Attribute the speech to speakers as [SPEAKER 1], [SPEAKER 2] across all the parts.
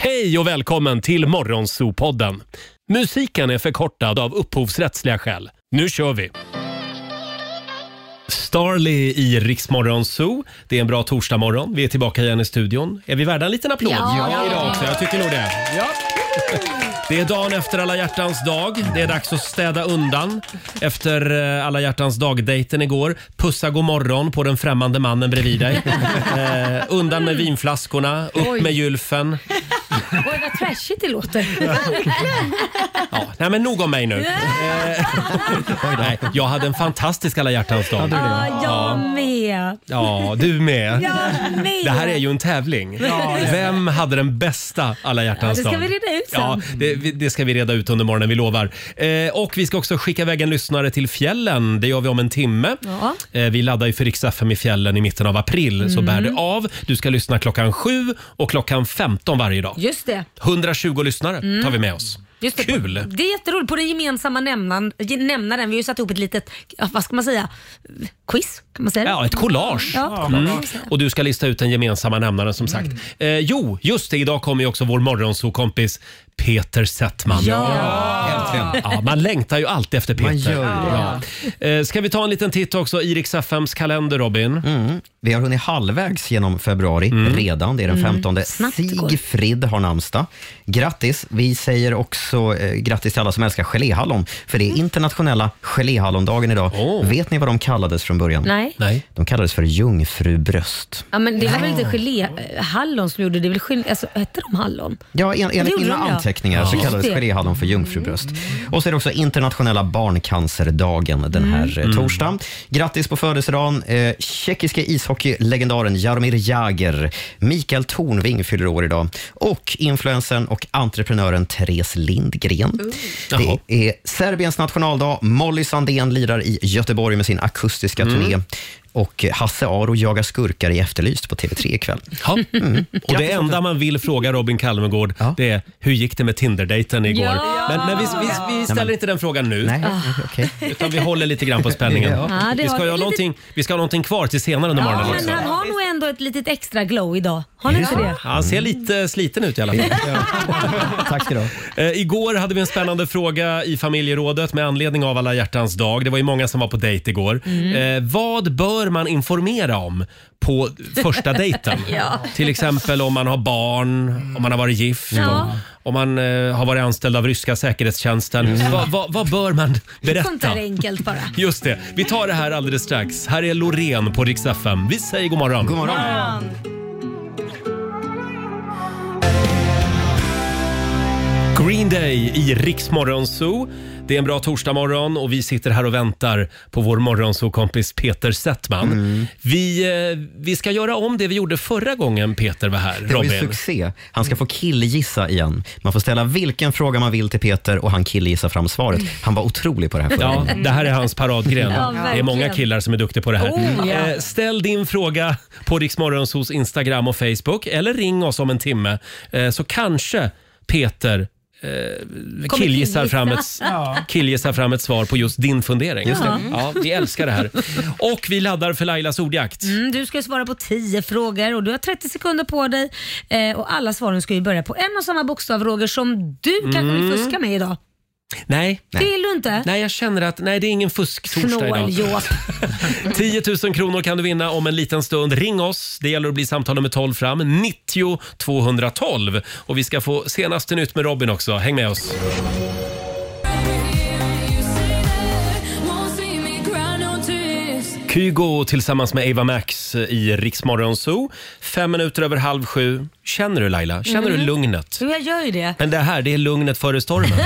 [SPEAKER 1] Hej och välkommen till Morgonzoo-podden. Musiken är förkortad av upphovsrättsliga skäl. Nu kör vi! Starly i Rix Morgon Zoo. Det är en bra torsdagmorgon. Vi är tillbaka igen i studion. Är vi värda en liten applåd?
[SPEAKER 2] Ja. Ja.
[SPEAKER 1] idag också. Jag tycker nog det. Det är dagen efter alla hjärtans dag. Det är dags att städa undan efter eh, alla hjärtans dag-dejten igår. Pussa god morgon på den främmande mannen bredvid dig. Eh, undan med vinflaskorna, upp
[SPEAKER 3] Oj.
[SPEAKER 1] med gylfen.
[SPEAKER 3] Oj, vad trashigt det låter.
[SPEAKER 1] Ja, nej men nog om mig nu. Eh, nej, jag hade en fantastisk alla hjärtans dag.
[SPEAKER 3] Ja, jag med.
[SPEAKER 1] Ja, du med.
[SPEAKER 3] Jag med.
[SPEAKER 1] Det här är ju en tävling.
[SPEAKER 3] Ja, det är det.
[SPEAKER 1] Vem hade den bästa alla hjärtans
[SPEAKER 3] Ja, det ska
[SPEAKER 1] dag?
[SPEAKER 3] vi reda ut sen.
[SPEAKER 1] Ja, det, vi- det ska vi reda ut under morgonen, vi lovar. Eh, och vi ska också skicka iväg en lyssnare till fjällen. Det gör vi om en timme.
[SPEAKER 3] Ja.
[SPEAKER 1] Eh, vi laddar ju för Rix FM i fjällen i mitten av april, så
[SPEAKER 3] Mm.
[SPEAKER 1] bär det av. Du ska lyssna klockan 7 och klockan 15 varje dag.
[SPEAKER 3] Just det.
[SPEAKER 1] 120 lyssnare
[SPEAKER 3] Mm.
[SPEAKER 1] tar vi med oss.
[SPEAKER 3] Just det.
[SPEAKER 1] Kul!
[SPEAKER 3] Det är jätteroligt. På den gemensamma nämnaren, nämnaren vi har ju satt ihop ett litet, ja, vad ska man säga, quiz? Kan man säga det?
[SPEAKER 1] Ja, ett collage.
[SPEAKER 3] Ja, Mm.
[SPEAKER 1] Mm.
[SPEAKER 3] collage.
[SPEAKER 1] Och du ska lista ut den gemensamma nämnaren som sagt. Eh, jo, just det. Idag kommer ju också vår morgonsokompis Peter Settman.
[SPEAKER 2] Ja!
[SPEAKER 1] Äntligen. ja, man längtar ju alltid efter Peter.
[SPEAKER 2] Man gör ju
[SPEAKER 1] ja. Eh, Ska vi ta en liten titt också i Rix FMs kalender, Robin?
[SPEAKER 4] Mm. Vi har hunnit halvvägs genom februari redan. Det är den
[SPEAKER 1] Mm.
[SPEAKER 4] 15. Sigfrid har namnsdag. Grattis! Vi säger också eh, grattis till alla som älskar geléhallon, för det är internationella geléhallondagen idag. Vet ni vad de kallades från början?
[SPEAKER 3] Nej.
[SPEAKER 4] De kallades för jungfrubröst.
[SPEAKER 3] Ja, men det var väl
[SPEAKER 4] Ja.
[SPEAKER 3] inte geléhallon som gjorde det? det är väl gelé, alltså, hette de hallon?
[SPEAKER 4] Ja, en,
[SPEAKER 3] Det
[SPEAKER 4] enligt
[SPEAKER 3] gjorde
[SPEAKER 4] mina
[SPEAKER 3] de, ja.
[SPEAKER 4] anteckningar så
[SPEAKER 3] Ja.
[SPEAKER 4] kallades
[SPEAKER 3] Just det. Mm.
[SPEAKER 4] geléhallon för jungfrubröst. Och så är det också internationella barncancerdagen den här mm. torsdagen. Grattis på födelsedagen, eh, tjeckiska ishockeylegendaren Jaromir Jagr. Mikael Tornving fyller år idag. Och influensen och entreprenören Therese Lindgren.
[SPEAKER 1] Jaha.
[SPEAKER 4] Det är Serbiens nationaldag. Molly Sandén lirar i Göteborg med sin akustiska
[SPEAKER 1] Mm.
[SPEAKER 4] turné. Och Hasse Aro jagar skurkar i Efterlyst på TV3 ikväll.
[SPEAKER 1] Ja. Och det enda man vill fråga Robin Kalmegård det är hur gick det med Tinder-dejten igår?
[SPEAKER 3] Ja.
[SPEAKER 1] Men, men vi, vi, vi ställer
[SPEAKER 4] Nej, men-
[SPEAKER 1] inte den frågan nu.
[SPEAKER 4] Nej,
[SPEAKER 3] Ah.
[SPEAKER 1] Utan vi håller lite grann på spänningen.
[SPEAKER 3] Ja. Ja, det
[SPEAKER 1] vi,
[SPEAKER 3] har
[SPEAKER 1] ska
[SPEAKER 3] vi
[SPEAKER 1] ju ha
[SPEAKER 3] lite-
[SPEAKER 1] någonting, vi ska ha någonting kvar till senare under morgonen
[SPEAKER 3] Ja,
[SPEAKER 1] också.
[SPEAKER 3] men han har nog ändå ett litet extra glow idag. Har ni inte det?
[SPEAKER 1] Ja, han
[SPEAKER 2] Mm.
[SPEAKER 1] ser lite sliten ut i alla fall.
[SPEAKER 4] Tack ska du ha.
[SPEAKER 1] Eh, igår hade vi en spännande fråga i familjerådet med anledning av alla hjärtans dag. Det var ju många som var på dejt igår.
[SPEAKER 2] Mm.
[SPEAKER 1] Eh, vad bör man informera om på första dejten?
[SPEAKER 2] Ja.
[SPEAKER 1] Till exempel om man har barn, om man har varit gift,
[SPEAKER 2] Ja.
[SPEAKER 1] om, om man eh, har varit anställd av ryska säkerhetstjänsten.
[SPEAKER 2] Mm.
[SPEAKER 1] Vad- vad- vad bör man
[SPEAKER 3] Sånt där
[SPEAKER 1] berätta?
[SPEAKER 3] är enkelt bara.
[SPEAKER 1] Just det. Vi tar det här alldeles strax. Här är Loreen på Rix FM. Vi säger god morgon.
[SPEAKER 4] God
[SPEAKER 1] Green Day i Rix Morgon Zoo. Det är en bra torsdagmorgon och vi sitter här och väntar på vår morgonzoo-kompis Peter Settman.
[SPEAKER 4] Mm.
[SPEAKER 1] Vi, eh, vi ska göra om det vi gjorde förra gången Peter var här,
[SPEAKER 4] Det var ju
[SPEAKER 1] Robin.
[SPEAKER 4] succé. Han ska få killgissa igen. Man får ställa vilken fråga man vill till Peter och han killgissar fram svaret. Han var otrolig på det här förra
[SPEAKER 1] Ja,
[SPEAKER 4] gången.
[SPEAKER 1] det här är hans paradgren.
[SPEAKER 4] Ja,
[SPEAKER 1] det är
[SPEAKER 4] verkligen.
[SPEAKER 1] många killar som är duktiga på det här.
[SPEAKER 4] Oh, ja.
[SPEAKER 1] eh, ställ din fråga på Riksmorgonsos Instagram och Facebook eller ring oss om en timme eh, så kanske Peter eh, killgissar,
[SPEAKER 2] killgissa.
[SPEAKER 1] fram ett,
[SPEAKER 2] Ja.
[SPEAKER 1] killgissar fram ett svar på just din fundering.
[SPEAKER 3] Just det.
[SPEAKER 1] Ja, vi älskar det här. Och vi laddar för Lailas ordjakt.
[SPEAKER 3] Mm, du ska ju svara på 10 frågor och du har 30 sekunder på dig. Eh, och alla svaren ska ju börja på en och samma bokstav Roger som du kanske vill
[SPEAKER 1] Mm.
[SPEAKER 3] fuska med idag.
[SPEAKER 1] Nej.
[SPEAKER 3] Det vill du inte?
[SPEAKER 1] Nej, jag känner att nej, det är ingen fusktorsdag idag.
[SPEAKER 3] Snåljåp.
[SPEAKER 1] 10 000 kronor kan du vinna om en liten stund. Ring oss. Det gäller att bli samtal nummer 12 fram. 90 212. Och vi ska få senaste nytt med Robin också. Häng med oss. Kygo tillsammans med Eva Max i Riksmorgon Zoo. Fem minuter över halv sju. Känner du Laila? Känner du
[SPEAKER 3] Mm.
[SPEAKER 1] lugnet?
[SPEAKER 3] Jo, jag gör ju det.
[SPEAKER 1] Men det här, det är lugnet före stormen.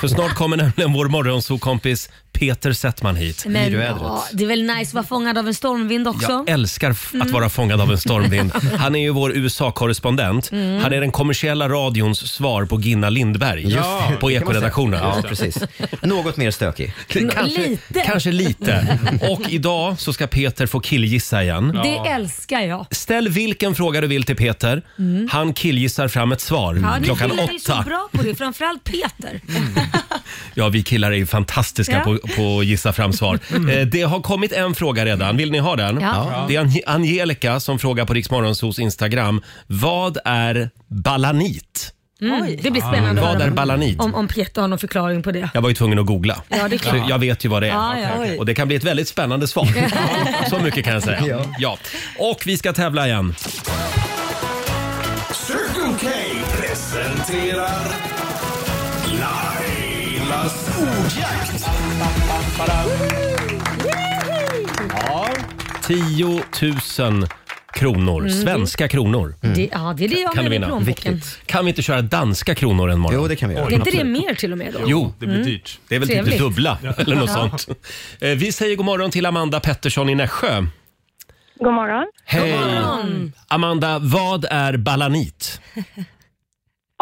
[SPEAKER 1] För snart kommer nämligen vår morgonsokompis Peter Settman hit.
[SPEAKER 3] Men ja, det är väl nice att vara fångad av en stormvind också?
[SPEAKER 1] Jag älskar f- att
[SPEAKER 3] Mm.
[SPEAKER 1] vara fångad av en stormvind. Han är ju vår USA-korrespondent.
[SPEAKER 3] Mm.
[SPEAKER 1] Han är den kommersiella radions svar på Ginna Lindberg
[SPEAKER 4] Just det,
[SPEAKER 1] på
[SPEAKER 4] det kan man
[SPEAKER 1] Ekoredaktionen.
[SPEAKER 4] säga. Ja, precis. Något mer stökig.
[SPEAKER 1] Kanske lite. Kanske lite. Och idag så ska Peter få killgissa igen.
[SPEAKER 3] Det älskar jag.
[SPEAKER 1] Ställ vilken fråga du vill till Peter.
[SPEAKER 3] Mm.
[SPEAKER 1] Han killgissar fram ett svar
[SPEAKER 3] Ja, ni
[SPEAKER 1] klockan
[SPEAKER 3] killar är ju så
[SPEAKER 1] åtta.
[SPEAKER 3] bra på det, framförallt Peter.
[SPEAKER 1] Ja, vi killar är ju fantastiska
[SPEAKER 3] Ja. Mm.
[SPEAKER 1] på, på att gissa fram svar. Eh, Det har kommit en fråga redan. Vill ni ha den?
[SPEAKER 3] Ja.
[SPEAKER 1] Det är Ange- Angelica som frågar på Riksmorgonsos Instagram. Vad är balanit?
[SPEAKER 3] Mm. Det blir spännande att
[SPEAKER 1] Vad är
[SPEAKER 3] höra
[SPEAKER 1] balanit?
[SPEAKER 3] om, om Pietto har någon förklaring på det.
[SPEAKER 1] Jag var ju tvungen att googla.
[SPEAKER 3] Ja, det är klart.
[SPEAKER 1] Så jag vet ju vad det är.
[SPEAKER 3] Ja, ja. Oj.
[SPEAKER 1] Och det kan bli ett väldigt spännande svar. Så mycket kan jag säga. Ja. Och vi ska tävla igen.
[SPEAKER 2] Circle K presenterar Lailas ordjakt.
[SPEAKER 1] 10 000 kronor.
[SPEAKER 3] Mm.
[SPEAKER 1] Svenska kronor.
[SPEAKER 3] Det, ja, det är det jag
[SPEAKER 1] Kan
[SPEAKER 3] har
[SPEAKER 1] du
[SPEAKER 3] med i
[SPEAKER 1] vinna?
[SPEAKER 3] plånboken.
[SPEAKER 1] Kan vi inte köra danska kronor en morgon?
[SPEAKER 4] Jo, det kan vi göra.
[SPEAKER 3] Är inte det mer till och med då?
[SPEAKER 1] Jo,
[SPEAKER 5] Det blir dyrt.
[SPEAKER 1] det är väl typ det
[SPEAKER 3] Trevligt.
[SPEAKER 1] dubbla eller något sånt. Eh, Vi säger god morgon till Amanda Pettersson i Nässjö.
[SPEAKER 6] God morgon.
[SPEAKER 1] Hej! Amanda, vad är balanit?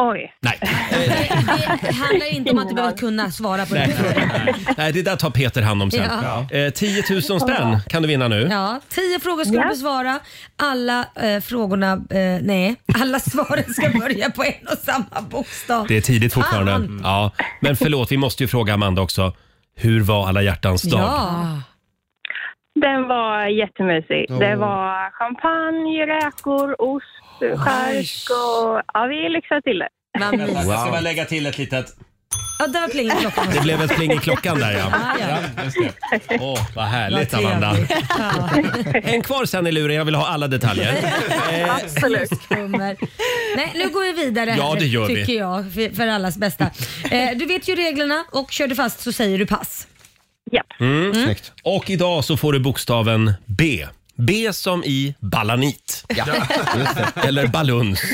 [SPEAKER 6] Oj.
[SPEAKER 1] Nej.
[SPEAKER 3] Det handlar inte om att du behöver kunna svara på det.
[SPEAKER 1] Nej, det där tar Peter hand om sen. Eh, 10 000 spänn kan du vinna nu.
[SPEAKER 3] Ja, tio frågor ska du besvara. Alla eh, frågorna, eh, nej, alla svaren ska börja på en och samma bokstav.
[SPEAKER 1] Det är tidigt fortfarande.
[SPEAKER 3] Fan.
[SPEAKER 1] Mm. Ja. Men förlåt, vi måste ju fråga Amanda också. Hur var alla hjärtans dag?
[SPEAKER 3] Ja,
[SPEAKER 6] Den var jättemysig. Det var champagne, räkor, ost, skärk och... Ja, vi lyxade till det.
[SPEAKER 3] vad mysigt.
[SPEAKER 1] Jag ska bara lägga till ett litet...
[SPEAKER 3] Ja, där plingar klockan.
[SPEAKER 1] Det blev ett pling i klockan där ja.
[SPEAKER 3] Ja, ja.
[SPEAKER 1] Åh, vad härligt
[SPEAKER 3] Vad
[SPEAKER 1] Amanda.
[SPEAKER 3] trevligt. Ja.
[SPEAKER 1] En kvar sen i luren, jag vill ha alla detaljer. Eh,
[SPEAKER 6] Absolut.
[SPEAKER 3] Hummer. Nej, nu går vi vidare
[SPEAKER 1] Ja,
[SPEAKER 3] här,
[SPEAKER 1] det gör vi.
[SPEAKER 3] tycker jag, för, för allas bästa. Eh, du vet ju reglerna och kör du fast så säger du pass.
[SPEAKER 6] Japp.
[SPEAKER 4] Snyggt.
[SPEAKER 1] Och idag så får du bokstaven B. B som i balanit. Eller baluns.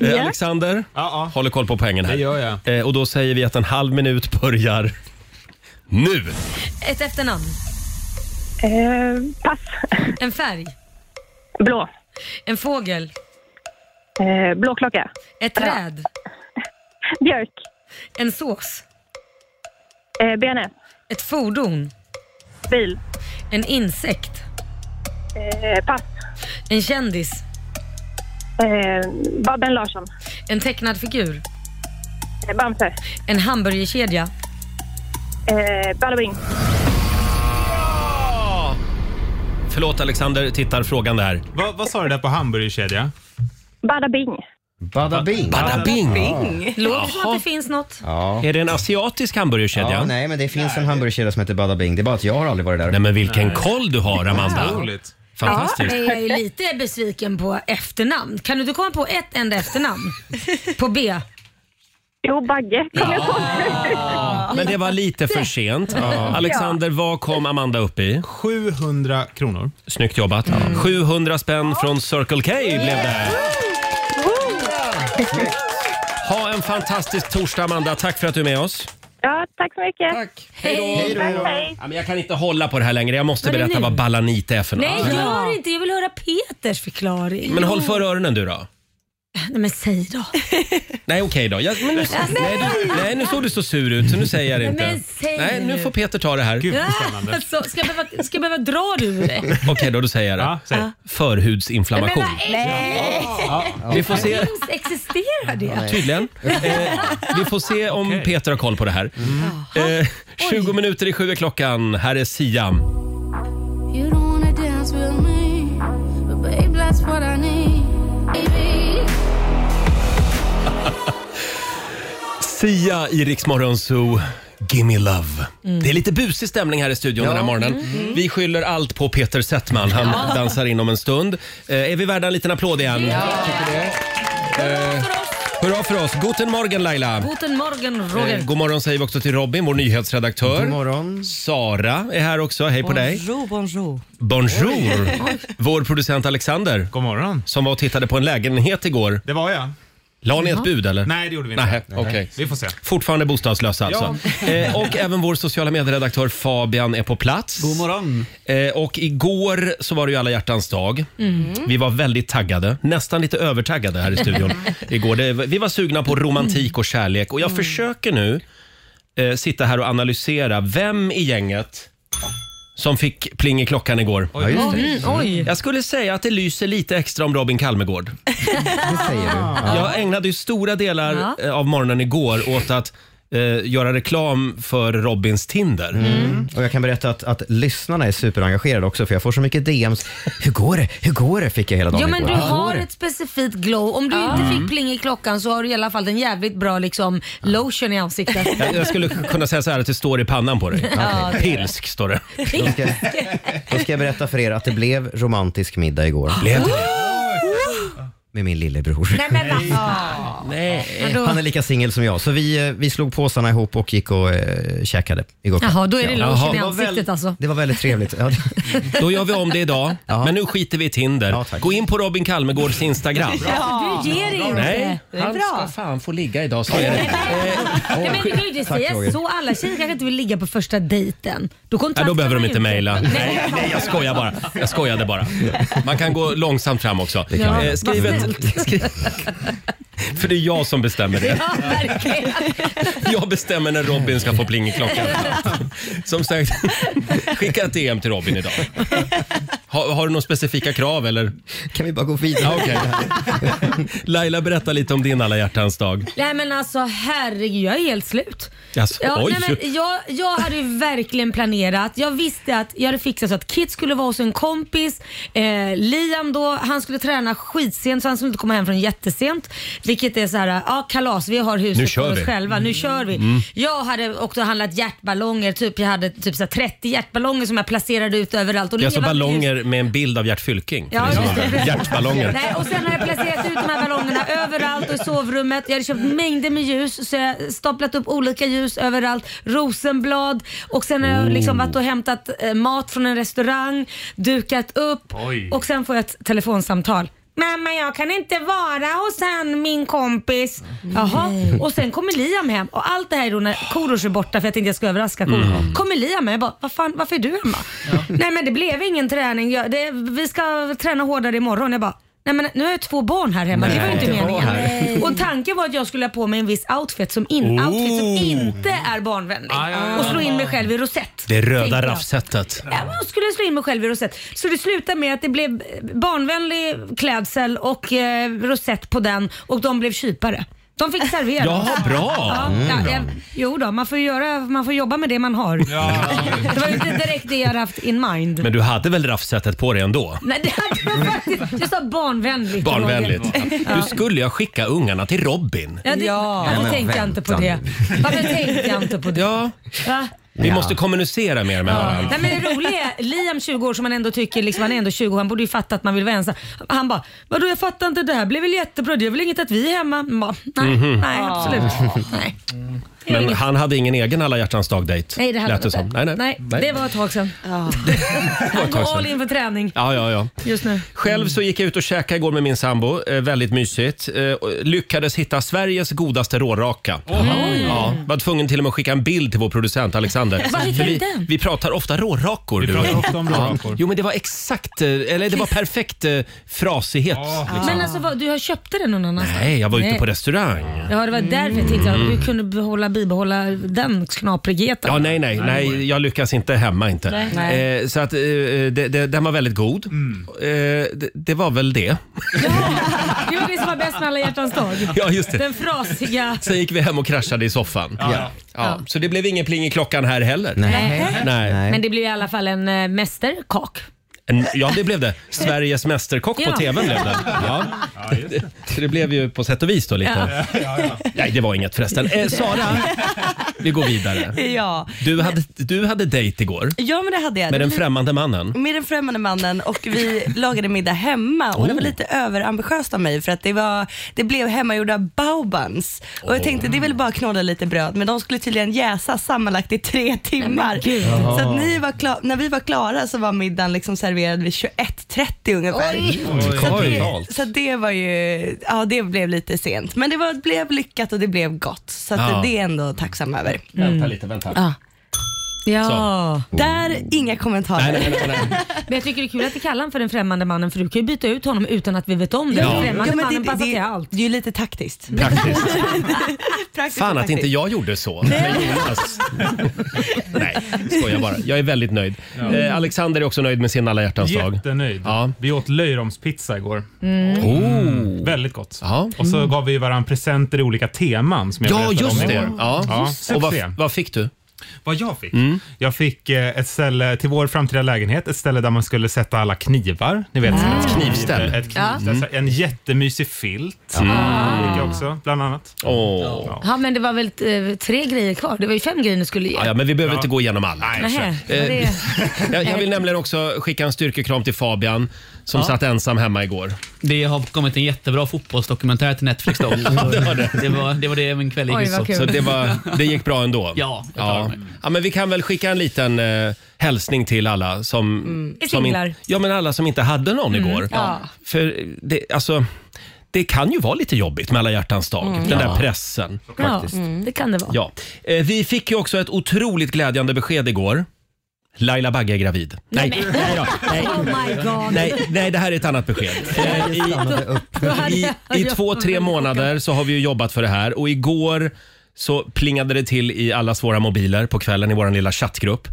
[SPEAKER 1] Eh, Alexander
[SPEAKER 5] Ja, ja.
[SPEAKER 1] håller koll på poängen här.
[SPEAKER 5] Det gör jag.
[SPEAKER 1] Eh, Och då säger vi att en halv minut börjar nu.
[SPEAKER 3] Ett efternamn,
[SPEAKER 6] Eh, pass.
[SPEAKER 3] en färg,
[SPEAKER 6] Blå.
[SPEAKER 3] en fågel,
[SPEAKER 6] Eh, blåklocka.
[SPEAKER 3] ett träd,
[SPEAKER 6] Björk.
[SPEAKER 3] en sås,
[SPEAKER 6] Eh, BNF.
[SPEAKER 3] ett fordon,
[SPEAKER 6] Bil.
[SPEAKER 3] en insekt,
[SPEAKER 6] Eh, pass.
[SPEAKER 3] en kändis,
[SPEAKER 6] Eh, Babben Larsson.
[SPEAKER 3] en tecknad figur,
[SPEAKER 6] Eh, Bamse.
[SPEAKER 3] en hamburgerkedja.
[SPEAKER 6] Eh, Bada Bing.
[SPEAKER 1] Förlåt Alexander, tittar frågan där.
[SPEAKER 5] Vad, vad sa du där på hamburgerkedja?
[SPEAKER 6] Bada Bing.
[SPEAKER 3] Mm.
[SPEAKER 4] Bada bing.
[SPEAKER 1] Bada bing!
[SPEAKER 3] Låter som att det finns något.
[SPEAKER 4] Ja.
[SPEAKER 1] Är det en asiatisk hamburgerkedja?
[SPEAKER 4] ja, nej men det finns en hamburgerkedja som heter Bada bing. Det är bara att jag har aldrig varit där.
[SPEAKER 1] Nej men vilken koll du har Amanda!
[SPEAKER 5] Roligt.
[SPEAKER 1] Fantastiskt!
[SPEAKER 3] Men jag är lite besviken på efternamn. Kan du inte komma på ett enda efternamn? På B?
[SPEAKER 6] Jo, Bagge. Kom jag på.
[SPEAKER 1] Men det var lite för sent. Alexander, vad kom Amanda upp i?
[SPEAKER 5] 700 kronor.
[SPEAKER 1] Snyggt jobbat.
[SPEAKER 3] Mm.
[SPEAKER 1] 700 spänn från Circle K blev det. Ha en fantastisk torsdag Amanda. Tack för att du är med oss.
[SPEAKER 6] Ja, tack så mycket.
[SPEAKER 3] Hej!
[SPEAKER 6] Tack, hej.
[SPEAKER 1] Ja, men jag kan inte hålla på det här längre. Jag måste
[SPEAKER 3] Vad är det
[SPEAKER 1] berätta
[SPEAKER 3] nu?
[SPEAKER 1] vad balanit är för något.
[SPEAKER 3] Nej, gör inte. Jag vill höra Peters förklaring.
[SPEAKER 1] Men håll för öronen du då.
[SPEAKER 3] Nej, men säg då.
[SPEAKER 1] Nej okej då. Jag, men nu, nej, du, nej nu såg du så sur ut så nu säger jag det
[SPEAKER 3] Men
[SPEAKER 1] inte.
[SPEAKER 3] säg
[SPEAKER 1] Nej nu
[SPEAKER 3] nu.
[SPEAKER 1] får Peter ta det här. Okej
[SPEAKER 5] Gud vad spännande.
[SPEAKER 3] Alltså, ska, jag behöva, ska jag behöva dra du det?
[SPEAKER 1] då, då säger jag det.
[SPEAKER 5] Ja, säg.
[SPEAKER 3] Men
[SPEAKER 1] Förhudsinflammation.
[SPEAKER 3] vad är
[SPEAKER 1] Vi får se.
[SPEAKER 3] det? Existerar det?
[SPEAKER 1] Tydligen. Eh, vi får se om
[SPEAKER 5] Okej.
[SPEAKER 1] Peter har koll på det här. Eh, 20 minuter i sju är klockan. Här är Siam.
[SPEAKER 7] You don't wanna dance with me, but babe, that's what I need. Baby.
[SPEAKER 1] Sia i Rix Morgon Zoo. Gimme love.
[SPEAKER 4] Mm.
[SPEAKER 1] Det är lite busig stämning här i studion den här morgonen. Vi skyller allt på Peter Settman. Han dansar in om en stund. Eh, är vi värda en liten applåd igen? Eh, Hurra för oss! Guten morgen Laila!
[SPEAKER 3] Guten morgen
[SPEAKER 1] Eh,
[SPEAKER 3] Roger.
[SPEAKER 1] god morgon säger vi också till Robin, vår nyhetsredaktör.
[SPEAKER 4] God morgon.
[SPEAKER 1] Sara är här också. Hej på dig! Bonjour, bonjour! Vår producent Alexander
[SPEAKER 5] God morgon.
[SPEAKER 1] som var och tittade på en lägenhet igår.
[SPEAKER 5] Det var jag.
[SPEAKER 1] La ni ett bud eller?
[SPEAKER 5] Nej, det gjorde vi inte.
[SPEAKER 1] Nej, okej.
[SPEAKER 5] Vi får se.
[SPEAKER 1] Fortfarande bostadslösa alltså. Eh, och även vår sociala medieredaktör Fabian är på plats. God morgon. Eh, och igår så var det ju alla hjärtans dag. Vi var väldigt taggade, nästan lite övertaggade här i studion igår. Det, vi var sugna på romantik och kärlek och jag försöker nu eh, sitta här och analysera vem i gänget som fick pling i klockan igår.
[SPEAKER 4] Ja, just det.
[SPEAKER 3] Mm, oj.
[SPEAKER 1] Jag skulle säga att det lyser lite extra om Robin Kalmegård.
[SPEAKER 4] Det säger du.
[SPEAKER 3] Ah.
[SPEAKER 1] Jag ägnade ju stora delar eh, av morgonen igår åt att eh, göra reklam för Robins Tinder.
[SPEAKER 4] Mm. Och jag kan berätta att, att lyssnarna är superengagerade också för jag får så mycket DMs. Hur går det? Hur går det? Fick jag hela dagen
[SPEAKER 3] Ja men
[SPEAKER 4] igår.
[SPEAKER 3] du
[SPEAKER 4] Hur går
[SPEAKER 3] har
[SPEAKER 4] det?
[SPEAKER 3] ett specifikt glow. Om du inte fick pling i klockan så har du i alla fall en jävligt bra liksom, lotion i ansiktet.
[SPEAKER 1] Jag, jag skulle kunna säga så här att det står i pannan på dig.
[SPEAKER 3] Ja, det-
[SPEAKER 1] Pilsk står det.
[SPEAKER 4] Då ska, då ska jag berätta för er att det blev romantisk middag igår
[SPEAKER 1] Blev det?
[SPEAKER 4] med min lillebror.
[SPEAKER 3] Nej men vad
[SPEAKER 1] Nej.
[SPEAKER 3] Men då-
[SPEAKER 4] Han är lika singel som jag, så vi, eh, vi slog påsarna ihop och gick och eh, käkade igår kväll.
[SPEAKER 3] Jaha, då är det
[SPEAKER 1] Jaha.
[SPEAKER 3] lotion i
[SPEAKER 1] Det
[SPEAKER 4] var väl-
[SPEAKER 3] ansiktet alltså.
[SPEAKER 4] Det var väldigt trevligt. Ja,
[SPEAKER 1] Då gör vi om det idag.
[SPEAKER 4] Ja.
[SPEAKER 1] Men nu skiter vi i Tinder.
[SPEAKER 4] Ja, tack.
[SPEAKER 1] Gå in på Robin Kalmegårds Instagram.
[SPEAKER 3] Du ger dig inte.
[SPEAKER 1] Nej, Eh,
[SPEAKER 3] Nej.
[SPEAKER 1] han ska fan få ligga idag. Så är det.
[SPEAKER 3] men du kan ju inte
[SPEAKER 4] Tack, Roger.
[SPEAKER 3] säga så. Alla tjejer kanske inte vill ligga på första dejten. Då kontaktar
[SPEAKER 1] Nej, då behöver de
[SPEAKER 3] man
[SPEAKER 1] inte
[SPEAKER 3] ju
[SPEAKER 1] mejla. Nej, nej, jag skojar bara. Jag skojade bara. Man kan gå långsamt fram också.
[SPEAKER 3] kan man.
[SPEAKER 1] Eh, skriv
[SPEAKER 3] Vad
[SPEAKER 1] ett- skri- För det är jag som bestämmer det.
[SPEAKER 3] Ja, verkligen.
[SPEAKER 1] Jag bestämmer när Robin ska få pling i klockan. Som sagt, skicka ett DM till Robin idag. Har, har du några specifika krav eller?
[SPEAKER 4] kan vi bara gå vidare?
[SPEAKER 1] Ja, okej. Laila, berätta lite om din alla hjärtans dag.
[SPEAKER 3] Nej men alltså herregud, jag är helt slut.
[SPEAKER 1] Jaså,
[SPEAKER 3] ja,
[SPEAKER 1] oj.
[SPEAKER 3] Nej, men jag, jag hade ju verkligen planerat. Jag visste att jag hade fixat så att Kit skulle vara hos en kompis. Eh, Liam då, han skulle träna skitsent så han skulle inte komma hem från jättesent. Vilket är så här, ja kalas, vi har
[SPEAKER 1] Nu
[SPEAKER 3] huset för
[SPEAKER 1] kör vi. Mm.
[SPEAKER 3] oss själva. Nu kör vi. Jag hade också handlat hjärtballonger, typ, jag hade typ så här 30 hjärtballonger som jag placerade ut överallt. Och
[SPEAKER 1] Det är alltså
[SPEAKER 3] levande ljus.
[SPEAKER 1] ballonger med en bild av Gert Fylking. för
[SPEAKER 3] Ja,
[SPEAKER 1] dig som
[SPEAKER 3] just det.
[SPEAKER 1] undrar. Hjärtballonger.
[SPEAKER 3] Nej, och sen har jag placerat ut de här ballongerna överallt och i sovrummet. Jag hade köpt mängder med ljus så jag har staplat upp olika ljus överallt. Rosenblad och sen har jag liksom varit och hämtat eh, mat från en restaurang, dukat upp
[SPEAKER 5] Oj.
[SPEAKER 3] och sen får jag ett telefonsamtal. Mamma jag kan inte vara hos han min kompis. Jaha, och sen kommer Liam hem och allt det här är då när Korosh är borta för jag tänkte jag skulle överraska Korosh. Kommer Liam hem jag bara, vad fan varför är du hemma? Nej men det blev ingen träning, jag, det, vi ska träna hårdare imorgon. Jag bara, Nej men nu har jag två barn här hemma, det var ju inte
[SPEAKER 4] inte
[SPEAKER 3] meningen.
[SPEAKER 4] vara här.
[SPEAKER 3] Och tanken var att jag skulle ha på mig en viss outfit som, in, outfit som
[SPEAKER 1] Oh.
[SPEAKER 3] inte är barnvänlig.
[SPEAKER 5] Aj, aj, aj.
[SPEAKER 3] Och slå in mig själv i rosett.
[SPEAKER 1] Det
[SPEAKER 3] tänkte
[SPEAKER 1] röda
[SPEAKER 3] jag.
[SPEAKER 1] raffsetet.
[SPEAKER 3] Ja, men jag skulle slå in mig själv i rosett. Så det slutade med att det blev barnvänlig klädsel och eh, rosett på den och de blev kypare. De fick servera.
[SPEAKER 1] Ja, bra. Mm.
[SPEAKER 3] Ja, ja, jag, jo då, man får, göra, man får jobba med det man har. Det var ju inte direkt det jag hade haft in mind.
[SPEAKER 1] Men du hade väl raffsetet på dig ändå?
[SPEAKER 3] Nej, det hade jag faktiskt. Jag sa barnvänligt.
[SPEAKER 1] Barnvänligt.
[SPEAKER 3] Roger.
[SPEAKER 1] Du skulle jag skicka ungarna till Robin.
[SPEAKER 3] Ja, det,
[SPEAKER 8] Ja.
[SPEAKER 3] Varför
[SPEAKER 4] men
[SPEAKER 3] tänkte jag inte på
[SPEAKER 4] vänta
[SPEAKER 3] det? Varför tänkte jag inte på det?
[SPEAKER 1] Ja,
[SPEAKER 3] Va?
[SPEAKER 1] vi
[SPEAKER 4] Ja.
[SPEAKER 1] måste kommunicera mer med varandra.
[SPEAKER 3] Nej, men det roliga är, Liam 20 år som han ändå tycker, liksom, han är ändå 20 han borde ju fatta att man vill vara ensam. Han bara, vadå jag fattar inte det här blev väl jättebra, det är väl inget att vi är hemma? Man Bara, nej,
[SPEAKER 1] Mhm.
[SPEAKER 3] nej
[SPEAKER 1] Ah.
[SPEAKER 3] absolut. Nej. Det är
[SPEAKER 1] Men
[SPEAKER 3] inget.
[SPEAKER 1] han hade ingen egen alla hjärtans dag-dejt.
[SPEAKER 3] Nej, det här
[SPEAKER 1] lät det
[SPEAKER 3] var
[SPEAKER 1] som. Nej, nej. nej.
[SPEAKER 3] det var ett tag sedan.
[SPEAKER 1] tag
[SPEAKER 3] Han går
[SPEAKER 1] sedan. Liksom.
[SPEAKER 3] all in för träning
[SPEAKER 1] Ja, ja, ja.
[SPEAKER 3] just nu.
[SPEAKER 1] Själv så gick jag ut och käkade igår med min sambo. Eh, väldigt mysigt. Eh, och lyckades hitta Sveriges godaste råraka. Ja, var tvungen till och med att skicka en bild till vår producent Alexander.
[SPEAKER 3] Vad hittade
[SPEAKER 1] För vi,
[SPEAKER 3] den?
[SPEAKER 1] vi pratar ofta rårakor.
[SPEAKER 5] Vi
[SPEAKER 1] du och
[SPEAKER 5] pratar
[SPEAKER 1] jag.
[SPEAKER 5] ofta om rårakor.
[SPEAKER 1] Jo, men det var exakt, eh, eller det var perfekt eh, frasighet.
[SPEAKER 3] Men alltså vad, du har köpte den någon annanstans?
[SPEAKER 1] Nej, jag var ute
[SPEAKER 3] Nej.
[SPEAKER 1] på restaurang.
[SPEAKER 3] Ja det var därför jag tänkte att du kunde behålla, bibehålla den knaprigheten.
[SPEAKER 1] Ja, nej, nej, nej, jag lyckas inte hemma inte.
[SPEAKER 3] Nej.
[SPEAKER 1] Eh, så att eh, det, det, den var väldigt god. Eh, det, det var väl det.
[SPEAKER 3] Det var det som var bäst med alla hjärtans dag.
[SPEAKER 1] Ja, just det.
[SPEAKER 3] Den frasiga...
[SPEAKER 1] Sen gick vi hem och kraschade i soffan. Ja.
[SPEAKER 5] Ja.
[SPEAKER 1] Så det blev ingen pling i klockan här heller.
[SPEAKER 4] Nej.
[SPEAKER 1] Nej.
[SPEAKER 3] Eh, Men det blir i alla fall en eh, mästerkock.
[SPEAKER 1] En- Ja, det blev det. Sveriges Mästerkock på
[SPEAKER 3] Ja.
[SPEAKER 1] TV blev det. Ja. Så det blev ju på sätt och vis då lite. Nej, det var inget förresten. Eh, Sara, vi går vidare.
[SPEAKER 8] Ja.
[SPEAKER 1] Du hade, du hade dejt igår
[SPEAKER 8] ja, men det hade jag.
[SPEAKER 1] med den
[SPEAKER 8] Det var
[SPEAKER 1] främmande mannen.
[SPEAKER 8] med den främmande mannen och vi lagade middag hemma och det var
[SPEAKER 1] Oh.
[SPEAKER 8] lite överambitiöst av mig för att det, var, det blev hemmagjorda baobans och jag tänkte det är väl bara att knåda lite bröd men de skulle tydligen jäsa sammanlagt i tre timmar. Så att ni var kla- när vi var klara så var middagen liksom serverad vid 21.30 ungefär. Så, att
[SPEAKER 1] Oj.
[SPEAKER 8] det, så att det var ju, ja det blev lite sent men det var, blev lyckat och det blev gott så att
[SPEAKER 1] Ja. Oh.
[SPEAKER 8] det är ändå tacksam över.
[SPEAKER 1] Vänta lite, vänta.
[SPEAKER 8] Ja.
[SPEAKER 3] Ja.
[SPEAKER 8] Där, inga kommentarer.
[SPEAKER 1] Nej, nej, nej, nej.
[SPEAKER 3] Men jag tycker det är kul att du kallar honom för den främmande mannen för du kan ju byta ut honom utan att vi vet om det.
[SPEAKER 1] Ja.
[SPEAKER 3] Den
[SPEAKER 8] Ja,
[SPEAKER 3] främmande
[SPEAKER 8] men det,
[SPEAKER 3] mannen
[SPEAKER 8] det,
[SPEAKER 3] passar
[SPEAKER 8] det,
[SPEAKER 3] till allt.
[SPEAKER 8] det är ju lite taktiskt.
[SPEAKER 1] Praktiskt.
[SPEAKER 8] Praktiskt
[SPEAKER 1] Fan
[SPEAKER 8] och
[SPEAKER 1] att inte
[SPEAKER 8] taktiskt.
[SPEAKER 1] jag gjorde så med Jonas. Nej, skojar bara. Jag är väldigt nöjd. Eh, Alexander är också nöjd med sin alla hjärtans dag.
[SPEAKER 5] Jättenöjd.
[SPEAKER 1] Ja.
[SPEAKER 5] Vi åt löjromspizza igår.
[SPEAKER 1] Oh.
[SPEAKER 5] Väldigt gott.
[SPEAKER 1] Ja.
[SPEAKER 5] Och
[SPEAKER 3] Mm.
[SPEAKER 5] så gav vi varandra presenter i olika teman som jag
[SPEAKER 1] Ja,
[SPEAKER 5] berättade
[SPEAKER 1] just
[SPEAKER 5] om
[SPEAKER 1] det.
[SPEAKER 5] igår.
[SPEAKER 1] Ja.
[SPEAKER 5] Ja,
[SPEAKER 1] Och vad,
[SPEAKER 5] succé.
[SPEAKER 1] vad Mm. fick du?
[SPEAKER 5] Vad jag fick? Jag fick eh, ett ställe till vår framtida lägenhet, ett ställe där man skulle sätta alla knivar. Ni vet, ett
[SPEAKER 1] Mm. Knivställ. Mm.
[SPEAKER 5] Ett knivställ. Så En jättemysig filt fick jag också, bland annat.
[SPEAKER 1] Åh.
[SPEAKER 3] Ja men det var väl eh, tre grejer kvar? Det var ju fem grejer du skulle ge.
[SPEAKER 1] Ja, ja, men vi behöver inte gå igenom alla.
[SPEAKER 3] Nähä,
[SPEAKER 1] Eh,
[SPEAKER 3] var det...
[SPEAKER 1] Jag, jag vill nämligen också skicka en styrkekram till Fabian som satt ensam hemma igår.
[SPEAKER 9] Det har kommit en jättebra fotbollsdokumentär till Netflix då.
[SPEAKER 1] det var det.
[SPEAKER 9] Det var, det var det min kväll
[SPEAKER 3] Oj,
[SPEAKER 9] gick ut
[SPEAKER 3] vad
[SPEAKER 9] åt.
[SPEAKER 3] kul.
[SPEAKER 1] Så det, var, det gick bra ändå?
[SPEAKER 9] Ja, jag klarar
[SPEAKER 1] ja.
[SPEAKER 9] mig.
[SPEAKER 1] ja, men vi kan väl skicka en liten eh, hälsning till alla som... som
[SPEAKER 3] Singlar.
[SPEAKER 1] ja, men alla som inte hade någon
[SPEAKER 9] Mm.
[SPEAKER 1] igår. För det, alltså, det kan ju vara lite jobbigt med alla hjärtans dag, den där pressen.
[SPEAKER 3] Ja, mm, det kan det vara.
[SPEAKER 1] Ja. Eh, vi fick ju också ett otroligt glädjande besked igår. Laila Bagge är gravid. Nej, nej, då, nej,
[SPEAKER 3] Oh my god.
[SPEAKER 1] nej, nej, det här är ett annat besked. Eh,
[SPEAKER 4] Jag stannade upp.
[SPEAKER 3] Då hade
[SPEAKER 1] I,
[SPEAKER 3] jag-
[SPEAKER 1] I
[SPEAKER 3] jag-
[SPEAKER 1] två, tre månader så har vi ju jobbat för det här och igår så plingade det till i alla våra mobiler på kvällen i vår lilla chattgrupp.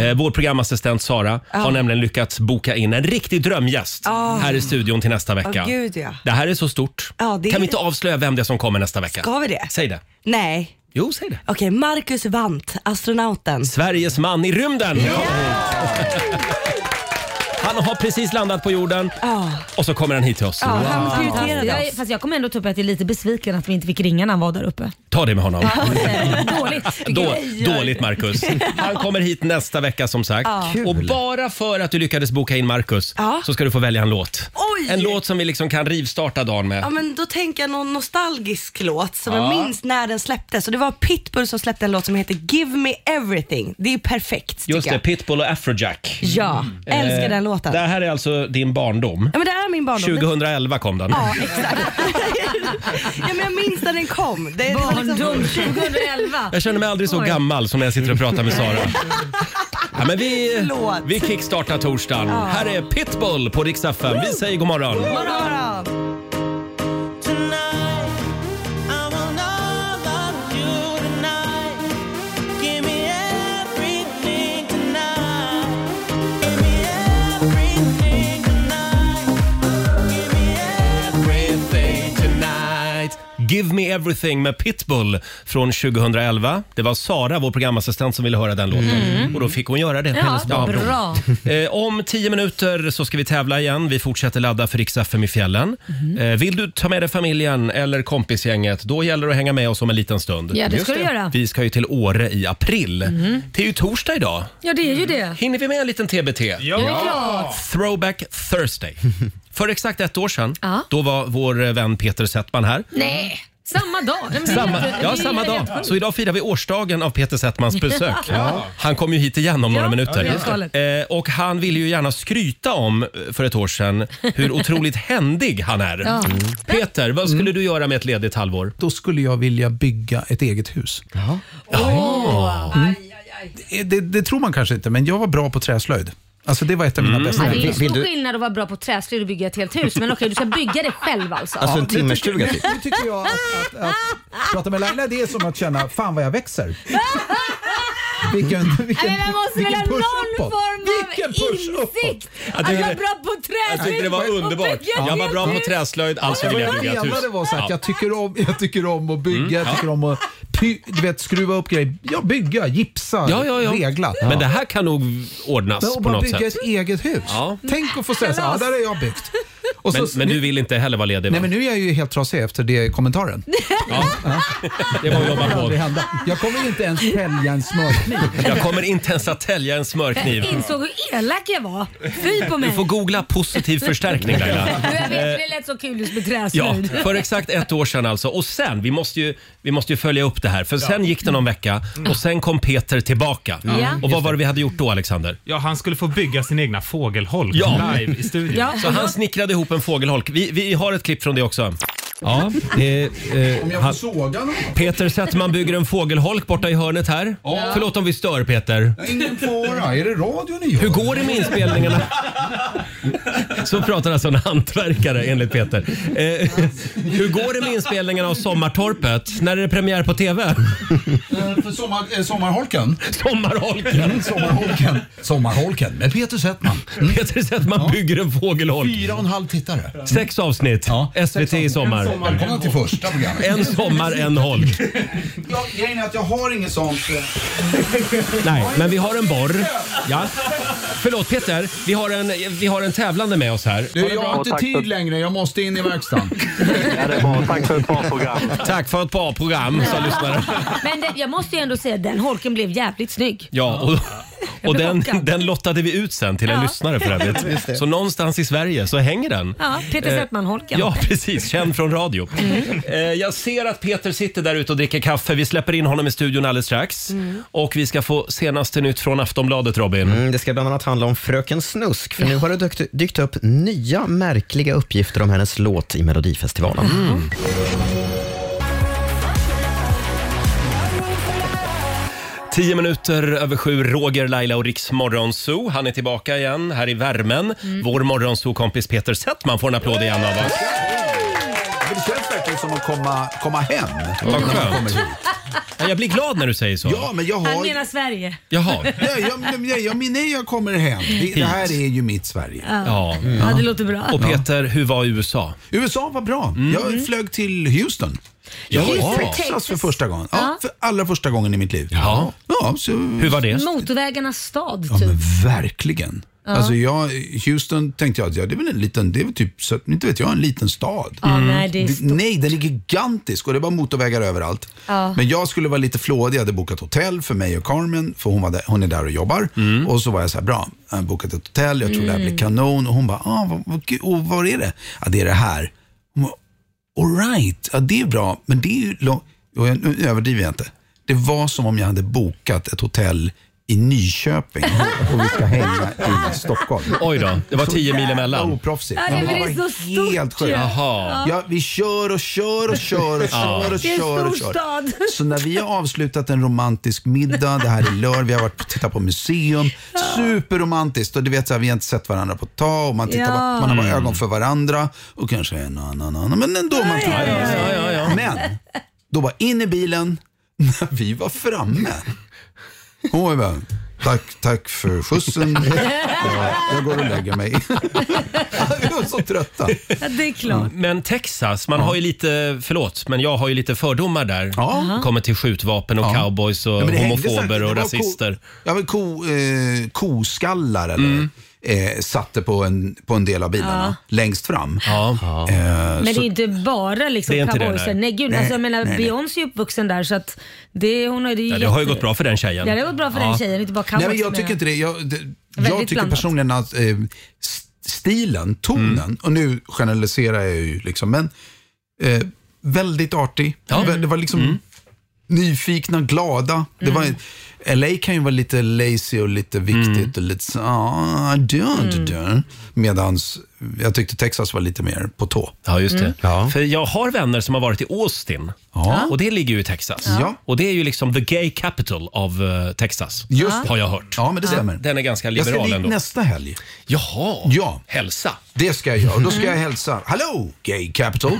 [SPEAKER 1] Eh, vår programassistent Sara har nämligen lyckats boka in en riktig drömgäst här i studion till nästa vecka.
[SPEAKER 8] Åh, gud, ja.
[SPEAKER 1] Det här är så stort.
[SPEAKER 8] Ja, det
[SPEAKER 1] Kan
[SPEAKER 8] är-
[SPEAKER 1] vi inte avslöja vem det är som kommer nästa vecka?
[SPEAKER 8] Ska vi det?
[SPEAKER 1] Säg det.
[SPEAKER 8] Nej.
[SPEAKER 1] Jo, säg det.
[SPEAKER 8] Okej, Marcus Wandt, astronauten.
[SPEAKER 1] Sveriges man i rymden! Han har precis landat på jorden
[SPEAKER 8] Ja.
[SPEAKER 1] och så kommer han hit till oss.
[SPEAKER 8] Ja, han
[SPEAKER 3] Fantastiskt.
[SPEAKER 8] prioriterade
[SPEAKER 3] Jag, är-
[SPEAKER 8] oss.
[SPEAKER 3] fast jag kommer ändå ta upp att jag är lite besviken att vi inte fick ringa när han var där uppe.
[SPEAKER 1] Ta det med honom.
[SPEAKER 3] Dåligt. tycker
[SPEAKER 1] Då,
[SPEAKER 3] jag.
[SPEAKER 1] dåligt Marcus. Han kommer hit nästa vecka som sagt. Och bara för att du lyckades boka in Marcus
[SPEAKER 8] Ja.
[SPEAKER 1] så ska du få välja en låt.
[SPEAKER 8] Oj!
[SPEAKER 1] En låt som vi liksom kan rivstarta dagen med.
[SPEAKER 8] Ja men då tänker jag någon nostalgisk låt som jag minns när den släpptes. Och det var Pitbull som släppte en låt som heter Give Me Everything. Det är perfekt tycker
[SPEAKER 1] Just det, Mm. Eh,
[SPEAKER 8] jag.
[SPEAKER 1] Pitbull och Afrojack.
[SPEAKER 8] Ja, älskar den låten.
[SPEAKER 1] Det här är alltså din barndom.
[SPEAKER 8] Ja men det är min barndom. Det-
[SPEAKER 1] 2011 kom den.
[SPEAKER 8] Ja, exakt. ja, men jag minns när den kom. Det, det var
[SPEAKER 3] Barndom
[SPEAKER 8] liksom...
[SPEAKER 3] 2011.
[SPEAKER 1] Jag känner mig aldrig så
[SPEAKER 3] Oj.
[SPEAKER 1] gammal som när jag sitter och pratar med Sara. Ja, men vi,
[SPEAKER 8] Förlåt.
[SPEAKER 1] vi kickstartar torsdagen. Här är Pitbull på Rix FM. Vi säger god morgon.
[SPEAKER 8] Morgon.
[SPEAKER 1] Everything tonight. Give me everything med Pitbull från 2011. Det var Sara, vår programassistent, som ville höra den låten. Och då fick hon göra det.
[SPEAKER 3] Mm. Ja,
[SPEAKER 1] barndom.
[SPEAKER 3] bra.
[SPEAKER 1] Eh, om tio minuter så ska vi tävla igen. Vi fortsätter ladda för Rix FM i fjällen.
[SPEAKER 3] Mm.
[SPEAKER 1] Eh, vill du ta med dig familjen eller kompisgänget, då gäller det att hänga med oss om en liten stund.
[SPEAKER 3] Ja, det ska
[SPEAKER 1] Just
[SPEAKER 3] du göra. Mm.
[SPEAKER 1] Vi ska ju till Åre i april. Det är ju torsdag idag.
[SPEAKER 3] Ja, det är ju det.
[SPEAKER 1] Hinner vi med en liten TBT?
[SPEAKER 3] Ja.
[SPEAKER 1] Throwback Thursday. För exakt ett år sedan,
[SPEAKER 3] Ja.
[SPEAKER 1] då var vår eh, vän Peter Settman här.
[SPEAKER 3] Nej, samma dag. Nej, men det är
[SPEAKER 1] Samma,
[SPEAKER 3] helt- det
[SPEAKER 1] ja,
[SPEAKER 3] är
[SPEAKER 1] samma
[SPEAKER 3] helt
[SPEAKER 1] dag.
[SPEAKER 3] sjukt.
[SPEAKER 1] Så idag firar vi årsdagen av Peter Settmans besök. Han kommer ju hit igen om några
[SPEAKER 3] Ja,
[SPEAKER 1] minuter.
[SPEAKER 3] ja, just
[SPEAKER 1] Eh, och han ville ju gärna skryta om, eh, för ett år sedan, hur otroligt händig han är. Mm. Peter, vad skulle du göra med ett ledigt halvår?
[SPEAKER 10] då skulle jag vilja bygga ett eget hus. Mm. Det, det tror man kanske inte, men jag var bra på träslöjd. Alltså det var ett av mina
[SPEAKER 9] Mm.
[SPEAKER 10] bästa
[SPEAKER 3] Ja, det är ju
[SPEAKER 4] Vill- vill
[SPEAKER 3] stor
[SPEAKER 4] du-
[SPEAKER 3] skillnad att vara bra på träslöjd och bygga ett helt hus. Men okej, du ska bygga det själv alltså.
[SPEAKER 4] Alltså en
[SPEAKER 10] nu tycker-
[SPEAKER 4] timmerstuga typ.
[SPEAKER 10] Nu tycker jag att, att, att, prata med Laila, det är som att känna, fan vad jag växer. Vilken, vilken,
[SPEAKER 3] Nej, men man måste väl
[SPEAKER 10] vilken
[SPEAKER 3] ha
[SPEAKER 10] push
[SPEAKER 3] någon
[SPEAKER 10] uppåt.
[SPEAKER 3] form av
[SPEAKER 10] Vilken push
[SPEAKER 3] insikt
[SPEAKER 1] Jag
[SPEAKER 3] att
[SPEAKER 1] tycker Alltså,
[SPEAKER 3] vara
[SPEAKER 1] det-
[SPEAKER 3] bra på träslöjd
[SPEAKER 1] Jag tyckte det var
[SPEAKER 3] och
[SPEAKER 1] underbart.
[SPEAKER 3] bygga ett
[SPEAKER 1] Jag var
[SPEAKER 3] helt
[SPEAKER 1] bra på
[SPEAKER 3] hus.
[SPEAKER 1] träslöjd, alltså vill
[SPEAKER 10] Det
[SPEAKER 1] jag
[SPEAKER 10] var
[SPEAKER 1] bygga ett hus.
[SPEAKER 10] menade var så att
[SPEAKER 1] Ja.
[SPEAKER 10] jag tycker om, jag tycker om att bygga,
[SPEAKER 9] Mm,
[SPEAKER 10] jag tycker om att py, du vet, skruva upp grejer. Ja, bygga, gipsa,
[SPEAKER 1] Ja, ja, ja.
[SPEAKER 10] regla.
[SPEAKER 1] Men det här kan nog
[SPEAKER 10] Men
[SPEAKER 1] ordnas
[SPEAKER 10] och
[SPEAKER 1] på
[SPEAKER 10] bara
[SPEAKER 1] något
[SPEAKER 10] bygga
[SPEAKER 1] sätt.
[SPEAKER 10] ett eget hus.
[SPEAKER 1] Ja.
[SPEAKER 10] Tänk att få säga så här, ja, där har jag byggt. Och
[SPEAKER 1] Men,
[SPEAKER 10] så,
[SPEAKER 1] men du vill inte heller vara ledig?
[SPEAKER 10] Nej
[SPEAKER 1] Va?
[SPEAKER 10] men nu är jag ju helt trasig efter det kommentaren.
[SPEAKER 1] Det var att jobba
[SPEAKER 10] Det
[SPEAKER 1] på.
[SPEAKER 10] aldrig hända. Jag kommer inte ens sälja en smörkniv.
[SPEAKER 1] Jag kommer inte ens att tälja en smörkniv.
[SPEAKER 3] Jag insåg hur elak jag var. Fy på mig.
[SPEAKER 1] Du får googla positiv förstärkning Laila.
[SPEAKER 3] Nu, jag vet, det lät så kul just med
[SPEAKER 1] Ja,
[SPEAKER 3] träslöjd.
[SPEAKER 1] för exakt ett år sedan alltså. Och sen, vi måste ju, vi måste ju följa upp det här. För sen gick det någon vecka och sen kom Peter tillbaka.
[SPEAKER 3] Ja.
[SPEAKER 1] Och vad var det vi hade gjort då Alexander?
[SPEAKER 5] Ja, han skulle få bygga sin egna fågelholk
[SPEAKER 1] Ja.
[SPEAKER 5] live i studion.
[SPEAKER 3] Ja.
[SPEAKER 1] Så han snickrade ihop en fågelholk. Vi, vi har ett klipp från det också. Ja, det, eh,
[SPEAKER 10] Om jag får
[SPEAKER 1] han-
[SPEAKER 10] såga någon?
[SPEAKER 1] Peter Settman bygger en fågelholk borta i hörnet här.
[SPEAKER 10] Ja.
[SPEAKER 1] Förlåt om vi stör Peter.
[SPEAKER 10] Ingen fara, är det radion ni gör?
[SPEAKER 1] Hur går det med inspelningarna? Så pratar alltså en hantverkare enligt Peter. Eh, hur går det med inspelningarna av Sommartorpet? När är det premiär på TV?
[SPEAKER 10] Eh, För sommar, eh, sommarholken?
[SPEAKER 1] Sommarholken.
[SPEAKER 10] sommarholken. Sommarholken med Peter Settman.
[SPEAKER 1] Peter Settman bygger en fågelholk.
[SPEAKER 10] Fyra och en halv tittare.
[SPEAKER 1] Sex avsnitt. SVT i sommar.
[SPEAKER 10] Välkomna till första programmet.
[SPEAKER 1] En sommar, en holk.
[SPEAKER 10] Ja, Grejen är att jag har inget sånt. eh.
[SPEAKER 1] Nej, men vi har en borr. Ja. Förlåt Peter, vi har en, vi har en tävlande med oss här.
[SPEAKER 10] Du, jag har inte tid längre. Jag måste in i verkstaden.
[SPEAKER 1] Ja, det är bra. Tack för ett bra program. Tack för ett bra program, sa lyssnaren.
[SPEAKER 3] Men det, jag måste ju ändå säga den holken blev jävligt snygg.
[SPEAKER 1] Ja, och,
[SPEAKER 3] Jag
[SPEAKER 1] och
[SPEAKER 3] blev
[SPEAKER 1] den,
[SPEAKER 3] chockad.
[SPEAKER 1] den lottade vi ut sen till en
[SPEAKER 3] Ja.
[SPEAKER 1] lyssnare för
[SPEAKER 3] Just det.
[SPEAKER 1] övrigt. Så någonstans i Sverige så hänger den.
[SPEAKER 3] Ja, Mm. Peter
[SPEAKER 1] Eh,
[SPEAKER 3] Settman-holken.
[SPEAKER 1] Ja, precis. Känd från radio. Eh, Jag ser att Peter sitter där ute och dricker kaffe. Vi släpper in honom i studion alldeles strax.
[SPEAKER 3] Mm.
[SPEAKER 1] Och vi ska få senaste nytt från Aftonbladet, Robin.
[SPEAKER 4] Mm, det ska bland annat handla om Fröken Snusk, för nu har det dykt, dykt upp nya märkliga uppgifter om hennes låt i Melodifestivalen.
[SPEAKER 1] Mm, Tio minuter över sju, Roger, Laila och Riks Morgonzoo. Han är tillbaka igen här i värmen. Vår Morgonzoo-kompis Peter Settman får en applåd igen av oss.
[SPEAKER 10] Det känns verkligen som att komma, komma hem.
[SPEAKER 1] Vad
[SPEAKER 10] när man
[SPEAKER 1] skönt.
[SPEAKER 10] kommer hit.
[SPEAKER 1] Ja, Jag blir glad när du säger så.
[SPEAKER 10] Ja, men jag
[SPEAKER 3] Han
[SPEAKER 10] har...
[SPEAKER 3] menar Sverige.
[SPEAKER 1] Jaha.
[SPEAKER 10] Nej, jag, nej, jag, jag, nej, jag kommer hem. Det, det här är ju mitt Sverige.
[SPEAKER 1] Ja.
[SPEAKER 3] Ja, det låter bra.
[SPEAKER 1] Och Peter, hur var USA?
[SPEAKER 10] USA var bra. Jag flög till Houston. Jag
[SPEAKER 1] Jaha.
[SPEAKER 10] var i
[SPEAKER 1] Houston,
[SPEAKER 10] Texas alltså, för
[SPEAKER 3] Texas.
[SPEAKER 10] första gången.
[SPEAKER 3] Ja.
[SPEAKER 10] Ja, för allra första gången i mitt liv.
[SPEAKER 1] Ja.
[SPEAKER 10] Ja, så,
[SPEAKER 1] Hur var det?
[SPEAKER 3] Motorvägarnas stad,
[SPEAKER 10] ja
[SPEAKER 3] typ.
[SPEAKER 10] men verkligen. Alltså jag, Houston tänkte jag att ja, det är väl en liten, det är väl typ, så, inte vet jag, en liten stad.
[SPEAKER 3] Ja, nej, det är
[SPEAKER 10] Mm. Det- Nej, den är gigantisk och det var motorvägar överallt.
[SPEAKER 3] Ja.
[SPEAKER 10] Men jag skulle vara lite flådig, jag hade bokat hotell för mig och Carmen, för hon, var där, hon är där och jobbar. Och så var jag så här, bra, jag har bokat ett hotell, jag tror det här blir kanon. Och hon bara, ah, vad, vad, kul. och var är det? Ja, det är det här. Hon bara, all right, ja, det är bra, men det är ju långt. Och jag, nu överdriver jag inte. Det var som om jag hade bokat ett hotell i Nyköping och vi ska hänga i Stockholm.
[SPEAKER 1] Oj då, det var tio mil
[SPEAKER 10] Ja,
[SPEAKER 1] emellan.
[SPEAKER 10] Oproffsigt.
[SPEAKER 3] Ja, det
[SPEAKER 10] Men
[SPEAKER 3] är väl
[SPEAKER 10] var
[SPEAKER 3] så stort
[SPEAKER 10] Helt
[SPEAKER 3] ju.
[SPEAKER 10] sjukt.
[SPEAKER 1] Jaha.
[SPEAKER 10] Ja, vi kör och kör och kör och kör och
[SPEAKER 3] Det är en
[SPEAKER 10] kör och
[SPEAKER 3] stor
[SPEAKER 10] kör.
[SPEAKER 3] stad.
[SPEAKER 10] Så när vi har avslutat en romantisk middag, det här är lördag, vi har varit och tittat på museum. Superromantiskt och du vet så här, vi har inte sett varandra på ett tag och man, tittar,
[SPEAKER 3] Ja.
[SPEAKER 10] bara- man har bara ögon för varandra och kanske en och annan, annan men ändå man tittar.
[SPEAKER 1] ja, ja, ja.
[SPEAKER 10] Men då var in i bilen när vi var framme. Hon var ju bara, tack, tack för skjutsen. Jag, jag går och lägger mig. Vi var så trötta.
[SPEAKER 3] Ja, det är klart.
[SPEAKER 1] Men Texas, man har ju lite, förlåt, men jag har ju lite fördomar där.
[SPEAKER 10] Ja.
[SPEAKER 1] Kommer till skjutvapen och cowboys och
[SPEAKER 10] Ja, men det hängde
[SPEAKER 1] homofober
[SPEAKER 10] säkert. Det
[SPEAKER 1] och
[SPEAKER 10] var
[SPEAKER 1] rasister.
[SPEAKER 10] Ko, ja, men ko, eh, koskallar eller, eh, satte på en, på en del av bilarna längst fram.
[SPEAKER 1] Ja.
[SPEAKER 10] Eh,
[SPEAKER 3] Men det
[SPEAKER 10] så,
[SPEAKER 3] är ju inte bara liksom
[SPEAKER 1] Det är inte det,
[SPEAKER 3] cowboyser.
[SPEAKER 1] nej.
[SPEAKER 3] Nej gud,
[SPEAKER 10] Nej,
[SPEAKER 3] alltså, jag menar
[SPEAKER 10] nej, nej.
[SPEAKER 3] Beyoncé är uppvuxen där så att det, hon har, det, är
[SPEAKER 1] Ja, det har ju
[SPEAKER 3] jätte-
[SPEAKER 1] gått bra för den tjejen.
[SPEAKER 3] Ja, det har gått bra för den tjejen, inte bara
[SPEAKER 10] nej,
[SPEAKER 3] cowboys.
[SPEAKER 10] men jag
[SPEAKER 3] menar
[SPEAKER 10] tycker inte det. Jag, det, jag
[SPEAKER 3] Väldigt
[SPEAKER 10] tycker
[SPEAKER 3] blandat.
[SPEAKER 10] personligen att eh, s- stilen, tonen,
[SPEAKER 1] Mm.
[SPEAKER 10] och nu generaliserar jag ju, liksom, men eh, väldigt artig. Vä- Det var liksom nyfikna, glada. Det var, LA kan ju vara lite lazy och lite viktigt och lite så, ah, I don't, do. Medans jag tyckte Texas var lite mer på tå.
[SPEAKER 1] Ja, just det.
[SPEAKER 3] Mm.
[SPEAKER 10] Ja.
[SPEAKER 1] För jag har vänner som har varit i Austin
[SPEAKER 10] Ja.
[SPEAKER 1] och det ligger ju i Texas.
[SPEAKER 10] Ja.
[SPEAKER 1] Och det är ju liksom the gay capital av eh, Texas,
[SPEAKER 10] Just det.
[SPEAKER 1] har jag hört.
[SPEAKER 10] Ja, men det stämmer.
[SPEAKER 1] Den är ganska
[SPEAKER 10] jag ska
[SPEAKER 1] liberal
[SPEAKER 10] dit
[SPEAKER 1] ändå.
[SPEAKER 10] nästa helg.
[SPEAKER 1] Jaha,
[SPEAKER 10] Ja.
[SPEAKER 1] hälsa.
[SPEAKER 10] Det ska jag göra. Och Då ska jag hälsa. Hello, gay capital.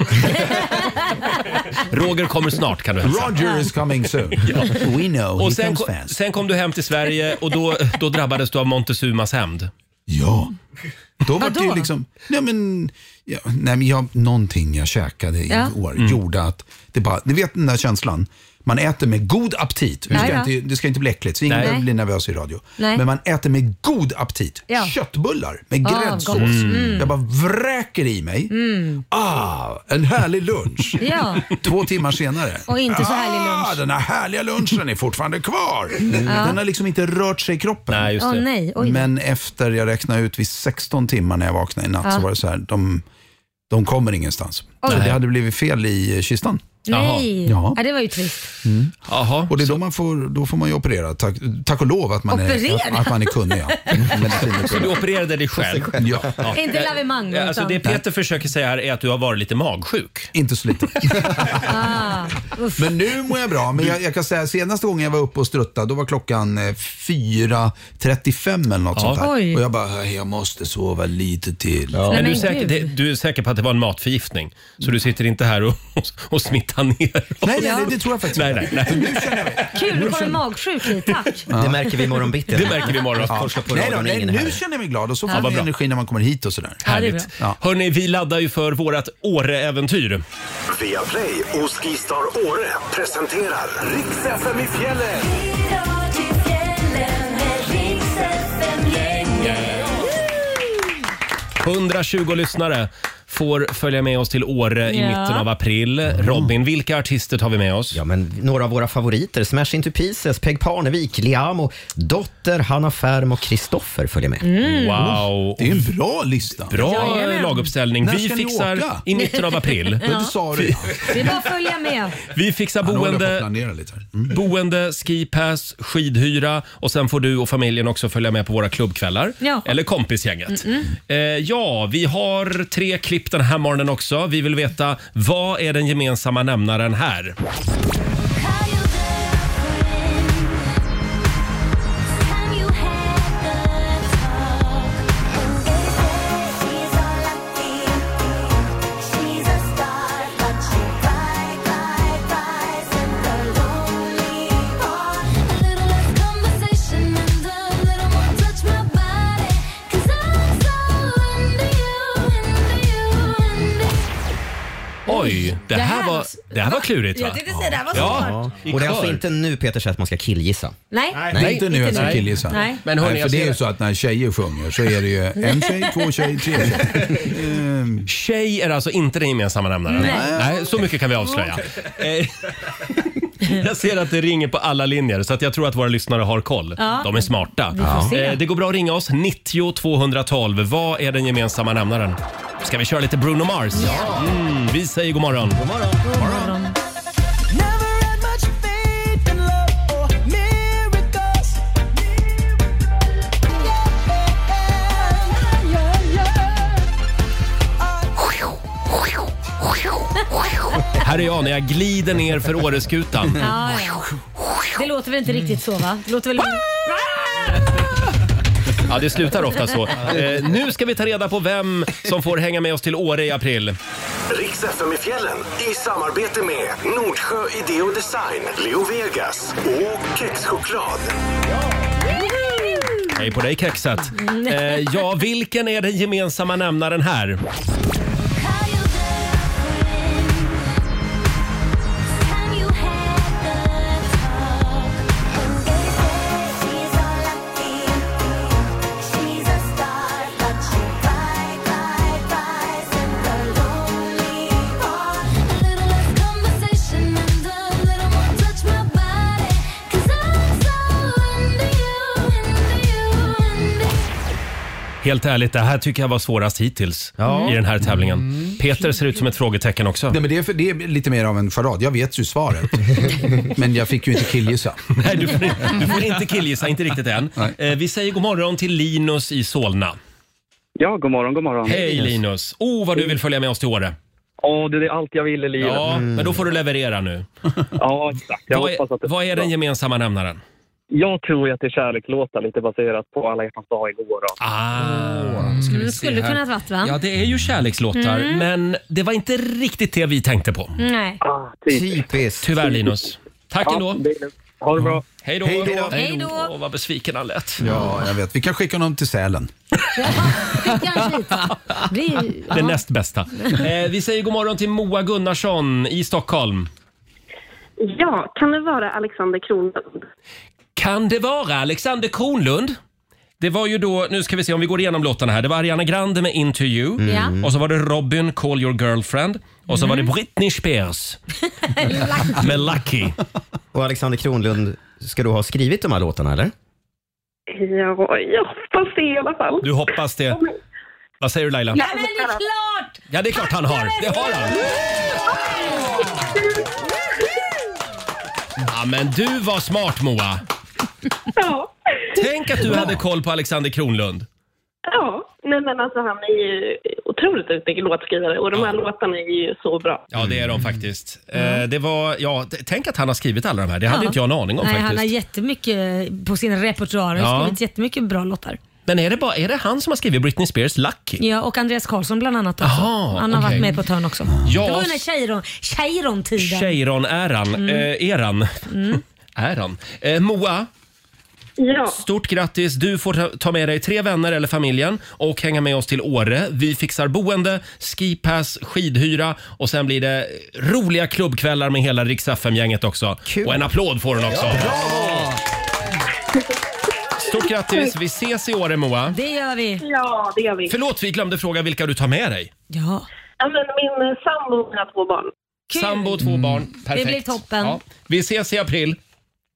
[SPEAKER 1] Roger kommer snart kan du hälsa.
[SPEAKER 10] Roger is coming soon. We know,
[SPEAKER 1] Och
[SPEAKER 10] he
[SPEAKER 1] sen,
[SPEAKER 10] comes
[SPEAKER 1] ko-
[SPEAKER 10] fast.
[SPEAKER 1] sen kom du hem till Sverige och då, då drabbades du av Montezumas hämnd.
[SPEAKER 10] Ja. Då var det
[SPEAKER 3] Vadå?
[SPEAKER 10] ju liksom, nej men, ja, nej men jag, någonting jag käkade
[SPEAKER 3] Ja.
[SPEAKER 10] igår gjorde att det bara, ni vet den där känslan, man äter med god aptit. Det ska,
[SPEAKER 3] Ja, ja.
[SPEAKER 10] Inte, det ska inte bli äckligt, så ingen
[SPEAKER 1] Nej.
[SPEAKER 10] behöver bli nervös i radio.
[SPEAKER 3] Nej.
[SPEAKER 10] Men man äter med god aptit.
[SPEAKER 3] Ja.
[SPEAKER 10] Köttbullar med
[SPEAKER 3] Ah,
[SPEAKER 10] gräddsås.
[SPEAKER 3] gott.
[SPEAKER 10] Mm.
[SPEAKER 1] Mm.
[SPEAKER 10] Jag bara vräker i mig.
[SPEAKER 3] Mm.
[SPEAKER 10] Ah, en härlig lunch.
[SPEAKER 3] Ja.
[SPEAKER 10] Två timmar senare.
[SPEAKER 3] Och inte så härlig
[SPEAKER 10] Ah,
[SPEAKER 3] lunch.
[SPEAKER 10] den här härliga lunchen är fortfarande kvar. Den har liksom inte rört sig i kroppen.
[SPEAKER 1] Nej, just
[SPEAKER 3] Åh
[SPEAKER 1] det.
[SPEAKER 3] nej, oj.
[SPEAKER 10] Men efter jag räknade ut vid 16 timmar när jag vaknade i natt så var det så här, de, de kommer ingenstans. Så det hade blivit fel i eh, kistan.
[SPEAKER 3] Nej,
[SPEAKER 10] Jaha.
[SPEAKER 3] ja, det var ju trist.
[SPEAKER 10] Mm.
[SPEAKER 1] Jaha,
[SPEAKER 10] och det är då man får, då får man ju operera. Tack, tack och lov att man, är,
[SPEAKER 3] Operera?
[SPEAKER 10] att, att man är kunnig. Ja.
[SPEAKER 1] Så du opererade dig själv?
[SPEAKER 10] Ja.
[SPEAKER 3] Inte lavemang
[SPEAKER 1] Ja, Alltså
[SPEAKER 3] utan...
[SPEAKER 1] det Peter försöker säga här är att du har varit lite magsjuk.
[SPEAKER 10] Inte så lite.
[SPEAKER 3] Ah, uff.
[SPEAKER 10] Men nu mår jag bra. Men jag, jag kan säga senaste gången jag var uppe och struttade, då var klockan eh, 4.35 eller något
[SPEAKER 1] Ja.
[SPEAKER 10] sånt där.
[SPEAKER 3] Oj.
[SPEAKER 10] Och jag bara, "Hej, jag måste sova lite till.
[SPEAKER 1] Är
[SPEAKER 3] Nej,
[SPEAKER 1] du,
[SPEAKER 3] men
[SPEAKER 1] säker,
[SPEAKER 3] gud.
[SPEAKER 1] det, du är säker på att det var en matförgiftning? Så du sitter inte här och, och, och smittar ner oss?
[SPEAKER 10] Nej, nej, det, det tror jag faktiskt
[SPEAKER 1] Nej, nej, nej.
[SPEAKER 3] Kul, du kommer magsjuk hit. Tack.
[SPEAKER 4] Det märker vi imorgon bitti.
[SPEAKER 1] Det märker vi imorgon.
[SPEAKER 10] Ja.
[SPEAKER 4] Första på
[SPEAKER 10] Nej, då,
[SPEAKER 4] raden,
[SPEAKER 10] nej,
[SPEAKER 4] ingen
[SPEAKER 10] nu
[SPEAKER 4] här.
[SPEAKER 10] känner jag mig glad och så
[SPEAKER 1] Ja,
[SPEAKER 10] får
[SPEAKER 1] vad
[SPEAKER 10] man
[SPEAKER 1] bra.
[SPEAKER 10] energi när man kommer hit och sådär.
[SPEAKER 1] Härligt.
[SPEAKER 10] Ja.
[SPEAKER 1] Hörni, vi laddar ju för vårat Åre-äventyr.
[SPEAKER 2] Via Play och Skistar Åre presenterar riks fm i fjällen.
[SPEAKER 7] Yeah.
[SPEAKER 1] 120 lyssnare får följa med oss till Åre i
[SPEAKER 3] Ja.
[SPEAKER 1] mitten av april.
[SPEAKER 10] Mm.
[SPEAKER 1] Robin, vilka artister tar vi med oss?
[SPEAKER 4] Ja, men några av våra favoriter, Smash Into Pieces, Peg Parnevik, Liamo, Dotter, Hanna Färm och Kristoffer följer med.
[SPEAKER 1] Mm.
[SPEAKER 10] Mm.
[SPEAKER 1] Wow!
[SPEAKER 10] Det är ju en bra lista.
[SPEAKER 1] Bra
[SPEAKER 3] Jajamän.
[SPEAKER 1] laguppställning.
[SPEAKER 10] När
[SPEAKER 1] Vi
[SPEAKER 10] ska ni
[SPEAKER 1] fixar
[SPEAKER 10] åka?
[SPEAKER 1] i mitten av april.
[SPEAKER 10] Det sa du.
[SPEAKER 3] Det är bara att följa med.
[SPEAKER 1] Vi fixar
[SPEAKER 10] Han håller på att
[SPEAKER 1] boende,
[SPEAKER 10] planera lite här. Mm.
[SPEAKER 1] boende, skipass, skidhyra och sen får du och familjen också följa med på våra klubbkvällar.
[SPEAKER 3] Ja.
[SPEAKER 1] Eller kompisgänget. Eh, ja, vi har tre klipp den här morgonen också. Vi vill veta vad är den gemensamma nämnaren här? Oj, det här var, det här var klurigt va?
[SPEAKER 3] Jag tänkte säga det här var svårt.
[SPEAKER 1] Ja, i
[SPEAKER 4] Och det är alltså
[SPEAKER 1] kör.
[SPEAKER 4] inte nu Peter säger att man ska killgissa.
[SPEAKER 3] Nej.
[SPEAKER 10] Nej, inte nu jag ska
[SPEAKER 1] nej. alltså,
[SPEAKER 10] killgissa.
[SPEAKER 3] Nej.
[SPEAKER 1] Men hörni,
[SPEAKER 10] Nej, för
[SPEAKER 1] jag
[SPEAKER 10] det är
[SPEAKER 1] ser-
[SPEAKER 10] ju så att när tjejer sjunger så är det ju en tjej, två tjej, tre tjej. Ehm,
[SPEAKER 1] Tjej är alltså inte den gemensamma nämnaren. Nej. så mycket kan vi avslöja. Eh, jag ser att det ringer på alla linjer så att jag tror att våra lyssnare har koll.
[SPEAKER 3] Ja.
[SPEAKER 1] De är smarta.
[SPEAKER 3] Vi får se.
[SPEAKER 1] Eh, det går bra att ringa oss. 90 212. Vad är den gemensamma nämnaren? Ska vi köra lite Bruno Mars? Mm, vi säger god morgon. Här är jag när jag glider ner för Åreskutan.
[SPEAKER 3] Ja, ja. Det låter väl inte riktigt så va? Det låter väl...
[SPEAKER 1] Ja, det slutar ofta så. Eh, nu ska vi ta reda på vem som får hänga med oss till Åre i april.
[SPEAKER 2] riks fm i fjällen i samarbete med Nordsjö Idé och Design, Leo Vegas och Kexchoklad.
[SPEAKER 1] Hej på dig kexet.
[SPEAKER 3] Mm.
[SPEAKER 1] Eh, ja, vilken är den gemensamma nämnaren här? Helt ärligt, det här tycker jag var svårast hittills i den här tävlingen. Peter ser ut som ett frågetecken också.
[SPEAKER 10] Nej, men det, är för, det är lite mer av en charad. Jag vet ju svaret. men jag fick ju inte killgissa.
[SPEAKER 1] Nej, du får, du får inte killgissa, inte riktigt än.
[SPEAKER 10] Nej.
[SPEAKER 1] Eh, vi säger god morgon till Linus i Solna.
[SPEAKER 11] Ja, god morgon, god morgon.
[SPEAKER 1] Hej Linus! Oh, vad du vill följa med oss till Åre.
[SPEAKER 11] Åh, det är allt jag vill i livet. Ja,
[SPEAKER 1] Ja, men då får du leverera nu.
[SPEAKER 11] exakt. Jag
[SPEAKER 1] vad,
[SPEAKER 11] hoppas att
[SPEAKER 1] är,
[SPEAKER 11] det
[SPEAKER 1] vad är den gemensamma nämnaren?
[SPEAKER 11] Jag tror ju att det är kärlekslåtar lite baserat på Alla hjärtans dag igår. Då.
[SPEAKER 1] Ah, ska
[SPEAKER 3] Mm, skulle kunnat varit va? Mm.
[SPEAKER 1] Ja, det är ju kärlekslåtar, men det var inte riktigt det vi tänkte på.
[SPEAKER 3] Nej.
[SPEAKER 11] Ah, typ.
[SPEAKER 4] Typiskt.
[SPEAKER 1] Tyvärr Linus. Tack
[SPEAKER 11] Ja,
[SPEAKER 1] ändå.
[SPEAKER 11] det är lugnt. ha det bra.
[SPEAKER 1] Hej då!
[SPEAKER 10] Hej då.
[SPEAKER 3] Hej då.
[SPEAKER 1] Åh, vad besviken han lät.
[SPEAKER 10] Ja, jag vet. Vi kan skicka honom till Sälen.
[SPEAKER 3] Kanske lite. Det är ju-
[SPEAKER 1] Det
[SPEAKER 3] ja.
[SPEAKER 1] näst bästa. Eh, vi säger god morgon till Moa Gunnarsson i Stockholm.
[SPEAKER 6] Ja, kan det vara Alexander Kronlund?
[SPEAKER 1] Kan det vara Alexander Kronlund? Det var ju då, nu ska vi se om vi går igenom låtarna här. Det var Ariana Grande med Into You.
[SPEAKER 3] Ja.
[SPEAKER 1] Och så var det Robin, Call Your Girlfriend. Och så var det Britney Spears med Lucky.
[SPEAKER 4] Och Alexander Kronlund, ska du ha skrivit de här låtarna eller?
[SPEAKER 6] Ja, jag hoppas det i alla fall.
[SPEAKER 1] Du hoppas det. Vad säger du Laila?
[SPEAKER 3] Nej men det är klart!
[SPEAKER 1] Ja, det är klart han har. Det har han. Ja, men du var smart Moa.
[SPEAKER 6] Ja.
[SPEAKER 1] Tänk att du hade koll på Alexander Kronlund.
[SPEAKER 6] Ja, nej men alltså han är ju otroligt duktig låtskrivare och de här låtarna är ju så bra.
[SPEAKER 1] Ja, det är
[SPEAKER 3] Mm.
[SPEAKER 1] de faktiskt. Eh, det var, ja, t- tänk att han har skrivit alla de här. Det hade
[SPEAKER 3] Ja.
[SPEAKER 1] inte jag en aning om
[SPEAKER 3] Nej,
[SPEAKER 1] faktiskt.
[SPEAKER 3] Han har jättemycket på sin repertoar och
[SPEAKER 1] Ja.
[SPEAKER 3] skrivit jättemycket bra låtar.
[SPEAKER 1] Men är det, bara, är det han som har skrivit Britney Spears Lucky?
[SPEAKER 3] Ja, och Andreas Karlsson bland annat också.
[SPEAKER 1] Jaha,
[SPEAKER 3] han har
[SPEAKER 1] okej.
[SPEAKER 3] varit med på ett hörn också.
[SPEAKER 1] Ja.
[SPEAKER 3] Det var ju den här Cheiron- Cheiron-tiden.
[SPEAKER 1] Cheiron-äran.
[SPEAKER 3] Mm.
[SPEAKER 1] Eh, eran.
[SPEAKER 3] Mm.
[SPEAKER 1] Äran. Eh, Moa.
[SPEAKER 6] Ja.
[SPEAKER 1] Stort grattis! Du får ta- ta med dig tre vänner eller familjen och hänga med oss till Åre. Vi fixar boende, skipass, skidhyra och sen blir det roliga klubbkvällar med hela Rix gänget också. Och en applåd får hon också! Stort grattis! Vi ses i Åre, Moa.
[SPEAKER 3] Det gör vi.
[SPEAKER 6] Ja, det gör vi.
[SPEAKER 1] Förlåt, vi glömde fråga vilka du tar med dig.
[SPEAKER 3] Ja.
[SPEAKER 6] Ja, men min eh, sambo och mina två barn.
[SPEAKER 1] Sambo och två barn. Perfekt.
[SPEAKER 6] blir toppen.
[SPEAKER 1] Vi ses i april.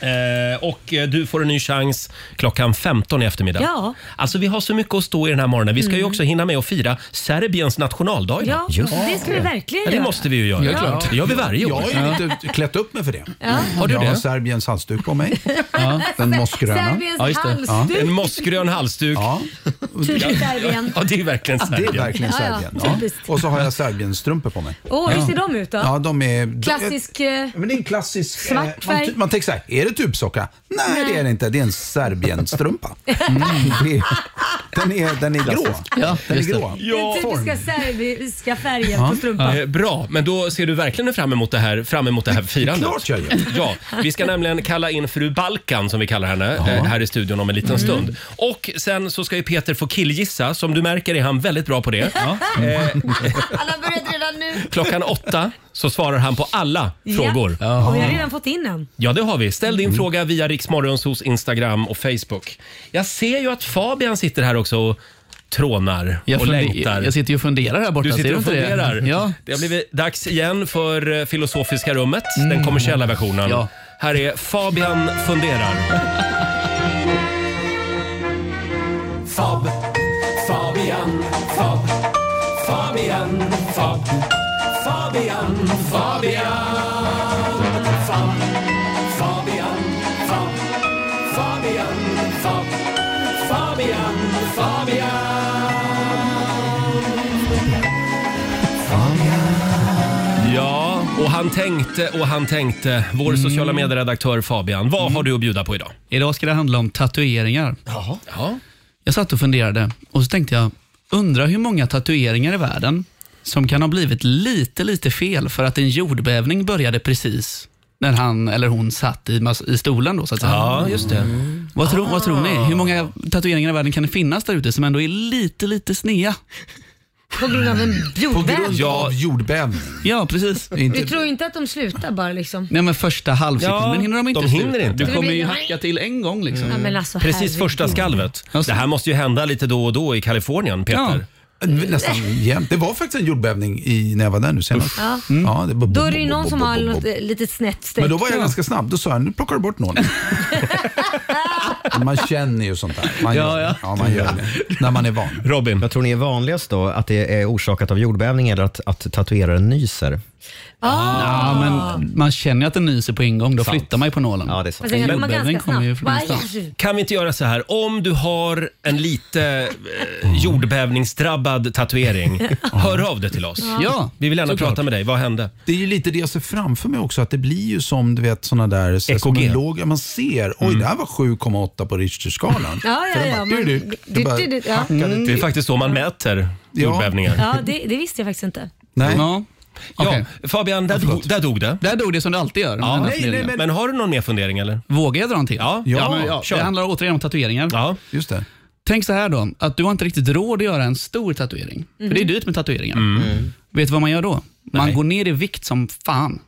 [SPEAKER 1] Eh, och eh, du får en ny chans klockan 15 i eftermiddag.
[SPEAKER 3] Ja.
[SPEAKER 1] Alltså vi har så mycket att stå i den här morgonen. Vi ska ju
[SPEAKER 3] Mm.
[SPEAKER 1] också hinna med att fira Serbiens nationaldag idag.
[SPEAKER 3] Ja, Just det ska vi det. verkligen
[SPEAKER 1] ja, Det
[SPEAKER 3] göra.
[SPEAKER 1] måste vi ju göra.
[SPEAKER 12] Ja, det är klart.
[SPEAKER 1] Det gör vi varje
[SPEAKER 12] Jag
[SPEAKER 1] år.
[SPEAKER 12] har ju lite klätt upp mig för det.
[SPEAKER 3] Ja. Har du
[SPEAKER 12] jag
[SPEAKER 1] det?
[SPEAKER 12] har Serbiens halsduk på mig. Den mossgröna.
[SPEAKER 3] Serbiens Ja, just det. halsduk.
[SPEAKER 1] En mossgrön halsduk.
[SPEAKER 12] Ja.
[SPEAKER 3] Typiskt Serbien.
[SPEAKER 1] Ja, det är verkligen
[SPEAKER 12] Ja, det är
[SPEAKER 1] Serbien.
[SPEAKER 12] verkligen
[SPEAKER 3] Ja, ja,
[SPEAKER 12] Serbien. Ja.
[SPEAKER 3] typiskt.
[SPEAKER 12] Och så har jag Serbien-strumpor på mig.
[SPEAKER 3] Åh, hur ser de ut då?
[SPEAKER 12] Ja, de är...
[SPEAKER 3] Klassisk... eh,
[SPEAKER 12] Men det är en klassisk... eh,
[SPEAKER 3] Svart
[SPEAKER 12] man,
[SPEAKER 3] färg.
[SPEAKER 12] ty- man tänker så här, är det tubsocka? Nej,
[SPEAKER 3] Nej.
[SPEAKER 12] det är det inte. Det är en Serbien-strumpa. Mm, det är, den är, den är grå.
[SPEAKER 1] Klassisk. Ja,
[SPEAKER 12] den är
[SPEAKER 1] just det.
[SPEAKER 12] grå.
[SPEAKER 3] Den typiska serbiska färgen på strumpan.
[SPEAKER 1] Eh, Bra, men då ser du verkligen fram emot det här, fram emot det här firandet.
[SPEAKER 12] klart jag gör.
[SPEAKER 1] Ja, vi ska nämligen kalla in fru Balkan som vi kallar henne eh, här i studion om en liten stund. Och sen så ska ju Peter få killgissa. Som du märker är han väldigt bra på det. Eh,
[SPEAKER 3] Han har börjat redan nu.
[SPEAKER 1] klockan åtta så svarar han på alla frågor.
[SPEAKER 3] Ja. Och jag har redan fått in en.
[SPEAKER 1] Ja, det har vi. Ställ din fråga via Riksmorgons hos Instagram och Facebook. Jag ser ju att Fabian sitter här också och trånar
[SPEAKER 10] Jag
[SPEAKER 1] och
[SPEAKER 10] funde-
[SPEAKER 1] längtar.
[SPEAKER 10] jag sitter ju och funderar här borta,
[SPEAKER 1] Du
[SPEAKER 10] ser
[SPEAKER 1] sitter
[SPEAKER 10] du
[SPEAKER 1] och
[SPEAKER 10] inte det?
[SPEAKER 1] funderar.
[SPEAKER 10] Ja.
[SPEAKER 1] Det har blivit dags igen för eh, Filosofiska rummet,
[SPEAKER 10] Mm.
[SPEAKER 1] den kommersiella versionen. Här är Fabian funderar.
[SPEAKER 13] Fab, Fabian, Fab, Fabian, Fab, Fabian, Fabian, Fab, Fabian, Fab, Fabian, Fab, Fabian, Fabian.
[SPEAKER 1] Ja, och han tänkte och han tänkte. Vår sociala medieredaktör Fabian, vad har du att bjuda på idag?
[SPEAKER 10] Idag ska det handla om tatueringar.
[SPEAKER 1] Jaha. Ja.
[SPEAKER 10] Jag satt och funderade och så tänkte jag, undrar hur många tatueringar i världen som kan ha blivit lite, lite fel för att en jordbävning började precis när han eller hon satt i, mas- i stolen. Då, så att säga.
[SPEAKER 1] Ja, just det. Ah.
[SPEAKER 10] Vad, tro, vad tror ni? Hur många tatueringar i världen kan det finnas där ute som ändå är lite, lite snea?
[SPEAKER 3] På grund av en jordbävning.
[SPEAKER 10] av
[SPEAKER 12] jordbävning.
[SPEAKER 10] Ja, precis.
[SPEAKER 3] Du tror inte att de slutar bara liksom?
[SPEAKER 10] Nej men första halvsekunden
[SPEAKER 1] Ja,
[SPEAKER 10] hinner de inte
[SPEAKER 1] de
[SPEAKER 10] sluta.
[SPEAKER 1] hinner inte. Mm.
[SPEAKER 10] Du kommer ju
[SPEAKER 3] Det blir-
[SPEAKER 10] hacka till en gång liksom.
[SPEAKER 3] Ja, men alltså,
[SPEAKER 1] Precis
[SPEAKER 3] herregud.
[SPEAKER 1] första skalvet. Det här måste ju hända lite då och då i Kalifornien, Peter.
[SPEAKER 12] Nästan jämt. Det var faktiskt en jordbävning i, när jag var där nu senast.
[SPEAKER 3] Ja.
[SPEAKER 12] Ja, det,
[SPEAKER 3] Då är det ju någon som har något eh, litet snett streck.
[SPEAKER 12] Men då var jag ganska snabb. Då sa jag, nu plockar du bort någon. man känner ju sånt där. Man gör, ja, man gör det. När man är van.
[SPEAKER 1] Robin?
[SPEAKER 4] Vad tror ni är vanligast då? Att det är orsakat av jordbävning eller att, att tatueraren
[SPEAKER 10] Mm.
[SPEAKER 4] nyser?
[SPEAKER 10] Ja, men man känner ju att den nyser på en gång. Då
[SPEAKER 4] Sant.
[SPEAKER 10] flyttar man ju på nålen. Ja, det är
[SPEAKER 4] sant. Fast den kommer ganska
[SPEAKER 10] kommer ju från
[SPEAKER 3] Bara,
[SPEAKER 10] ingenstans.
[SPEAKER 3] "Herregud."
[SPEAKER 1] Kan vi inte göra så här, om du har en lite eh, jordbävningsdrabbad tatuering, hör av dig till oss.
[SPEAKER 12] Ja,
[SPEAKER 1] Vi vill gärna
[SPEAKER 12] såklart.
[SPEAKER 1] prata med dig, vad hände?
[SPEAKER 12] Det är ju lite det jag ser framför mig också, att det blir ju som du vet såna där... så- Som
[SPEAKER 1] EKG.
[SPEAKER 12] en låg, ja, man ser,
[SPEAKER 3] Mm.
[SPEAKER 12] oj det här var 7,8 på Richterskalan.
[SPEAKER 3] Ja,
[SPEAKER 12] Så
[SPEAKER 3] ja,
[SPEAKER 12] den
[SPEAKER 3] ja.
[SPEAKER 12] bara-
[SPEAKER 3] men-
[SPEAKER 12] du,
[SPEAKER 3] du-
[SPEAKER 12] du, det bara
[SPEAKER 3] du- du- ja.
[SPEAKER 12] hackade
[SPEAKER 3] Mm.
[SPEAKER 1] Det är faktiskt så man mäter jordbävningar.
[SPEAKER 3] Ja, det, det visste jag faktiskt inte.
[SPEAKER 12] Nej.
[SPEAKER 10] Ja.
[SPEAKER 1] Ja, Fabian, där, dog, där dog det.
[SPEAKER 10] Där dog det som det alltid gör.
[SPEAKER 1] Ja.
[SPEAKER 10] Nej, nej, nej,
[SPEAKER 1] men...
[SPEAKER 10] men-
[SPEAKER 1] har du någon mer fundering eller?
[SPEAKER 10] Vågar jag dra en till?
[SPEAKER 1] Ja,
[SPEAKER 10] men, ja.
[SPEAKER 1] kör.
[SPEAKER 10] Det handlar återigen om tatueringar.
[SPEAKER 1] Ja,
[SPEAKER 12] just det.
[SPEAKER 10] Tänk så här då, att du har inte riktigt råd att göra en stor tatuering.
[SPEAKER 3] Mm.
[SPEAKER 10] För det är dyrt med tatueringar.
[SPEAKER 12] Mm.
[SPEAKER 10] Vet du vad man gör då? Man går ner i vikt som fan.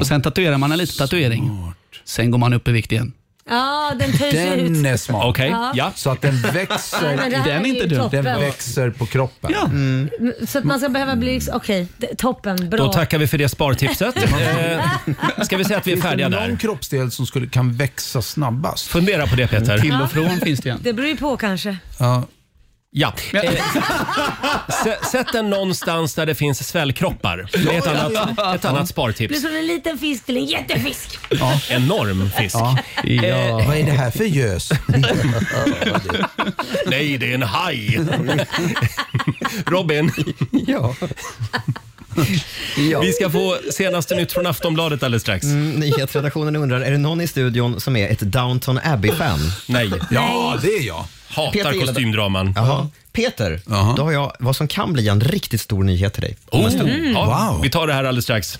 [SPEAKER 10] Och sen tatuerar man en liten tatuering. Sen går man upp i vikt igen.
[SPEAKER 3] Ja, den töjs ut.
[SPEAKER 12] Den är smart.
[SPEAKER 3] Okej, Ja. ja.
[SPEAKER 12] Så att den
[SPEAKER 3] Ja,
[SPEAKER 12] växer,
[SPEAKER 3] men det här Den är är inte ju dum. toppen.
[SPEAKER 12] den växer på kroppen. Mm.
[SPEAKER 3] Så att man ska behöva bli... liksom- Okej, det- toppen. Bra.
[SPEAKER 1] Då tackar vi för det spartipset. eh, ska vi säga att vi är färdiga
[SPEAKER 12] Finns det
[SPEAKER 1] där?
[SPEAKER 12] någon kroppsdel som skulle, kan växa snabbast?
[SPEAKER 1] Fundera på det Peter.
[SPEAKER 3] Ja.
[SPEAKER 10] finns det igen.
[SPEAKER 3] Det beror ju på kanske.
[SPEAKER 12] Ja.
[SPEAKER 1] Ja. Eh, sä- sätt den någonstans där det finns svällkroppar. Det är ett
[SPEAKER 3] Ja, ja,
[SPEAKER 1] annat,
[SPEAKER 3] ja.
[SPEAKER 1] ett annat
[SPEAKER 3] Det blir
[SPEAKER 1] spartips.
[SPEAKER 3] som en liten fisk till en jättefisk.
[SPEAKER 1] Ja. Enorm fisk.
[SPEAKER 10] Ja.
[SPEAKER 1] Eh,
[SPEAKER 10] Vad är det här för gös?
[SPEAKER 1] Nej, det är en haj. Robin.
[SPEAKER 4] Ja.
[SPEAKER 1] Vi ska få senaste nytt från Aftonbladet alldeles strax.
[SPEAKER 4] Mm, nyhetsredaktionen undrar, är det någon i studion som är ett Downton Abbey-fan?
[SPEAKER 1] Nej.
[SPEAKER 10] Ja, det är jag.
[SPEAKER 1] Hatar
[SPEAKER 4] gillar det.
[SPEAKER 1] kostymdraman.
[SPEAKER 4] Jaha. Peter, då har jag vad som kan bli en riktigt stor nyhet till dig.
[SPEAKER 1] Oh, ja, Vi tar det här alldeles strax.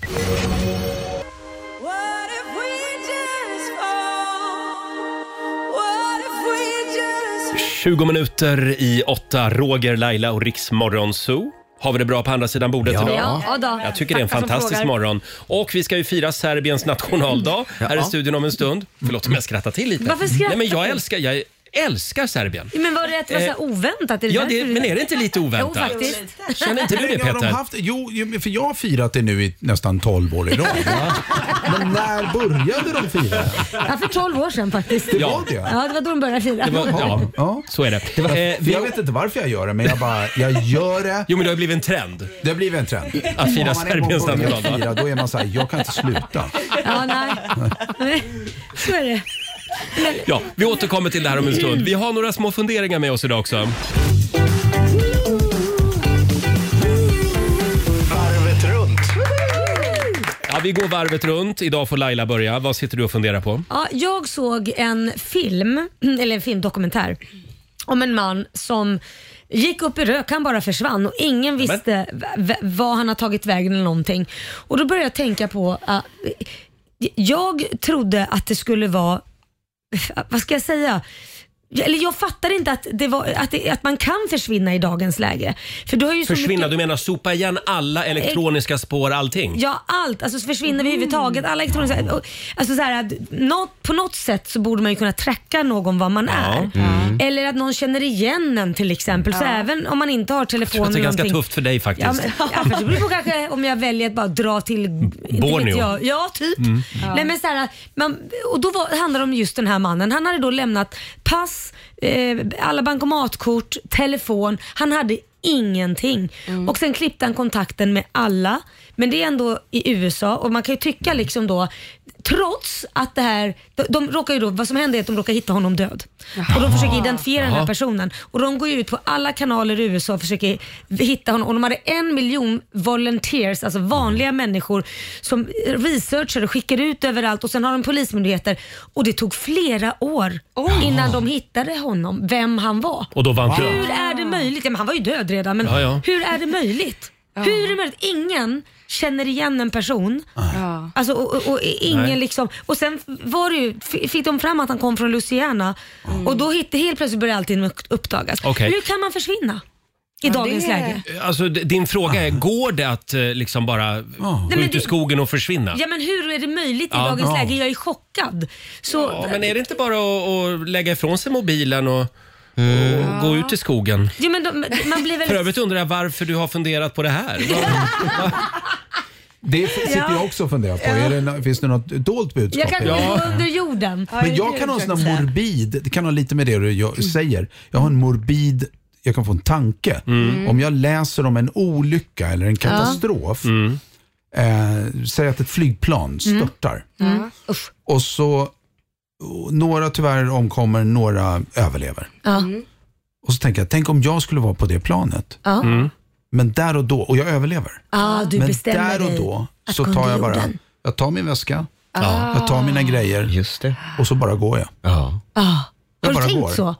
[SPEAKER 12] What if we just
[SPEAKER 1] 20 minuter i åtta, Roger, Laila och Riks Morgonzoo. Har vi det bra på andra sidan bordet
[SPEAKER 3] Ja.
[SPEAKER 1] idag?
[SPEAKER 3] Ja, då.
[SPEAKER 1] Jag tycker det är en
[SPEAKER 3] Tackar som
[SPEAKER 1] fantastisk
[SPEAKER 3] frågar. Mm.
[SPEAKER 1] morgon. Och vi ska ju fira Serbiens nationaldag
[SPEAKER 3] Ja.
[SPEAKER 1] här i studion om en stund. Förlåt om jag skrattar till lite.
[SPEAKER 3] Varför
[SPEAKER 1] Nej,
[SPEAKER 3] skrattar
[SPEAKER 1] men jag
[SPEAKER 3] du?
[SPEAKER 1] älskar, jag älskar Serbien.
[SPEAKER 3] Men var det att det var så här
[SPEAKER 1] Eh,
[SPEAKER 3] oväntat? Är det
[SPEAKER 1] Ja,
[SPEAKER 3] därför
[SPEAKER 1] det,
[SPEAKER 3] du-
[SPEAKER 1] men är det inte lite oväntat?
[SPEAKER 3] Jo, faktiskt.
[SPEAKER 1] Känner inte du det,
[SPEAKER 10] Har de
[SPEAKER 1] Peter?
[SPEAKER 10] haft, jo, jo, men för jag har firat det nu i nästan 12 år i rad. Men när började de fira?
[SPEAKER 3] Ja, för 12 år sedan faktiskt.
[SPEAKER 10] Det var det?
[SPEAKER 3] Ja, det var då de började fira.
[SPEAKER 1] Det var, ja, så är det. Eh, vi-
[SPEAKER 10] Jag vet inte varför jag gör det, men jag bara, jag gör det.
[SPEAKER 1] Jo, men det har blivit en trend.
[SPEAKER 10] Det har blivit en trend.
[SPEAKER 1] Att fira
[SPEAKER 10] Om man en gång
[SPEAKER 1] Serbiens
[SPEAKER 10] börjar
[SPEAKER 1] nationaldag.
[SPEAKER 10] fira, Då är man så här, jag kan inte sluta.
[SPEAKER 3] Ja, nej. Så är det.
[SPEAKER 1] Ja, vi återkommer till det här om en stund. Vi har några små funderingar med oss idag också.
[SPEAKER 2] Varvet runt.
[SPEAKER 1] Ja, vi går varvet runt. Idag får Laila börja. Vad sitter du och funderar på?
[SPEAKER 3] Ja, jag såg en film, eller en filmdokumentär, om en man som gick upp i rök, han bara försvann och ingen visste v- vad han har tagit vägen eller någonting. Och då började jag tänka på, ah, jag trodde att det skulle vara, vad ska jag säga? Eller jag fattar inte att, det var, att, det, att man kan försvinna i dagens läge. För du har ju så mycket-
[SPEAKER 1] Försvinna, du menar sopa igen alla elektroniska spår, allting?
[SPEAKER 3] Ja, allt. Alltså så försvinner vi överhuvudtaget. Alla
[SPEAKER 1] Mm.
[SPEAKER 3] elektroniska... och- Alltså så här, att något, på något sätt så borde man ju kunna tracka någon var man är.
[SPEAKER 1] Mm.
[SPEAKER 3] Eller att någon känner igen en till exempel. Så
[SPEAKER 1] Ja.
[SPEAKER 3] även om man inte har telefon
[SPEAKER 1] Jag tror att det är
[SPEAKER 3] eller
[SPEAKER 1] ganska
[SPEAKER 3] någonting-
[SPEAKER 1] tufft för dig faktiskt.
[SPEAKER 3] Ja, men, ja, fast det beror på kanske om jag väljer att bara dra till inte
[SPEAKER 1] Borneo.
[SPEAKER 3] vet jag. Ja, typ.
[SPEAKER 1] Mm.
[SPEAKER 3] Nej, men så här, man, och då var, handlar det om just den här mannen. Han hade då lämnat pass, eh, alla bankomatkort, telefon. Han hade ingenting. Och sen klippte han kontakten med alla. Men det är ändå i USA och man kan ju tycka liksom då Trots att det här, de, de råkar ju då, vad som händer är att de råkar hitta honom död. Och de försöker identifiera den här
[SPEAKER 12] Jaha.
[SPEAKER 3] personen personen. Och de går ju ut på alla kanaler i USA och försöker hitta honom. Och de hade en miljon volunteers, alltså vanliga människor som researchar och skickar ut överallt och sen har de polismyndigheter. Och det tog flera år innan de hittade honom, vem han var.
[SPEAKER 1] Och då var han
[SPEAKER 3] Hur
[SPEAKER 1] död.
[SPEAKER 3] är det möjligt? Ja, men han var ju död redan, men
[SPEAKER 1] Ja, ja.
[SPEAKER 3] hur är det möjligt? Hur är det möjligt? Ingen känner igen en person. Alltså, och, och, och ingen
[SPEAKER 12] Nej.
[SPEAKER 3] liksom... Och sen var det ju, f- fick de fram att han kom från Louisiana och då hittade, helt plötsligt började allting upp- uppdagas.
[SPEAKER 1] Okej.
[SPEAKER 3] Hur kan man försvinna i
[SPEAKER 12] Ja,
[SPEAKER 3] dagens
[SPEAKER 12] det-
[SPEAKER 3] läge?
[SPEAKER 1] Alltså, d- din fråga är, går det att eh, liksom bara gå
[SPEAKER 3] Ah. men
[SPEAKER 1] ut i
[SPEAKER 3] det-
[SPEAKER 1] skogen och försvinna?
[SPEAKER 3] Ja men hur är det möjligt i
[SPEAKER 1] Ja.
[SPEAKER 3] dagens
[SPEAKER 1] Ja.
[SPEAKER 3] läge? Jag är chockad. Så,
[SPEAKER 1] Ja, men är det inte bara att, att lägga ifrån sig mobilen och,
[SPEAKER 3] Mm.
[SPEAKER 1] och gå ut i skogen?
[SPEAKER 3] Ja, men de, man blir väl...
[SPEAKER 1] För övrigt undrar jag varför du har funderat på det här.
[SPEAKER 10] Det sitter jag också och funderar på. Är det, no- finns det något dolt budskap?
[SPEAKER 3] Jag kan
[SPEAKER 10] i det?
[SPEAKER 3] gå under jorden.
[SPEAKER 10] Men jag kan ha en sån där morbid, det kan ha lite med det du
[SPEAKER 3] Mm.
[SPEAKER 10] gör- säger. Jag har en morbid, jag kan få en tanke.
[SPEAKER 3] Mm.
[SPEAKER 10] Mm. Om jag läser om en olycka eller en katastrof.
[SPEAKER 3] Mm.
[SPEAKER 10] Eh, säg att ett flygplan störtar.
[SPEAKER 3] Mm.
[SPEAKER 10] Och så, och några tyvärr omkommer, några överlever.
[SPEAKER 3] Ja.
[SPEAKER 10] Och så tänker jag, tänk om jag skulle vara på det planet.
[SPEAKER 3] Ja. Mm.
[SPEAKER 10] Men där och då, och jag överlever.
[SPEAKER 3] Ah, du
[SPEAKER 10] Men
[SPEAKER 3] bestämmer
[SPEAKER 10] där och
[SPEAKER 3] dig
[SPEAKER 10] då
[SPEAKER 3] att
[SPEAKER 10] så
[SPEAKER 3] gå
[SPEAKER 10] tar
[SPEAKER 3] under
[SPEAKER 10] jag bara,
[SPEAKER 3] jorden. Ah.
[SPEAKER 10] jag tar min väska,
[SPEAKER 12] Ah.
[SPEAKER 3] Ja.
[SPEAKER 10] jag tar mina grejer och så bara går jag.
[SPEAKER 3] Ah.
[SPEAKER 10] Jag
[SPEAKER 3] Har du
[SPEAKER 10] bara
[SPEAKER 3] tänkt
[SPEAKER 10] går.
[SPEAKER 3] så?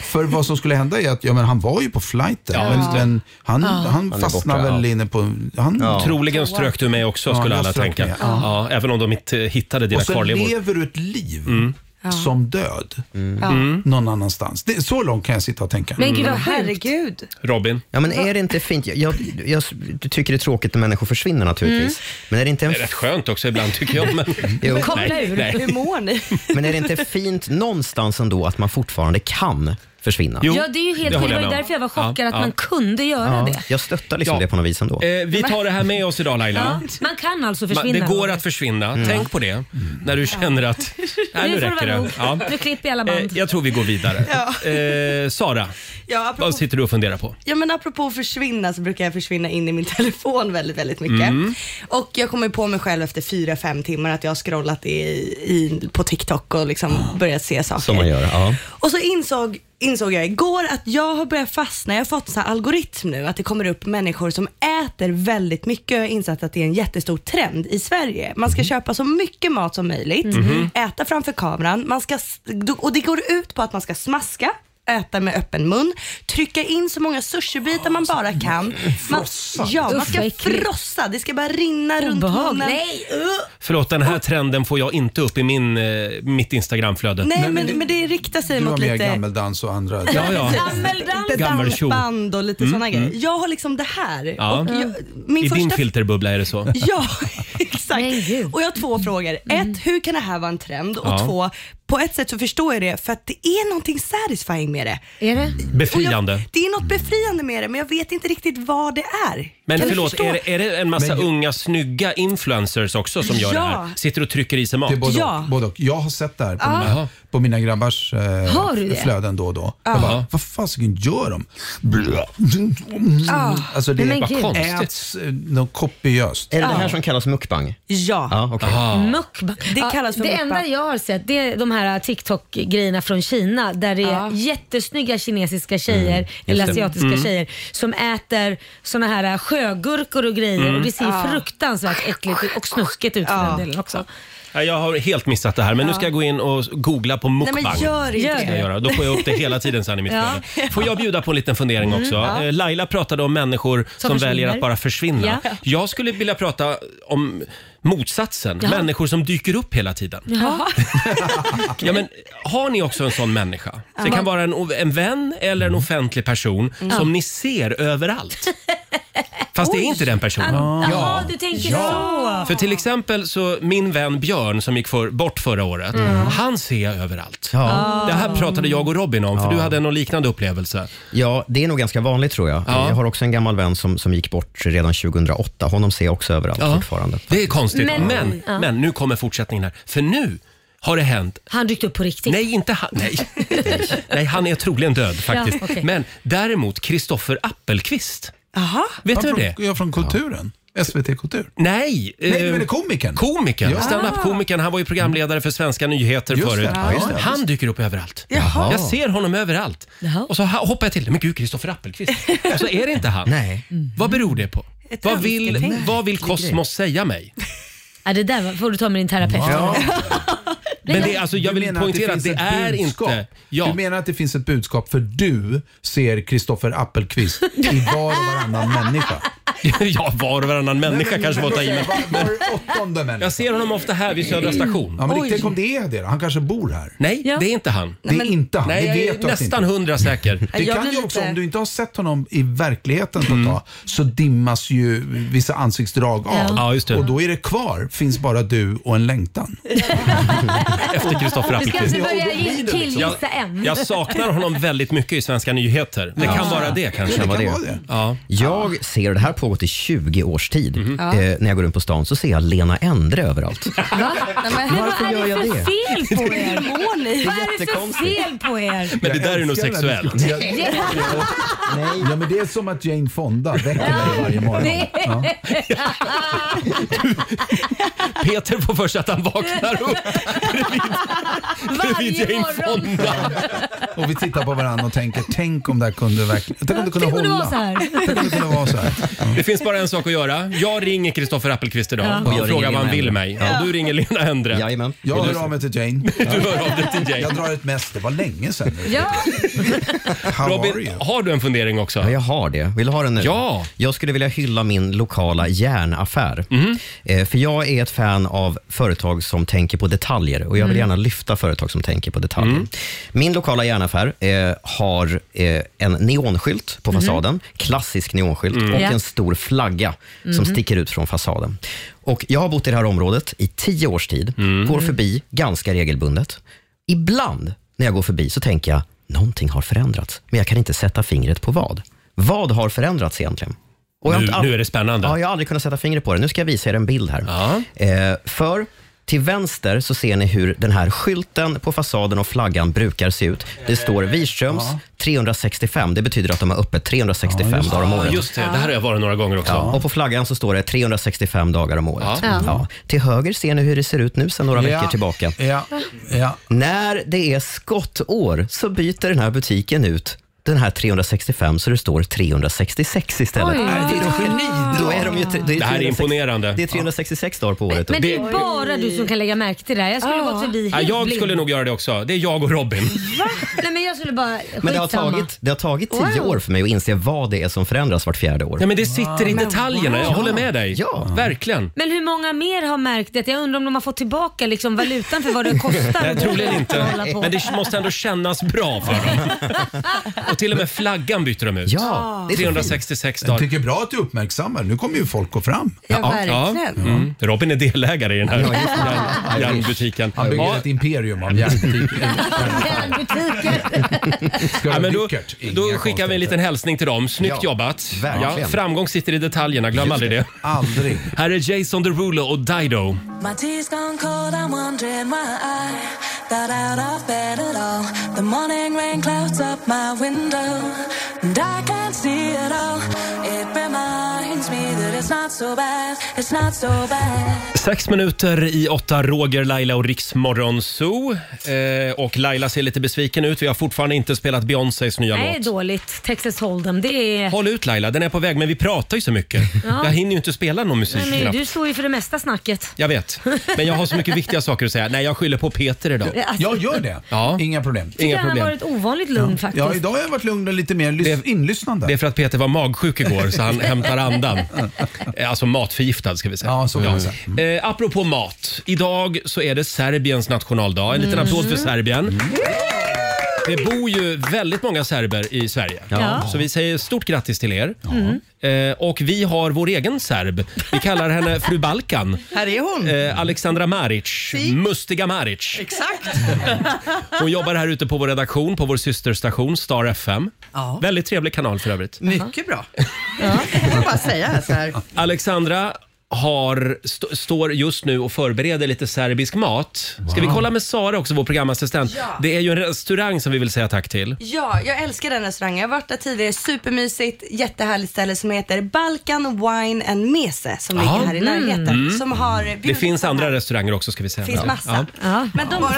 [SPEAKER 10] För vad som skulle hända är att ja, men han var ju på flighten,
[SPEAKER 1] Ja.
[SPEAKER 10] men, men han,
[SPEAKER 3] Ja.
[SPEAKER 10] han
[SPEAKER 1] Han är
[SPEAKER 10] fastnade
[SPEAKER 1] borta,
[SPEAKER 10] väl
[SPEAKER 1] ja.
[SPEAKER 10] inne på... Han,
[SPEAKER 1] Troligen strök du mig också,
[SPEAKER 10] Ja,
[SPEAKER 1] skulle
[SPEAKER 10] jag
[SPEAKER 1] alla
[SPEAKER 10] strök
[SPEAKER 1] tänka.
[SPEAKER 10] mig,
[SPEAKER 1] Ja, även om de inte hittade dina
[SPEAKER 10] Och sen
[SPEAKER 1] kvarlevor. Mm.
[SPEAKER 10] lever du ett liv
[SPEAKER 8] Ja.
[SPEAKER 10] som död
[SPEAKER 8] Ja. Mm.
[SPEAKER 10] någon annanstans. Det, så långt kan jag sitta och tänka. Mm.
[SPEAKER 8] herregud.
[SPEAKER 1] Robin?
[SPEAKER 4] Ja, men är det inte fint? Jag, jag, jag tycker det är tråkigt när människor försvinner naturligtvis. Men är det inte en
[SPEAKER 1] Det är rätt skönt också ibland tycker jag. Men...
[SPEAKER 4] Jo.
[SPEAKER 8] Koppla ur. Hur mår ni?
[SPEAKER 4] Men är det inte fint någonstans ändå att man fortfarande kan försvinna.
[SPEAKER 3] ja, det är ju helt det, det var ju därför jag var chockad att man kunde göra det.
[SPEAKER 4] Jag stöttar liksom det på något vis ändå.
[SPEAKER 1] Eh, vi tar det här med oss idag
[SPEAKER 3] Ja,
[SPEAKER 1] Laila.
[SPEAKER 3] man kan alltså
[SPEAKER 1] Ma-
[SPEAKER 3] försvinna.
[SPEAKER 1] Det går att försvinna,
[SPEAKER 4] Mm.
[SPEAKER 1] tänk på det. När du känner att nej, nu
[SPEAKER 3] får
[SPEAKER 1] räcker
[SPEAKER 3] vara
[SPEAKER 1] det.
[SPEAKER 3] nog.
[SPEAKER 1] Ja.
[SPEAKER 3] Nu klipper jag alla
[SPEAKER 1] Eh,
[SPEAKER 3] band.
[SPEAKER 1] jag tror vi går vidare.
[SPEAKER 8] Ja.
[SPEAKER 1] Eh, Sara,
[SPEAKER 8] Ja, apropå,
[SPEAKER 1] vad
[SPEAKER 10] Alltså-
[SPEAKER 1] sitter du och funderar på?
[SPEAKER 8] ja, men apropå försvinna så brukar jag försvinna in i min telefon väldigt, väldigt mycket.
[SPEAKER 1] Mm.
[SPEAKER 8] Och jag kommer på mig själv efter fyra fem timmar att jag har scrollat i, i, på TikTok och liksom
[SPEAKER 10] Ah.
[SPEAKER 8] börjat se saker.
[SPEAKER 4] Som
[SPEAKER 1] eh.
[SPEAKER 4] man gör, ja.
[SPEAKER 8] Och så insåg, insåg jag igår att jag har börjat fastna, jag har fått sån här algoritm nu, att det kommer upp människor som äter väldigt mycket. Jag har insett att det är en jättestor trend i Sverige. Man ska köpa så mycket mat som möjligt,
[SPEAKER 7] Mhm.
[SPEAKER 8] äta framför kameran, man ska, s- och det går ut på att man ska smaska, äta med öppen mun, trycka in så många sushibitar man bara kan. Man, ja, man
[SPEAKER 3] Usch, vad
[SPEAKER 8] ska
[SPEAKER 3] äckligt.
[SPEAKER 8] frossa, det ska bara rinna runt
[SPEAKER 3] Obehagligt.
[SPEAKER 8] munnen.
[SPEAKER 3] Nej,
[SPEAKER 1] Förlåt, den här trenden får jag inte upp i min, eh, mitt Instagramflöde.
[SPEAKER 8] Nej, men, men, det, riktar sig
[SPEAKER 10] Du
[SPEAKER 8] mot
[SPEAKER 10] var med i
[SPEAKER 8] lite...
[SPEAKER 10] gammeldans och andra...
[SPEAKER 1] Ja, ja.
[SPEAKER 8] Lite
[SPEAKER 1] Gammeltjo.
[SPEAKER 8] dansband och lite
[SPEAKER 1] Mm,
[SPEAKER 8] sådana grejer.
[SPEAKER 1] mm.
[SPEAKER 8] Jag har liksom det här.
[SPEAKER 1] Ja.
[SPEAKER 8] Och jag,
[SPEAKER 1] I
[SPEAKER 8] min
[SPEAKER 1] din
[SPEAKER 8] första
[SPEAKER 1] filterbubbla är det så.
[SPEAKER 8] Ja, exakt. Och jag har två frågor. Ett, hur kan det här vara en trend? Och
[SPEAKER 1] Ja.
[SPEAKER 8] två, på ett sätt så förstår jag det för att det är någonting satisfying med det.
[SPEAKER 3] Är det?
[SPEAKER 1] Befriande.
[SPEAKER 8] Det är något befriande med det men jag vet inte riktigt vad det är.
[SPEAKER 1] Men
[SPEAKER 8] Kan du
[SPEAKER 1] förlåt,
[SPEAKER 8] förstå?
[SPEAKER 1] är det, är det en massa unga snygga influencers också som gör
[SPEAKER 8] Ja.
[SPEAKER 1] det här? Sitter och trycker i sig mat?
[SPEAKER 10] Det är både, och, både och. Jag har sett det här på,
[SPEAKER 1] Ja.
[SPEAKER 10] mina, på mina grabbars eh,
[SPEAKER 1] Har du det?
[SPEAKER 10] flöden då och då.
[SPEAKER 1] Ja.
[SPEAKER 10] Jag bara, vad fasiken gör de? Blah.
[SPEAKER 8] Ja.
[SPEAKER 10] Alltså det
[SPEAKER 8] Nej, men
[SPEAKER 10] är
[SPEAKER 8] gud.
[SPEAKER 10] bara äts eh, något kopiöst.
[SPEAKER 4] Är det det
[SPEAKER 10] Ja.
[SPEAKER 4] här som kallas mukbang?
[SPEAKER 8] Ja.
[SPEAKER 4] ja okej.
[SPEAKER 3] Mukbang.
[SPEAKER 8] Det kallas för
[SPEAKER 3] Det
[SPEAKER 8] mukbang.
[SPEAKER 3] enda jag har sett det är de här TikTok-grejerna från Kina där det är jättesnygga kinesiska tjejer, eller
[SPEAKER 7] det.
[SPEAKER 3] asiatiska
[SPEAKER 7] Mm.
[SPEAKER 3] tjejer, som äter såna här eh, sjögurkor och grejer
[SPEAKER 1] Mm.
[SPEAKER 3] och det ser ju
[SPEAKER 1] Ja.
[SPEAKER 3] fruktansvärt äckligt ut och snuskigt ut för den delen också.
[SPEAKER 1] Ja, Jag har helt missat det här, men nu
[SPEAKER 3] Ja.
[SPEAKER 1] ska jag gå in och googla på mukbang.
[SPEAKER 3] men gör inte
[SPEAKER 1] Ska jag
[SPEAKER 3] det.
[SPEAKER 1] göra. Då får jag upp det hela tiden sen i mitt
[SPEAKER 3] Ja.
[SPEAKER 1] flöde. Får jag bjuda på en liten fundering
[SPEAKER 3] Mm,
[SPEAKER 1] också?
[SPEAKER 3] ja.
[SPEAKER 1] Eh, Laila pratade om människor som,
[SPEAKER 3] Som
[SPEAKER 1] väljer
[SPEAKER 3] försvinner.
[SPEAKER 1] att bara försvinna.
[SPEAKER 3] Ja.
[SPEAKER 1] Jag skulle vilja prata om motsatsen,
[SPEAKER 3] Jaha.
[SPEAKER 1] människor som dyker upp hela tiden.
[SPEAKER 3] Jaha.
[SPEAKER 1] Ja, men, har ni också en sån människa? Det
[SPEAKER 3] Ja.
[SPEAKER 1] kan vara en, o- en vän eller en offentlig person
[SPEAKER 3] Mm.
[SPEAKER 1] som
[SPEAKER 3] Ja.
[SPEAKER 1] ni ser överallt. Fast det är inte den personen.
[SPEAKER 3] Ah, jaha, du tänker så.
[SPEAKER 1] För till exempel så min vän Björn som gick för, bort förra året,
[SPEAKER 4] Mm.
[SPEAKER 1] han ser jag överallt.
[SPEAKER 4] Ja. Ah.
[SPEAKER 1] Det här pratade jag och Robin om, för
[SPEAKER 4] Ja.
[SPEAKER 1] du hade någon liknande upplevelse.
[SPEAKER 4] Ja, det är nog ganska vanligt tror jag.
[SPEAKER 1] Ja.
[SPEAKER 4] Jag har också en gammal vän som, som gick bort redan 2008. Honom ser jag också överallt
[SPEAKER 1] Ja.
[SPEAKER 4] fortfarande.
[SPEAKER 1] Det är konstigt, men,
[SPEAKER 3] Men-
[SPEAKER 1] men,
[SPEAKER 3] Ja.
[SPEAKER 1] nu kommer fortsättningen här. För nu har det hänt
[SPEAKER 3] Han dykt upp på riktigt.
[SPEAKER 1] Nej, inte han. Nej, Nej han är troligen död faktiskt.
[SPEAKER 3] Ja, okej.
[SPEAKER 1] Men däremot Kristoffer Appelqvist.
[SPEAKER 8] Aha.
[SPEAKER 1] Vet
[SPEAKER 10] Ja,
[SPEAKER 1] du
[SPEAKER 10] från-
[SPEAKER 1] det?
[SPEAKER 10] Ja, från Kulturen. SVT Kultur.
[SPEAKER 1] Nej!
[SPEAKER 10] Nej,
[SPEAKER 1] eh,
[SPEAKER 10] du menar komikern?
[SPEAKER 1] Komikern,
[SPEAKER 10] Ja.
[SPEAKER 1] standup-komikern. Han var ju programledare för Svenska nyheter
[SPEAKER 10] Just det.
[SPEAKER 1] förut.
[SPEAKER 10] Ja, just det.
[SPEAKER 1] Han dyker upp överallt.
[SPEAKER 10] Jaha.
[SPEAKER 1] Jag ser honom överallt. Och så ha- hoppar jag till. Men gud, Kristoffer Appelqvist. Och så är det inte han.
[SPEAKER 4] Nej.
[SPEAKER 1] Vad beror det på?
[SPEAKER 3] Ett
[SPEAKER 1] Vad vill,
[SPEAKER 3] önsketänkande.
[SPEAKER 1] vad vill kosmos säga mig?
[SPEAKER 3] Ja, det där får du ta med din terapeut.
[SPEAKER 1] Men det, är alltså, jag
[SPEAKER 10] Du
[SPEAKER 1] vill
[SPEAKER 10] menar
[SPEAKER 1] poängtera att
[SPEAKER 10] finns
[SPEAKER 1] det,
[SPEAKER 10] ett
[SPEAKER 1] är
[SPEAKER 10] budskap.
[SPEAKER 1] inte... Ja.
[SPEAKER 10] Du menar att det finns ett budskap för du ser Kristoffer Appelqvist i var och varannan människa.
[SPEAKER 1] ja, var och varannan människa kanske var att ta i. men-
[SPEAKER 10] Var, var åttonde människa.
[SPEAKER 1] Jag ser honom ofta här vid Södra station.
[SPEAKER 10] Mm. Ja, men
[SPEAKER 1] Oj.
[SPEAKER 10] tänk om det är det då? Han kanske bor här.
[SPEAKER 1] Nej, det är inte han.
[SPEAKER 10] Det är inte han.
[SPEAKER 1] Nej,
[SPEAKER 10] det
[SPEAKER 1] jag
[SPEAKER 10] vet
[SPEAKER 1] är
[SPEAKER 10] du att det
[SPEAKER 1] nästan
[SPEAKER 10] inte.
[SPEAKER 1] hundra säker.
[SPEAKER 10] Det kan ju också, om du inte har sett honom i verkligheten på ett tag, så dimmas ju vissa ansiktsdrag av.
[SPEAKER 1] Ja. Ja, just det.
[SPEAKER 10] Och då är det kvar, finns bara du och en längtan.
[SPEAKER 1] Efter Kristoffer
[SPEAKER 3] Vi ska
[SPEAKER 1] Appelqvist.
[SPEAKER 3] inte börja ge-
[SPEAKER 1] Jag,
[SPEAKER 3] killgissa än.
[SPEAKER 1] jag saknar honom väldigt mycket i Svenska nyheter. Det kan
[SPEAKER 4] Ja.
[SPEAKER 1] vara det kanske.
[SPEAKER 4] Det kan vara det.
[SPEAKER 1] Ja. Mhm.
[SPEAKER 4] Jag ser, det här har pågått i 20 års tid,
[SPEAKER 1] Ja.
[SPEAKER 4] eh, när jag går runt på stan så ser jag Lena Endre överallt.
[SPEAKER 3] Va? Nej, men,
[SPEAKER 4] Varför
[SPEAKER 3] vad är
[SPEAKER 4] gör
[SPEAKER 3] det
[SPEAKER 4] jag
[SPEAKER 3] för
[SPEAKER 4] det?
[SPEAKER 3] fel på er?
[SPEAKER 8] Hur mår ni?
[SPEAKER 3] Vad är det för fel på er?
[SPEAKER 1] Men det där är nog
[SPEAKER 10] älskar den här
[SPEAKER 1] sexuellt.
[SPEAKER 10] diskussionen.
[SPEAKER 3] Ja.
[SPEAKER 10] Nej. Ja, men det är som att Jane Fonda väcker mig varje morgon.
[SPEAKER 3] Nej.
[SPEAKER 10] Ja.
[SPEAKER 1] Peter får för sig att han vaknar upp bredvid
[SPEAKER 3] Varje
[SPEAKER 1] Jane
[SPEAKER 3] morgon.
[SPEAKER 1] Fonda.
[SPEAKER 10] Och vi tittar på varandra och tänker, tänk om det här kunde verkligen... Tänk om det kunde
[SPEAKER 3] Tänk om det var så
[SPEAKER 10] hålla.
[SPEAKER 3] här.
[SPEAKER 10] Tänk om det kunde vara så här.
[SPEAKER 1] Det finns bara en sak att göra. Jag ringer Kristoffer Appelqvist idag
[SPEAKER 10] Ja.
[SPEAKER 1] och
[SPEAKER 10] Jag
[SPEAKER 1] frågar
[SPEAKER 10] ringer
[SPEAKER 1] vad han
[SPEAKER 10] Lena
[SPEAKER 1] vill
[SPEAKER 10] Endre.
[SPEAKER 1] mig.
[SPEAKER 10] Ja.
[SPEAKER 1] Och du ringer Lena Endre.
[SPEAKER 4] Jajamän.
[SPEAKER 10] Jag hör av mig till Jane.
[SPEAKER 1] Du hör av dig till Jane.
[SPEAKER 10] Jag drar ett mest, det var länge sedan nu.
[SPEAKER 3] Ja.
[SPEAKER 1] Robin, har du en fundering också?
[SPEAKER 4] Ja, jag har det. Vill du ha den nu?
[SPEAKER 1] Ja.
[SPEAKER 4] Jag skulle vilja hylla min lokala järnaffär.
[SPEAKER 14] Mhm.
[SPEAKER 4] Eh, För jag är ett fan av företag som tänker på detaljer och jag vill
[SPEAKER 14] Mm.
[SPEAKER 4] gärna lyfta företag som tänker på detaljer. Min lokala järnaffär eh, har eh, en neonskylt på
[SPEAKER 14] Mhm.
[SPEAKER 4] fasaden, klassisk neonskylt
[SPEAKER 14] Mm.
[SPEAKER 4] och
[SPEAKER 14] Ja.
[SPEAKER 4] en stor flagga som
[SPEAKER 14] Mhm.
[SPEAKER 4] sticker ut från fasaden. Och Jag har bott i det här området i tio
[SPEAKER 14] Mm.
[SPEAKER 4] års tid, går förbi ganska regelbundet. Ibland när jag går förbi så tänker jag, någonting har förändrats, men jag kan inte sätta fingret på vad. Vad har förändrats egentligen? jag har
[SPEAKER 1] Nu-
[SPEAKER 4] inte all-
[SPEAKER 1] nu är det spännande.
[SPEAKER 4] Ja, jag har aldrig kunnat sätta fingret på det. Nu ska jag visa er en bild här. Eh, för till vänster så ser ni hur den här skylten på fasaden och flaggan brukar se ut. Det står Wirströms 365. Det betyder att de har öppet 365
[SPEAKER 1] Ja, just det.
[SPEAKER 4] dagar om året.
[SPEAKER 1] Ja, just det. Det här har jag varit några gånger också.
[SPEAKER 4] Ja, och på flaggan så står det 365 dagar om året.
[SPEAKER 1] Ja.
[SPEAKER 4] Ja. Till höger ser ni hur det ser ut nu sedan några
[SPEAKER 10] Ja.
[SPEAKER 4] veckor tillbaka. När det är skottår så byter den här butiken ut den här 365 så det står 366 istället.
[SPEAKER 3] Oj.
[SPEAKER 4] Nej, det är de geni. Då är de ju, det, är
[SPEAKER 1] Det här är
[SPEAKER 4] 360
[SPEAKER 1] imponerande.
[SPEAKER 4] Det är 366 dagar på året.
[SPEAKER 3] Men det är bara du som kan lägga märke till det här. Jag skulle gått förbi
[SPEAKER 1] Ja,
[SPEAKER 3] helt
[SPEAKER 1] jag
[SPEAKER 3] blind.
[SPEAKER 1] skulle nog göra det också. Det är jag och Robin.
[SPEAKER 3] Va? Nej men jag skulle bara...
[SPEAKER 4] Men det har,
[SPEAKER 3] Skitsamma.
[SPEAKER 4] tagit, det har tagit tio
[SPEAKER 3] Wow.
[SPEAKER 4] år för mig att inse vad det är som förändras vart fjärde år.
[SPEAKER 1] Ja, men det sitter i Wow. detaljerna. Jag håller med dig.
[SPEAKER 4] Ja.
[SPEAKER 1] Verkligen.
[SPEAKER 3] Men hur många mer har märkt det? Jag undrar om de har fått tillbaka liksom valutan för vad det kostar.
[SPEAKER 1] Nej,
[SPEAKER 3] att
[SPEAKER 1] troligen inte.
[SPEAKER 3] hålla på.
[SPEAKER 1] Men det måste ändå kännas bra för dem. Och till och med flaggan byter de ut.
[SPEAKER 10] Ja, det är så fint.
[SPEAKER 1] 366
[SPEAKER 10] Jag
[SPEAKER 1] dagar.
[SPEAKER 10] tycker bra att du uppmärksammar. Nu kommer ju folk gå fram.
[SPEAKER 1] Ja. Mm. Robin är delägare i den här
[SPEAKER 10] Ja, just det.
[SPEAKER 1] järn- järnbutiken.
[SPEAKER 10] Han bygger
[SPEAKER 1] Ja.
[SPEAKER 10] ett imperium av järnbutiker. Ska
[SPEAKER 1] Ja,
[SPEAKER 10] vara
[SPEAKER 1] men då,
[SPEAKER 10] Rickert. Inga
[SPEAKER 1] då skickar vi en liten hälsning till dem. Snyggt
[SPEAKER 10] Ja,
[SPEAKER 1] jobbat!
[SPEAKER 10] verkligen.
[SPEAKER 1] framgång sitter i detaljerna, glöm
[SPEAKER 10] Just
[SPEAKER 1] aldrig
[SPEAKER 10] det.
[SPEAKER 1] det.
[SPEAKER 10] Aldrig.
[SPEAKER 1] Här är Jason Derulo och Dido.
[SPEAKER 12] My tea's gone cold, I'm wondering why I got out of bed at all. The morning rain clouds up my window, and I can't see it all. It reminds me that it's not so bad, it's not so bad.
[SPEAKER 1] Sex minuter i åtta, Roger, Laila och Riksmorgon Zoo. Eh, och Laila ser lite besviken ut. Vi har fortfarande inte spelat Beyoncés nya
[SPEAKER 3] Nej,
[SPEAKER 1] låt.
[SPEAKER 3] dåligt. Texas Hold'em. Det är...
[SPEAKER 1] Håll ut Laila, den är på väg men vi pratar ju så mycket.
[SPEAKER 3] Ja.
[SPEAKER 1] Jag hinner ju inte spela någon musik
[SPEAKER 3] Nej, men
[SPEAKER 1] knappt.
[SPEAKER 3] du står ju för det mesta snacket.
[SPEAKER 1] Jag vet, men jag har så mycket viktiga saker att säga. Nej, jag skyller på Peter idag.
[SPEAKER 10] Jag gör det.
[SPEAKER 1] Ja.
[SPEAKER 10] Inga problem.
[SPEAKER 3] Jag tycker
[SPEAKER 1] Inga
[SPEAKER 3] han har
[SPEAKER 1] problem.
[SPEAKER 3] varit ovanligt lugn faktiskt.
[SPEAKER 10] Ja, idag har jag varit lugn och lite mer lys- inlyssnande.
[SPEAKER 1] Det är för att Peter var magsjuk igår så han hämtar andan. Eh, Alltså matförgiftad ska vi säga.
[SPEAKER 10] Ja, så kan man Mm.
[SPEAKER 1] Eh, apropå mat. Idag så är det Serbiens nationaldag. En liten
[SPEAKER 9] Mm.
[SPEAKER 1] applåd för Serbien. Det bor ju väldigt många serber i Sverige.
[SPEAKER 9] Ja.
[SPEAKER 1] Så vi säger stort grattis till er.
[SPEAKER 9] Mm.
[SPEAKER 1] Eh, och vi har vår egen serb. Vi kallar henne fru Balkan.
[SPEAKER 14] Här är hon.
[SPEAKER 1] Eh, Alexandra Maric. Mustiga Maric.
[SPEAKER 14] Exakt.
[SPEAKER 1] Hon jobbar här ute på vår redaktion, på vår systerstation Star FM.
[SPEAKER 14] Ja.
[SPEAKER 1] Väldigt trevlig kanal för övrigt.
[SPEAKER 14] Mycket bra. Jag får bara säga här så här.
[SPEAKER 1] Alexandra har, st- står just nu och förbereder lite serbisk mat. Ska vi kolla med Sara också, vår programassistent?
[SPEAKER 8] Ja.
[SPEAKER 1] Det är ju en restaurang som vi vill säga tack till.
[SPEAKER 8] Ja, jag älskar den restaurangen. Jag har varit där tidigare, supermysigt, jättehärligt ställe som heter Balkan Wine and Mese som
[SPEAKER 1] Ja.
[SPEAKER 8] ligger här i närheten.
[SPEAKER 1] Mm.
[SPEAKER 8] Som har
[SPEAKER 1] Det
[SPEAKER 8] bjudit-
[SPEAKER 1] finns andra restauranger också ska vi säga.
[SPEAKER 14] Finns
[SPEAKER 1] Ja.
[SPEAKER 14] massa.
[SPEAKER 1] Ja.
[SPEAKER 14] Men de bara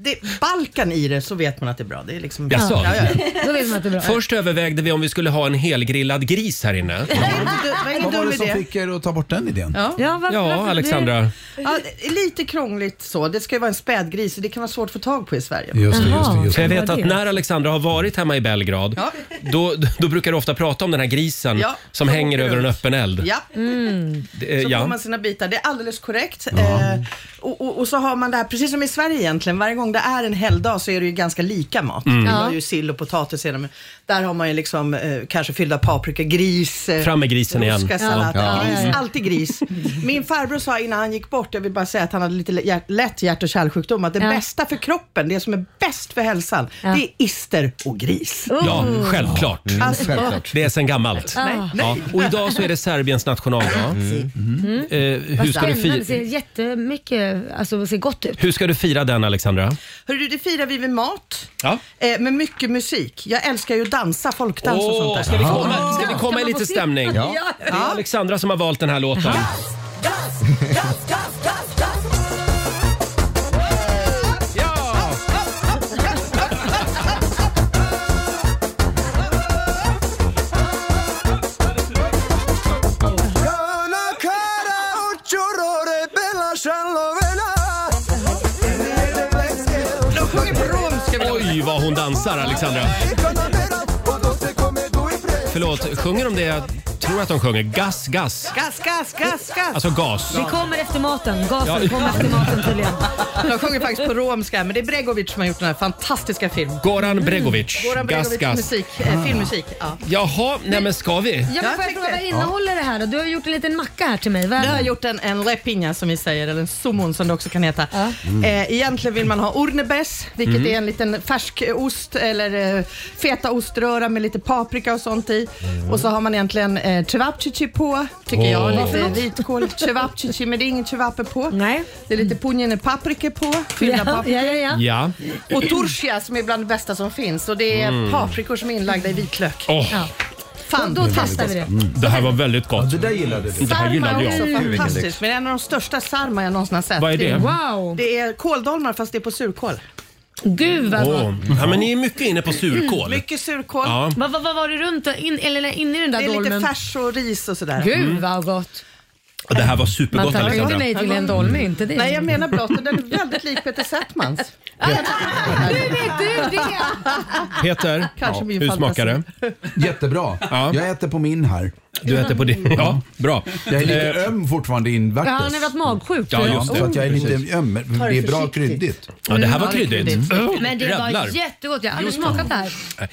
[SPEAKER 14] det, Balkan i det så vet man att det är bra. Det är liksom...
[SPEAKER 1] Jaså?
[SPEAKER 14] Ja, ja, ja.
[SPEAKER 3] Då vet man att det är bra.
[SPEAKER 1] Först övervägde vi om vi skulle ha en helgrillad gris här inne.
[SPEAKER 10] Vad var det som
[SPEAKER 14] idé.
[SPEAKER 10] fick er att ta bort den idén?
[SPEAKER 14] Ja,
[SPEAKER 1] Ja, Alexandra.
[SPEAKER 14] Ja, det är lite krångligt så. Det ska ju vara en spädgris och det kan vara svårt att få tag på i Sverige.
[SPEAKER 1] För jag vet att när Alexandra har varit hemma i Belgrad,
[SPEAKER 14] Ja.
[SPEAKER 1] då, då brukar du ofta prata om den här grisen
[SPEAKER 14] Ja,
[SPEAKER 1] som
[SPEAKER 14] som
[SPEAKER 1] hänger
[SPEAKER 14] åker
[SPEAKER 1] över en
[SPEAKER 14] runt.
[SPEAKER 1] öppen eld.
[SPEAKER 14] Ja.
[SPEAKER 1] Det-
[SPEAKER 14] Så
[SPEAKER 1] ja.
[SPEAKER 14] får man sina bitar. Det är alldeles korrekt. Eh, och, och, och så har man det här, precis som i Sverige egentligen, varje gång det är en helgdag så är det ju ganska lika mat.
[SPEAKER 1] Mm.
[SPEAKER 14] Det
[SPEAKER 1] Ja.
[SPEAKER 14] var ju sill och potatis redan, men där har man ju liksom eh, kanske fyllda paprika, gris, eh,
[SPEAKER 1] Fram med grisen igen.
[SPEAKER 14] oskasallad.
[SPEAKER 1] Ja. Ja,
[SPEAKER 14] Gris,
[SPEAKER 1] ja, ja.
[SPEAKER 14] Alltid gris. Min farbror sa innan han gick bort, jag vill bara säga att han hade lite lä- hjärt, lätt hjärt och kärlsjukdom, att det
[SPEAKER 3] Ja.
[SPEAKER 14] bästa för kroppen, det som är bäst för hälsan, det är ister och gris.
[SPEAKER 1] Ja, självklart.
[SPEAKER 14] Mm, Alltså- självklart.
[SPEAKER 1] Det är sen gammalt.
[SPEAKER 3] Ah. Nej,
[SPEAKER 1] Ja.
[SPEAKER 3] nej.
[SPEAKER 1] Och idag så är det Serbiens nationaldag.
[SPEAKER 3] Mm.
[SPEAKER 1] Eh, hur, ska du
[SPEAKER 3] Spännande. Det ser
[SPEAKER 1] fira,
[SPEAKER 3] jättemycket, alltså det ser gott ut.
[SPEAKER 1] hur ska du fira den Alexandra?
[SPEAKER 14] Hörru, det firar vi med mat.
[SPEAKER 1] Ja.
[SPEAKER 14] Eh, med mycket musik. Jag älskar ju att dansa, folkdans och
[SPEAKER 1] Åh,
[SPEAKER 14] sånt där.
[SPEAKER 1] ska vi komma, ska vi komma i lite stämning?
[SPEAKER 14] Ja.
[SPEAKER 1] Det är Alexandra som har valt den här låten.
[SPEAKER 12] Röda cara och churrore bella chalovena.
[SPEAKER 14] De sjunger på romska.
[SPEAKER 1] Oj, vad hon dansar Alexandra. Förlåt, sjunger de det tror att de sjunger Gas, gas.
[SPEAKER 14] Gas, gas, gas, gas.
[SPEAKER 1] Alltså gas.
[SPEAKER 3] Det kommer efter maten. Gasen
[SPEAKER 1] Ja.
[SPEAKER 3] kommer efter maten tydligen.
[SPEAKER 14] De sjunger faktiskt på romska, men det är Bregovic som har gjort den här fantastiska filmen.
[SPEAKER 1] Goran Bregovic.
[SPEAKER 14] Mm, Goran
[SPEAKER 1] Gas,
[SPEAKER 14] Bregovic
[SPEAKER 1] gas.
[SPEAKER 14] musik, eh, filmmusik. Ja.
[SPEAKER 1] Jaha, nej men ska vi?
[SPEAKER 3] Ja, men får jag fråga, vad innehåller det här då? Du har gjort en liten macka här till mig. Vad
[SPEAKER 14] Du har gjort en, en lepinja som vi säger, eller en sumon som det också kan heta.
[SPEAKER 3] Mm.
[SPEAKER 14] Eh, egentligen vill man ha ornebäs, vilket
[SPEAKER 3] Mm.
[SPEAKER 14] är en liten färsk ost eller eh, fetaoströra med lite paprika och sånt i. Och så har man egentligen eh, cevapcici på, tycker
[SPEAKER 3] Mm. Åh.
[SPEAKER 14] jag.
[SPEAKER 3] Vad för
[SPEAKER 14] Lite
[SPEAKER 3] något?
[SPEAKER 14] vitkål cevapcici, men det är inget cevape på.
[SPEAKER 3] Nej.
[SPEAKER 14] Det är lite punjene paprika på, fyllda
[SPEAKER 3] Ja,
[SPEAKER 14] paprikor.
[SPEAKER 3] ja, ja,
[SPEAKER 1] Ja.
[SPEAKER 14] Och torsia som är bland det bästa som finns och det är
[SPEAKER 1] Mm.
[SPEAKER 14] paprikor som är inlagda i vitlök.
[SPEAKER 1] Åh.
[SPEAKER 14] Ja. Fan, då testar vi det.
[SPEAKER 1] Det här var väldigt gott. det där gillade du. Det här
[SPEAKER 14] Sarma
[SPEAKER 1] gillade
[SPEAKER 14] är också
[SPEAKER 1] jag.
[SPEAKER 14] fantastiskt, men en av de största sarma jag någonsin har sett.
[SPEAKER 1] Vad är det?
[SPEAKER 14] Wow. det är kåldolmar fast det är på surkål.
[SPEAKER 3] Gud vad
[SPEAKER 1] Åh, Ja, men ni är mycket inne på surkål.
[SPEAKER 14] Mm, Mycket surkål.
[SPEAKER 1] Ja.
[SPEAKER 3] Vad vad- vad var det runt in, eller in i den där
[SPEAKER 14] Det är
[SPEAKER 3] dolmen?
[SPEAKER 14] lite färs och ris och sådär.
[SPEAKER 3] Gud
[SPEAKER 1] Mm.
[SPEAKER 3] vad gott.
[SPEAKER 1] Ja, Det här var supergott Alexandra.
[SPEAKER 3] inte det.
[SPEAKER 14] Nej, jag menar blott att den är väldigt lik Peter Settmans.
[SPEAKER 3] Nu vet du det!
[SPEAKER 1] Peter,
[SPEAKER 14] Kanske min
[SPEAKER 1] hur
[SPEAKER 14] fantasi.
[SPEAKER 1] smakar det?
[SPEAKER 10] Jättebra. Jag äter på min här.
[SPEAKER 1] Du äter på din? Ja, bra.
[SPEAKER 10] Jag är lite öm fortfarande
[SPEAKER 3] Ja,
[SPEAKER 10] invärtes.
[SPEAKER 3] han har varit magsjuk.
[SPEAKER 10] Ja,
[SPEAKER 3] tror jag.
[SPEAKER 10] just det. Så att jag är lite öm. men
[SPEAKER 3] Ta det
[SPEAKER 10] Det är bra
[SPEAKER 3] försiktigt.
[SPEAKER 10] kryddigt.
[SPEAKER 1] Ja, det här
[SPEAKER 14] Mm,
[SPEAKER 1] var kryddigt. Mm.
[SPEAKER 3] Men det
[SPEAKER 1] Jävlar.
[SPEAKER 3] var jättegott. Jag har aldrig smakat det här.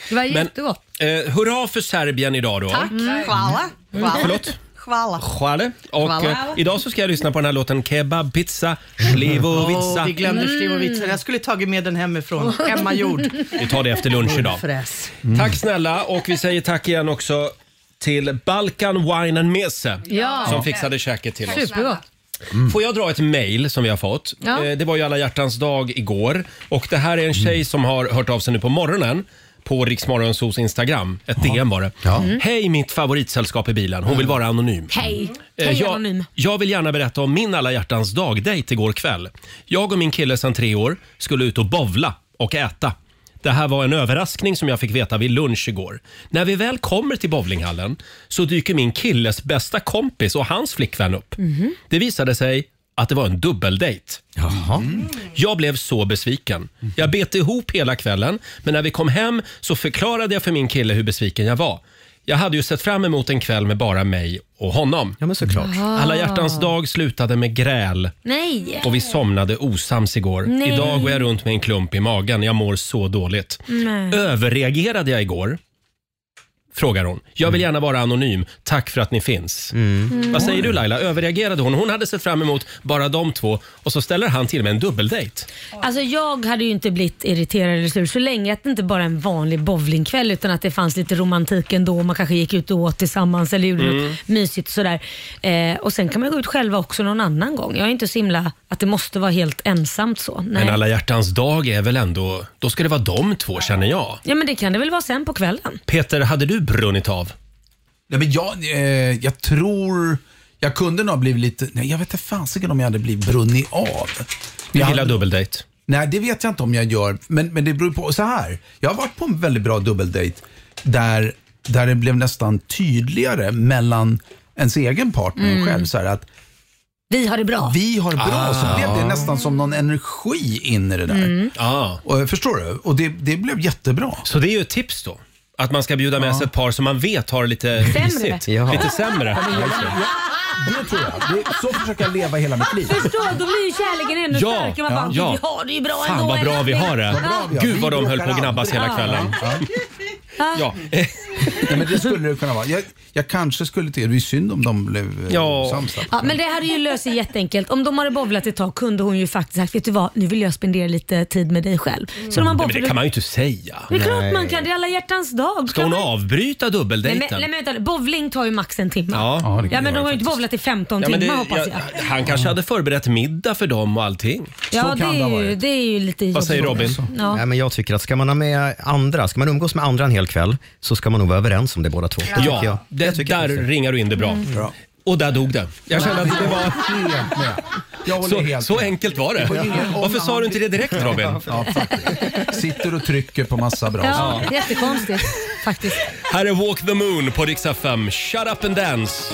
[SPEAKER 3] Det var
[SPEAKER 1] Men-
[SPEAKER 3] jättegott.
[SPEAKER 1] Eh, hurra för Serbien idag då.
[SPEAKER 14] Tack. Chvala. Chvala.
[SPEAKER 1] Förlåt?
[SPEAKER 14] Chvala.
[SPEAKER 1] Schale. Och eh,
[SPEAKER 14] Schwale.
[SPEAKER 1] idag så ska jag lyssna på den här låten Kebab, pizza, slivovica.
[SPEAKER 14] Åh, vi glömde Slivovica. Jag skulle tagit med den hemifrån. Emma Jord.
[SPEAKER 1] Vi tar det efter lunch idag. Mm.
[SPEAKER 14] Fräs.
[SPEAKER 1] Tack snälla och vi säger tack igen också till Balkan Wine and Mese
[SPEAKER 3] Ja.
[SPEAKER 1] som fixade käket till oss. Mm.
[SPEAKER 3] Supergott.
[SPEAKER 1] Får jag dra ett mejl som vi har fått?
[SPEAKER 3] Ja.
[SPEAKER 1] Eh, Det var ju alla hjärtans dag igår och det här är en tjej som har hört av sig nu på morgonen på Riksmorgonsos Instagram. Ett DM var det. Mm. Hej mitt favoritsällskap i bilen. Hon vill vara anonym.
[SPEAKER 3] Hej.
[SPEAKER 1] Eh,
[SPEAKER 3] Hej
[SPEAKER 1] jag,
[SPEAKER 3] Anonym.
[SPEAKER 1] jag vill gärna berätta om min alla hjärtans dag-dejt igår kväll. Jag och min kille sedan tre år skulle ut och bovla och äta. Det här var en överraskning som jag fick veta vid lunch igår. När vi väl kommer till bowlinghallen så dyker min killes bästa kompis och hans flickvän upp.
[SPEAKER 3] Mhm.
[SPEAKER 1] Det visade sig att det var en dubbeldejt. Mm. Jag blev så besviken. Jag bet ihop hela kvällen, men när vi kom hem så förklarade jag för min kille hur besviken jag var. Jag hade ju sett fram emot en kväll med bara mig och honom.
[SPEAKER 4] Ja, men såklart.
[SPEAKER 3] Ah.
[SPEAKER 1] Alla hjärtans dag slutade med gräl
[SPEAKER 3] Nej.
[SPEAKER 1] och vi somnade osams igår.
[SPEAKER 3] Nej.
[SPEAKER 1] Idag går jag runt med en klump i magen. Jag mår så dåligt.
[SPEAKER 3] Nej.
[SPEAKER 1] Överreagerade jag igår? Frågar hon. Jag vill gärna vara anonym. Tack för att ni finns.
[SPEAKER 3] Mm.
[SPEAKER 1] Vad säger du Laila? Överreagerade hon? Hon hade sett fram emot bara de två och så ställer han till med en dubbeldejt.
[SPEAKER 3] Alltså jag hade ju inte blivit irriterad eller sur så länge att det inte bara är en vanlig bowlingkväll utan att det fanns lite romantik ändå och man kanske gick ut och åt tillsammans eller gjorde
[SPEAKER 12] Mm.
[SPEAKER 3] något mysigt sådär. Eh, och sen kan man gå ut själva också någon annan gång. Jag är inte så himla att det måste vara helt ensamt så. Nej.
[SPEAKER 1] Men äh, alla hjärtans dag är väl ändå... Då ska det vara de två känner jag.
[SPEAKER 3] Ja men det kan det väl vara sen på kvällen.
[SPEAKER 1] Peter, hade du brunnit av?
[SPEAKER 10] Nej, men jag, eh, jag tror... Jag kunde nog ha blivit lite... Nej, jag vet inte fasiken om jag hade blivit brunnit av.
[SPEAKER 1] Du gillar dubbeldejt?
[SPEAKER 10] Nej, det vet jag inte om jag gör. Men, men det beror på. Så här. Jag har varit på en väldigt bra dubbeldejt där, där det blev nästan tydligare mellan ens egen partner och
[SPEAKER 3] Mm.
[SPEAKER 10] själv. Så här, att
[SPEAKER 3] Vi har det bra.
[SPEAKER 10] Vi har det bra.
[SPEAKER 3] Ah.
[SPEAKER 10] Så blev det nästan som någon energi in i det där.
[SPEAKER 3] Mm.
[SPEAKER 10] Och, eh, förstår du? Och det, det blev jättebra.
[SPEAKER 1] Så det är ju ett tips då? Att man ska bjuda med sig ett par som man vet har lite
[SPEAKER 10] Sämre.
[SPEAKER 1] risigt.
[SPEAKER 10] Ja.
[SPEAKER 1] Lite sämre.
[SPEAKER 10] Ja, men jag- Det tror jag. Det, så försöker jag leva hela mitt liv.
[SPEAKER 3] Förstå, då blir ju kärleken ännu
[SPEAKER 10] Ja,
[SPEAKER 3] starkare. Man bara,
[SPEAKER 10] ja.
[SPEAKER 3] vi har det ju bra
[SPEAKER 1] Fan
[SPEAKER 3] ändå.
[SPEAKER 1] vad bra
[SPEAKER 3] eller?
[SPEAKER 1] vi har
[SPEAKER 10] Vad bra vi
[SPEAKER 1] det.
[SPEAKER 10] har.
[SPEAKER 1] Gud
[SPEAKER 10] Vi
[SPEAKER 1] vad de höll på att
[SPEAKER 10] bråkar
[SPEAKER 1] gnabbas hela
[SPEAKER 3] aldrig.
[SPEAKER 1] kvällen.
[SPEAKER 3] Ah.
[SPEAKER 1] Ja.
[SPEAKER 10] Ja, men det skulle det kunna vara. Jag, jag kanske skulle till... Det är synd om de blev eh, sams. där.
[SPEAKER 3] Ja, men det hade ju löst sig jätteenkelt. Om de hade bovlat ett tag kunde hon ju faktiskt sagt, vet du vad, nu vill jag spendera lite tid med dig själv. Så de har
[SPEAKER 1] Nej,
[SPEAKER 3] bovlat.
[SPEAKER 1] Mm. men det kan man ju inte säga.
[SPEAKER 3] Det är klart man kan, det är alla hjärtans dag.
[SPEAKER 1] Ska hon avbryta
[SPEAKER 3] Nej, men,
[SPEAKER 1] dubbeldejten?
[SPEAKER 3] nej, men vänta, bowling tar ju max en timme.
[SPEAKER 1] Ja. Ja, det kan
[SPEAKER 3] ja men
[SPEAKER 1] det
[SPEAKER 3] de har
[SPEAKER 1] vara
[SPEAKER 3] ju inte bowlat i 15
[SPEAKER 1] Ja, men
[SPEAKER 3] timmar
[SPEAKER 1] det-
[SPEAKER 3] hoppas jag.
[SPEAKER 1] jag- han kanske hade förberett middag för dem och allting.
[SPEAKER 3] Ja, det, är ju, det är ju lite jobbigt.
[SPEAKER 10] Alltså-
[SPEAKER 3] Ja.
[SPEAKER 4] Nej, men jag tycker att ska man ha med andra, ska man umgås med andra en hel kväll så ska man nog vara överens om det båda två. Det tycker jag.
[SPEAKER 1] Ja, det, där ringar du in det bra. Och där dog det. Jag kände att det var...
[SPEAKER 10] håller
[SPEAKER 1] Så,
[SPEAKER 10] helt
[SPEAKER 1] så enkelt var det.
[SPEAKER 10] Det var ingen-
[SPEAKER 1] Varför sa du inte det direkt Robin?
[SPEAKER 10] Ja, faktiskt. Sitter och trycker på massa bra
[SPEAKER 3] Ja,
[SPEAKER 10] saker.
[SPEAKER 3] jättekonstigt faktiskt.
[SPEAKER 1] Här är Walk the Moon på Rix FM. Shut up and dance.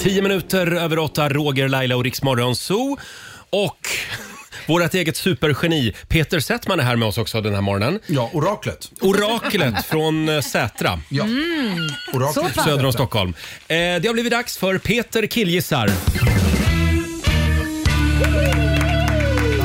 [SPEAKER 1] Tio minuter över åtta, Roger, Laila och Riksmorgon Zoo. Och vårt eget supergeni Peter Settman är här med oss också den här morgonen.
[SPEAKER 10] Ja, oraklet.
[SPEAKER 1] Oraklet från eh, Sätra.
[SPEAKER 10] Ja.
[SPEAKER 15] Mm.
[SPEAKER 10] Oraklet. Så pass.
[SPEAKER 1] Söder om Stockholm. Eh, det har blivit dags för Peter killgissar.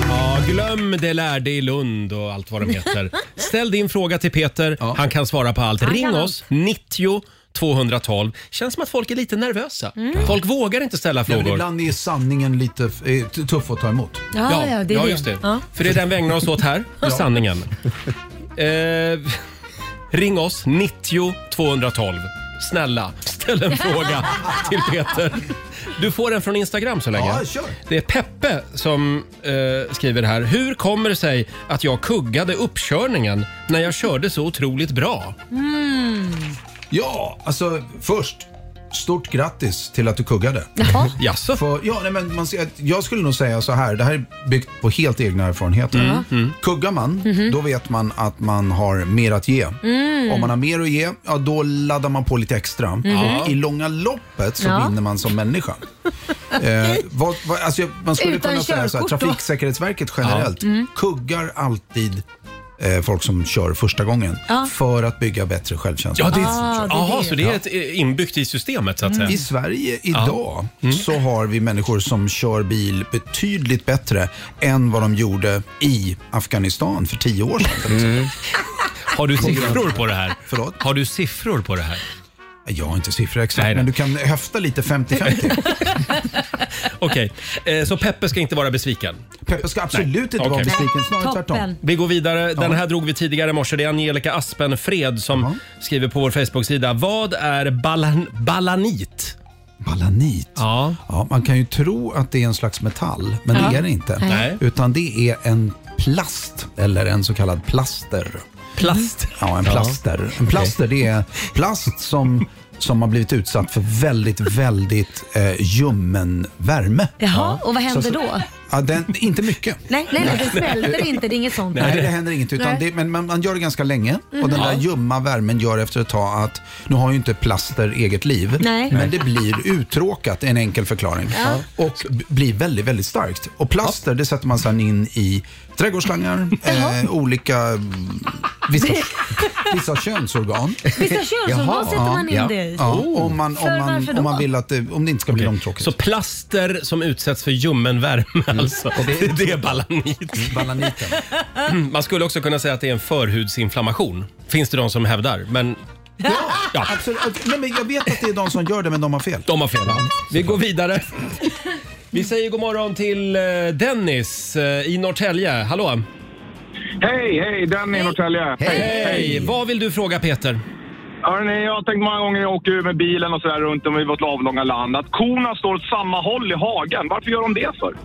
[SPEAKER 1] Ja, Glöm det lärde i Lund och allt vad de heter. Ställ din fråga till Peter. Han kan svara på allt.
[SPEAKER 15] Han
[SPEAKER 1] Ring
[SPEAKER 15] kan allt.
[SPEAKER 1] oss, 90 212. Känns som att folk är lite nervösa.
[SPEAKER 15] Mm.
[SPEAKER 1] Folk vågar inte ställa
[SPEAKER 10] Ja, men
[SPEAKER 1] frågor.
[SPEAKER 10] ibland är sanningen lite eh, t- tuff att ta emot.
[SPEAKER 1] Ja, ja, det är ja, det. just det. Ja. För det är den vi ägnar oss åt här, sanningen. Eh, ring oss, 90 212. Snälla, ställ en fråga till Peter. Du får den från Instagram så länge.
[SPEAKER 10] Ja, kör.
[SPEAKER 1] Det är Peppe som eh, skriver här. Hur kommer det sig att jag kuggade uppkörningen när jag körde så otroligt bra?
[SPEAKER 15] Mm.
[SPEAKER 10] Ja, alltså först. Stort grattis till att du kuggade.
[SPEAKER 15] Jaha.
[SPEAKER 1] Jaså?
[SPEAKER 10] För, ja, nej, men man, ser att- jag skulle nog säga så här, det här är byggt på helt egna erfarenheter.
[SPEAKER 15] Mm, Mhm.
[SPEAKER 10] Kuggar man, då vet man att man har mer att ge.
[SPEAKER 15] Mm.
[SPEAKER 10] Om man har mer att ge, ja, då laddar man på lite extra.
[SPEAKER 15] Mhm.
[SPEAKER 10] I långa loppet så
[SPEAKER 15] Ja.
[SPEAKER 10] vinner man som människa. eh, vad, vad, alltså, jag- man skulle
[SPEAKER 15] Utan
[SPEAKER 10] kunna säga så här,
[SPEAKER 15] körkort då?
[SPEAKER 10] Trafiksäkerhetsverket generellt
[SPEAKER 15] Ja. Mm.
[SPEAKER 10] kuggar alltid eh, folk som kör första gången
[SPEAKER 15] Ja.
[SPEAKER 10] för att bygga bättre självkänsla.
[SPEAKER 1] Ja, det är- Ah, det är Jaha, det. så det är ett, eh, inbyggt i systemet så att säga.
[SPEAKER 10] I Sverige
[SPEAKER 1] Ja. Mm.
[SPEAKER 10] idag så har vi människor som kör bil betydligt bättre än vad de gjorde i Afghanistan för tio år sedan.
[SPEAKER 1] Mm.
[SPEAKER 10] till exempel.
[SPEAKER 1] Har du siffror på det här?
[SPEAKER 10] Förlåt?
[SPEAKER 1] Har du siffror på det här?
[SPEAKER 10] Jag har inte siffror exakt, men du kan höfta lite 50-50.
[SPEAKER 1] Okej, eh, så Peppe ska inte vara besviken?
[SPEAKER 10] Peppe ska absolut
[SPEAKER 1] Nej.
[SPEAKER 10] inte
[SPEAKER 1] Okej.
[SPEAKER 10] vara besviken, snarare tvärtom.
[SPEAKER 1] Vi går vidare. Den
[SPEAKER 10] Ja.
[SPEAKER 1] här drog vi tidigare i morse. Det är Angelica Aspenfred som skriver på vår Facebook-sida. Vad är balan balanit?
[SPEAKER 10] Balanit?
[SPEAKER 1] Ja.
[SPEAKER 10] Man kan ju tro att det är en slags metall, men
[SPEAKER 1] Ja.
[SPEAKER 10] det är det inte.
[SPEAKER 1] Nej.
[SPEAKER 10] Utan det är en plast, eller en så kallad plaster.
[SPEAKER 1] Plast?
[SPEAKER 10] Mm. Ja, en
[SPEAKER 1] Ja.
[SPEAKER 10] plaster. En plaster det är plast som, som har blivit utsatt för väldigt, väldigt eh, ljummen värme.
[SPEAKER 15] Jaha, och vad händer
[SPEAKER 10] Så- så-
[SPEAKER 15] då?
[SPEAKER 10] Ja, den, inte mycket.
[SPEAKER 3] Nej, nej, nej, det smälter inte. Det är inget sånt.
[SPEAKER 10] Nej, det händer inget. Utan
[SPEAKER 3] Nej.
[SPEAKER 10] det, men man, man gör det ganska länge
[SPEAKER 3] Mhm.
[SPEAKER 10] och
[SPEAKER 15] Mm.
[SPEAKER 10] den
[SPEAKER 3] Ja.
[SPEAKER 10] där ljumma värmen gör efter ett tag att, nu har ju inte plaster eget liv,
[SPEAKER 15] Nej.
[SPEAKER 10] men det blir uttråkat, en enkel förklaring. Och b- blir väldigt, väldigt starkt. Och plaster, det sätter man sedan in i trädgårdsslangar, eh, olika, mm, vissa, vissa könsorgan.
[SPEAKER 15] Vissa könsorgan
[SPEAKER 10] Jaha.
[SPEAKER 15] sätter man in
[SPEAKER 10] Ja.
[SPEAKER 15] det i?
[SPEAKER 10] Ja,
[SPEAKER 15] Oh.
[SPEAKER 10] om, man,
[SPEAKER 15] För
[SPEAKER 10] om,
[SPEAKER 15] varför
[SPEAKER 10] man,
[SPEAKER 15] då?
[SPEAKER 10] om man vill att det, om det inte ska bli långtråkigt. Mm.
[SPEAKER 1] Så plaster som utsätts för ljummen värme alltså. Det, det är balanit.
[SPEAKER 10] Balaniten.
[SPEAKER 1] Man skulle också kunna säga att det är en förhudsinflammation. Finns det de som hävdar. Men
[SPEAKER 10] Ja, absolut. Nej, men jag vet att det är de som gör det, men de har fel.
[SPEAKER 1] de har fel. Vi går vidare. Vi säger god morgon till eh, Dennis eh, i Norrtälje. Hallå!
[SPEAKER 11] Hej, hej! Denny i Norrtälje.
[SPEAKER 1] Hej. Vad vill du fråga Peter?
[SPEAKER 11] Hörrni, jag har tänkt många gånger när jag åker med bilen och sådär runt om i vårt avlånga land att korna står åt samma håll i hagen. Varför gör de det för?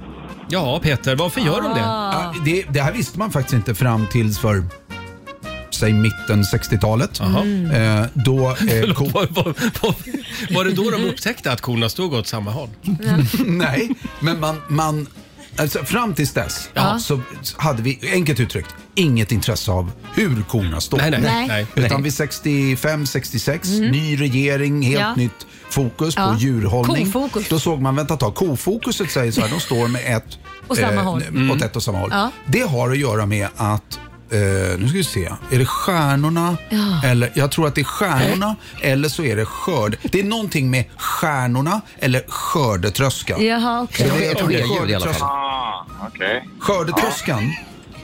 [SPEAKER 1] Ja, Peter, varför gör de det?
[SPEAKER 15] Ah.
[SPEAKER 10] Ja, det? Det här visste man faktiskt inte fram tills för säg mitten 60-talet.
[SPEAKER 15] Mm.
[SPEAKER 10] Eh, då, eh, ko-
[SPEAKER 1] Var, var, var, var det då de upptäckte att korna stod åt samma håll?
[SPEAKER 10] Nej, men man... man alltså, fram tills dess
[SPEAKER 1] Ja.
[SPEAKER 10] så hade vi, enkelt uttryckt, inget intresse av hur korna står.
[SPEAKER 1] Nej, nej, Nej. nej.
[SPEAKER 10] Utan vid 65, 66, ny regering, helt
[SPEAKER 15] Ja.
[SPEAKER 10] nytt fokus
[SPEAKER 15] Ja.
[SPEAKER 10] på djurhållning.
[SPEAKER 15] Kofokus.
[SPEAKER 10] Då såg man, vänta ett tag, kofokuset säger så här, de står med ett
[SPEAKER 15] Åt samma håll. Mm.
[SPEAKER 10] n- åt ett och samma håll.
[SPEAKER 15] Ja.
[SPEAKER 10] Det har att göra med att eh, nu ska vi se. Är det stjärnorna? Eller, jag tror att det är stjärnorna eller så är det skörd. Det är någonting med stjärnorna eller skördetröskan.
[SPEAKER 15] Jaha, okej.
[SPEAKER 10] Så det, jag tror det är skördetröskan.
[SPEAKER 11] Ah, okej.
[SPEAKER 10] Skördetröskan.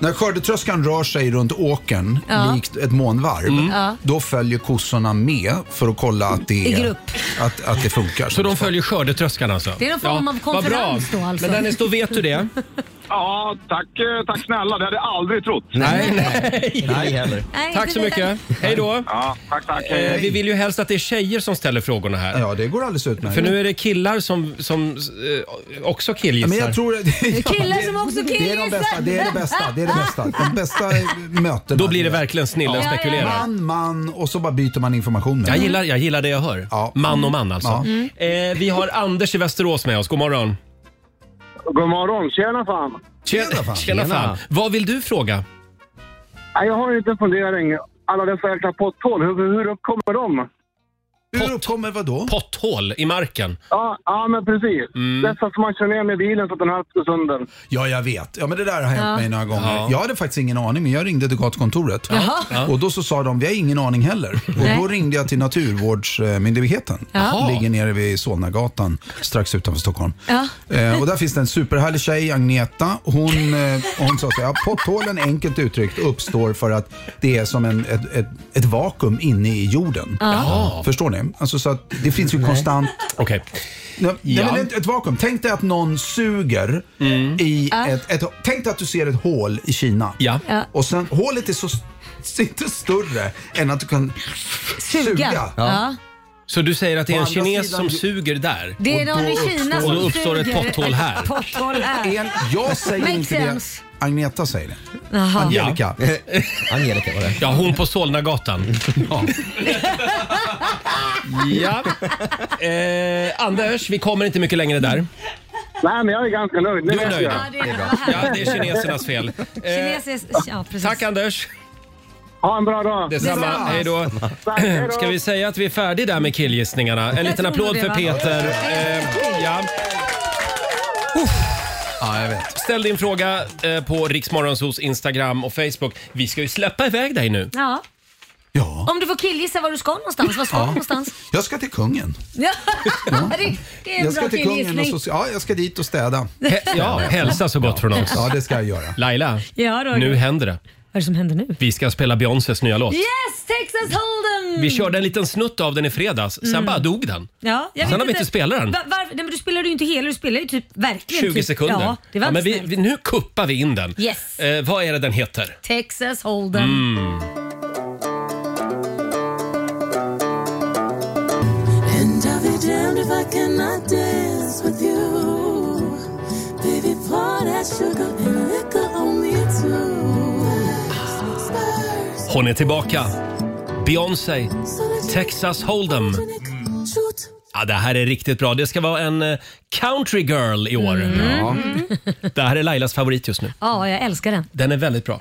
[SPEAKER 10] När skördetröskan rör sig runt åkern
[SPEAKER 15] Ja.
[SPEAKER 10] likt ett månvarv,
[SPEAKER 15] Mm. Ja.
[SPEAKER 10] då följer kossorna med för att kolla att det,
[SPEAKER 15] I
[SPEAKER 10] är-
[SPEAKER 15] grupp.
[SPEAKER 10] Att, att det funkar.
[SPEAKER 1] Så de följer skördetröskan alltså?
[SPEAKER 15] Det är någon form av
[SPEAKER 1] vad
[SPEAKER 15] konferens då, alltså.
[SPEAKER 1] Men Dennis, då vet du det?
[SPEAKER 11] Ja, tack, eh, tack snälla. Det hade jag aldrig trott.
[SPEAKER 1] Nej, nej.
[SPEAKER 11] Nej, heller.
[SPEAKER 15] Nej,
[SPEAKER 1] Tack
[SPEAKER 15] inte
[SPEAKER 1] så
[SPEAKER 15] det.
[SPEAKER 1] mycket. Hej då.
[SPEAKER 11] Ja, tack, tack.
[SPEAKER 1] Eh, Vi vill ju helst att det är tjejer som ställer frågorna här.
[SPEAKER 10] Ja, det går alldeles utmärkt.
[SPEAKER 1] För nu är det killar som, som eh, också killgissar.
[SPEAKER 10] Men jag tror att,
[SPEAKER 15] Killar som också
[SPEAKER 10] det är de bästa.
[SPEAKER 15] killgissar.
[SPEAKER 10] Det är det bästa. Det är det bästa. De bästa mötena.
[SPEAKER 1] Då blir det verkligen snillen
[SPEAKER 10] Ja.
[SPEAKER 1] spekulerar.
[SPEAKER 10] Man, man och så bara byter man information. Med
[SPEAKER 1] Jag
[SPEAKER 10] dem.
[SPEAKER 1] gillar, jag gillar det jag hör. Man och man alltså.
[SPEAKER 10] Ja.
[SPEAKER 15] Mm.
[SPEAKER 1] Eh, vi har Anders i Västerås med oss. God morgon.
[SPEAKER 16] God morgon, tjena fan.
[SPEAKER 1] Tjena fan. Tjena fan.
[SPEAKER 16] Tjena.
[SPEAKER 1] Vad vill du fråga?
[SPEAKER 16] Nej, Jag har en liten fundering. Alla dessa jäkla potthål, hur, hur uppkommer de?
[SPEAKER 10] Hur uppkommer vad då?
[SPEAKER 1] Potthål i marken.
[SPEAKER 16] Ja, ja men precis. Nästan som man kör ner med bilen så att den halkar sönder.
[SPEAKER 10] Ja, jag vet. Ja, men det där har hänt
[SPEAKER 16] Ja.
[SPEAKER 10] mig några gånger.
[SPEAKER 16] Ja.
[SPEAKER 10] Jag hade faktiskt ingen aning, men jag ringde till gatukontoret.
[SPEAKER 16] Jaha.
[SPEAKER 10] Ja. Och då så sa de, vi har ingen aning heller. Och då
[SPEAKER 16] Nej.
[SPEAKER 10] ringde jag till Naturvårdsmyndigheten.
[SPEAKER 16] Jaha.
[SPEAKER 10] Ligger nere vid Solnagatan, strax utanför Stockholm.
[SPEAKER 16] Ja.
[SPEAKER 10] Eh, och där finns det en superhärlig tjej, Agneta. Hon, eh, hon sa så här, potthålen enkelt uttryckt uppstår för att det är som en, ett, ett, ett vakuum inne i jorden.
[SPEAKER 1] Jaha.
[SPEAKER 10] Förstår ni? Alltså, så att det finns ju konstant...
[SPEAKER 1] Okej.
[SPEAKER 10] Nej,
[SPEAKER 1] Ja.
[SPEAKER 10] men ett, ett vakuum. Tänk dig att någon suger i ett, ett... Tänk dig att du ser ett hål i Kina.
[SPEAKER 15] Ja.
[SPEAKER 10] Och sen, hålet är så... s- Inte större än att du kan suga.
[SPEAKER 15] Ja. Ja.
[SPEAKER 1] Så du säger att det är
[SPEAKER 10] Å
[SPEAKER 1] en
[SPEAKER 10] andra
[SPEAKER 1] kines
[SPEAKER 10] sidan-
[SPEAKER 1] som suger där?
[SPEAKER 15] Det är
[SPEAKER 1] Och
[SPEAKER 15] någon
[SPEAKER 1] då
[SPEAKER 15] i Kina
[SPEAKER 1] uppstår- Och då
[SPEAKER 15] som
[SPEAKER 1] uppstår ett
[SPEAKER 15] suger.
[SPEAKER 1] potthål här.
[SPEAKER 15] Potthål här.
[SPEAKER 10] En, jag säger
[SPEAKER 15] Makes
[SPEAKER 10] inte det.
[SPEAKER 15] sense.
[SPEAKER 10] Agneta säger det.
[SPEAKER 15] Jaha.
[SPEAKER 10] Angelica.
[SPEAKER 1] Angelica var det. Ja, hon på Solnagatan. Ja. ja. Eh, Anders, vi kommer inte mycket längre där.
[SPEAKER 16] Nej, men jag är ganska nöjd.
[SPEAKER 1] Du
[SPEAKER 16] Det
[SPEAKER 1] är
[SPEAKER 16] vet
[SPEAKER 1] nöjd?
[SPEAKER 16] jag.
[SPEAKER 1] Ja, det är bra. Ja, det är kinesernas fel. Eh,
[SPEAKER 3] Kinesis, ja, eh, precis.
[SPEAKER 1] Tack Anders.
[SPEAKER 16] Ha en bra dag.
[SPEAKER 1] Detsamma. Hej då. Ska vi säga att vi är färdiga där med killgissningarna? En
[SPEAKER 16] Jag
[SPEAKER 1] liten
[SPEAKER 16] tror
[SPEAKER 1] applåd
[SPEAKER 16] det,
[SPEAKER 1] för
[SPEAKER 16] va?
[SPEAKER 1] Peter. Eh, ja. Uff. Ställ din fråga eh, på Riksmorgonsos Instagram och Facebook. Vi ska ju släppa iväg dig nu.
[SPEAKER 3] Ja. Om du får killgissa var du ska någonstans, var ska
[SPEAKER 10] Ja.
[SPEAKER 3] du någonstans?
[SPEAKER 10] Jag ska till kungen.
[SPEAKER 3] Ja. det, det är en
[SPEAKER 10] Jag
[SPEAKER 3] bra
[SPEAKER 10] ska till kungen och
[SPEAKER 3] killgissning.
[SPEAKER 10] så, ja, jag ska dit och städa.
[SPEAKER 3] Hä- ja, hälsa
[SPEAKER 1] så gott från oss.
[SPEAKER 10] Ja, det ska jag göra.
[SPEAKER 1] Laila,
[SPEAKER 3] Ja, Roger.
[SPEAKER 1] nu händer det.
[SPEAKER 3] Vad är det som händer nu?
[SPEAKER 1] Vi ska spela Beyoncés nya låt.
[SPEAKER 3] Yes, Texas Hold'em!
[SPEAKER 1] Vi körde en liten snutt av den i fredags, sen
[SPEAKER 3] Mm.
[SPEAKER 1] bara dog den.
[SPEAKER 3] Ja, jag
[SPEAKER 1] Sen
[SPEAKER 3] vet
[SPEAKER 1] har vi inte spelat den.
[SPEAKER 3] Va- varför- nej, men du spelade ju inte hela, du spelade ju typ verkligen
[SPEAKER 1] 20
[SPEAKER 3] typ,
[SPEAKER 1] sekunder.
[SPEAKER 3] Ja, det var
[SPEAKER 1] men
[SPEAKER 3] inte
[SPEAKER 1] vi, vi, nu kuppar vi in den.
[SPEAKER 3] Yes.
[SPEAKER 1] Eh, vad är det den heter?
[SPEAKER 3] Texas Hold'em.
[SPEAKER 1] Mm.
[SPEAKER 12] And I'll be damned if I cannot dance with you. Baby, pour that sugar and liquor on me too.
[SPEAKER 1] Hon är tillbaka. Beyoncé, Texas Hold'em.
[SPEAKER 12] Shoot.
[SPEAKER 1] Ja, det här är riktigt bra. Det ska vara en eh, country girl i år. Ja. Det här är Lailas favorit just nu.
[SPEAKER 3] Ja, jag älskar den.
[SPEAKER 1] Den är väldigt bra.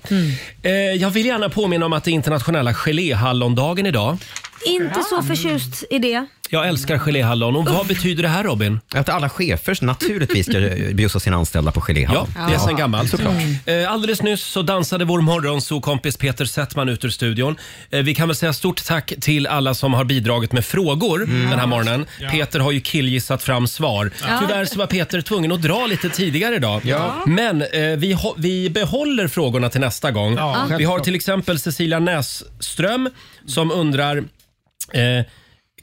[SPEAKER 1] Eh, jag vill gärna påminna om att det är internationella geléhallondagen idag.
[SPEAKER 3] Inte så förtjust i det.
[SPEAKER 1] Jag älskar geléhallon. Och vad betyder det här Robin?
[SPEAKER 4] Att alla chefer naturligtvis ska eh, bjussa sina anställda på geléhallon.
[SPEAKER 1] Ja, det är sen gammalt.
[SPEAKER 4] Såklart.
[SPEAKER 1] Eh, Alldeles nyss så dansade vår morgonsokompis Peter Settman ut ur studion. Eh, Vi kan väl säga stort tack till alla som har bidragit med frågor den här morgonen.
[SPEAKER 9] Mm. Ja.
[SPEAKER 1] Peter har ju killgissat fram svar.
[SPEAKER 9] Ja.
[SPEAKER 1] Tyvärr så var Peter tvungen att dra lite tidigare idag. Men eh, vi, ho- vi behåller frågorna till nästa gång.
[SPEAKER 9] Ja,
[SPEAKER 1] Vi har
[SPEAKER 9] självklart.
[SPEAKER 1] till exempel Cecilia Näsström som undrar eh,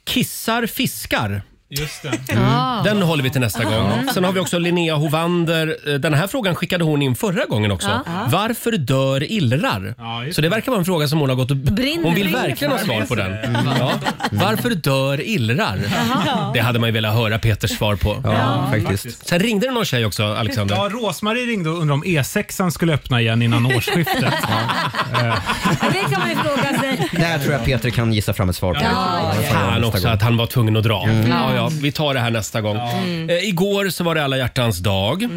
[SPEAKER 1] Kissar fiskar?
[SPEAKER 5] Just det.
[SPEAKER 1] Mm. Den håller vi till nästa gång. Sen har vi också Linnea Hovander. Eh, Den här frågan skickade hon in förra gången också.
[SPEAKER 9] Ja.
[SPEAKER 1] Varför dör illrar? Så det verkar vara en fråga som hon har gått och...
[SPEAKER 9] Brinner
[SPEAKER 1] hon vill
[SPEAKER 9] för.
[SPEAKER 1] verkligen ha svar på den. Ja. Varför dör illrar?
[SPEAKER 5] Jaha.
[SPEAKER 1] Det hade man ju velat höra Peters svar på.
[SPEAKER 5] Ja, faktiskt.
[SPEAKER 1] Sen ringde det någon tjej också, Alexander.
[SPEAKER 5] Ja, Rosmarie ringde och undrade om E6 skulle öppna igen innan årsskiftet.
[SPEAKER 3] Det kan man ju fråga sig.
[SPEAKER 4] Där tror jag Peter kan gissa fram ett svar på.
[SPEAKER 3] Ja, ja, ja.
[SPEAKER 1] Fan också att han var tvungen att dra. Ja, ja, vi tar det här nästa gång.
[SPEAKER 4] Mm.
[SPEAKER 1] Eh, igår så var det alla hjärtans dag.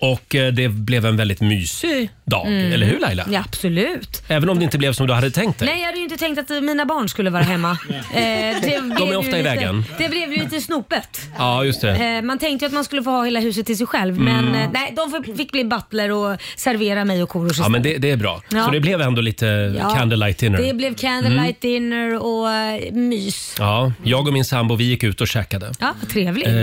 [SPEAKER 1] Och eh, det blev en väldigt mysig dag,
[SPEAKER 3] Mm.
[SPEAKER 1] eller hur Laila?
[SPEAKER 3] Ja, absolut.
[SPEAKER 1] Även om det inte blev som du hade tänkt dig.
[SPEAKER 3] Nej, jag hade ju inte tänkt att mina barn skulle vara hemma. Eh, det
[SPEAKER 1] De
[SPEAKER 3] blev
[SPEAKER 1] är
[SPEAKER 3] ju
[SPEAKER 1] ofta i
[SPEAKER 3] lite-
[SPEAKER 1] vägen.
[SPEAKER 3] Det blev ju lite snopet.
[SPEAKER 1] Ja, just det.
[SPEAKER 3] Eh, Man tänkte ju att man skulle få ha hela huset till sig själv,
[SPEAKER 1] Mm.
[SPEAKER 3] men eh, nej, de fick- fick bli butler och servera mig och Korosh
[SPEAKER 1] Ja, men det, det är bra.
[SPEAKER 3] Ja.
[SPEAKER 1] Så det blev ändå lite
[SPEAKER 3] Ja.
[SPEAKER 1] candlelight dinner. Mm.
[SPEAKER 3] Det blev candlelight dinner och eh, mys.
[SPEAKER 1] Ja, jag och min sambo vi gick ut och käkade.
[SPEAKER 3] Ja, trevligt.
[SPEAKER 1] Eh,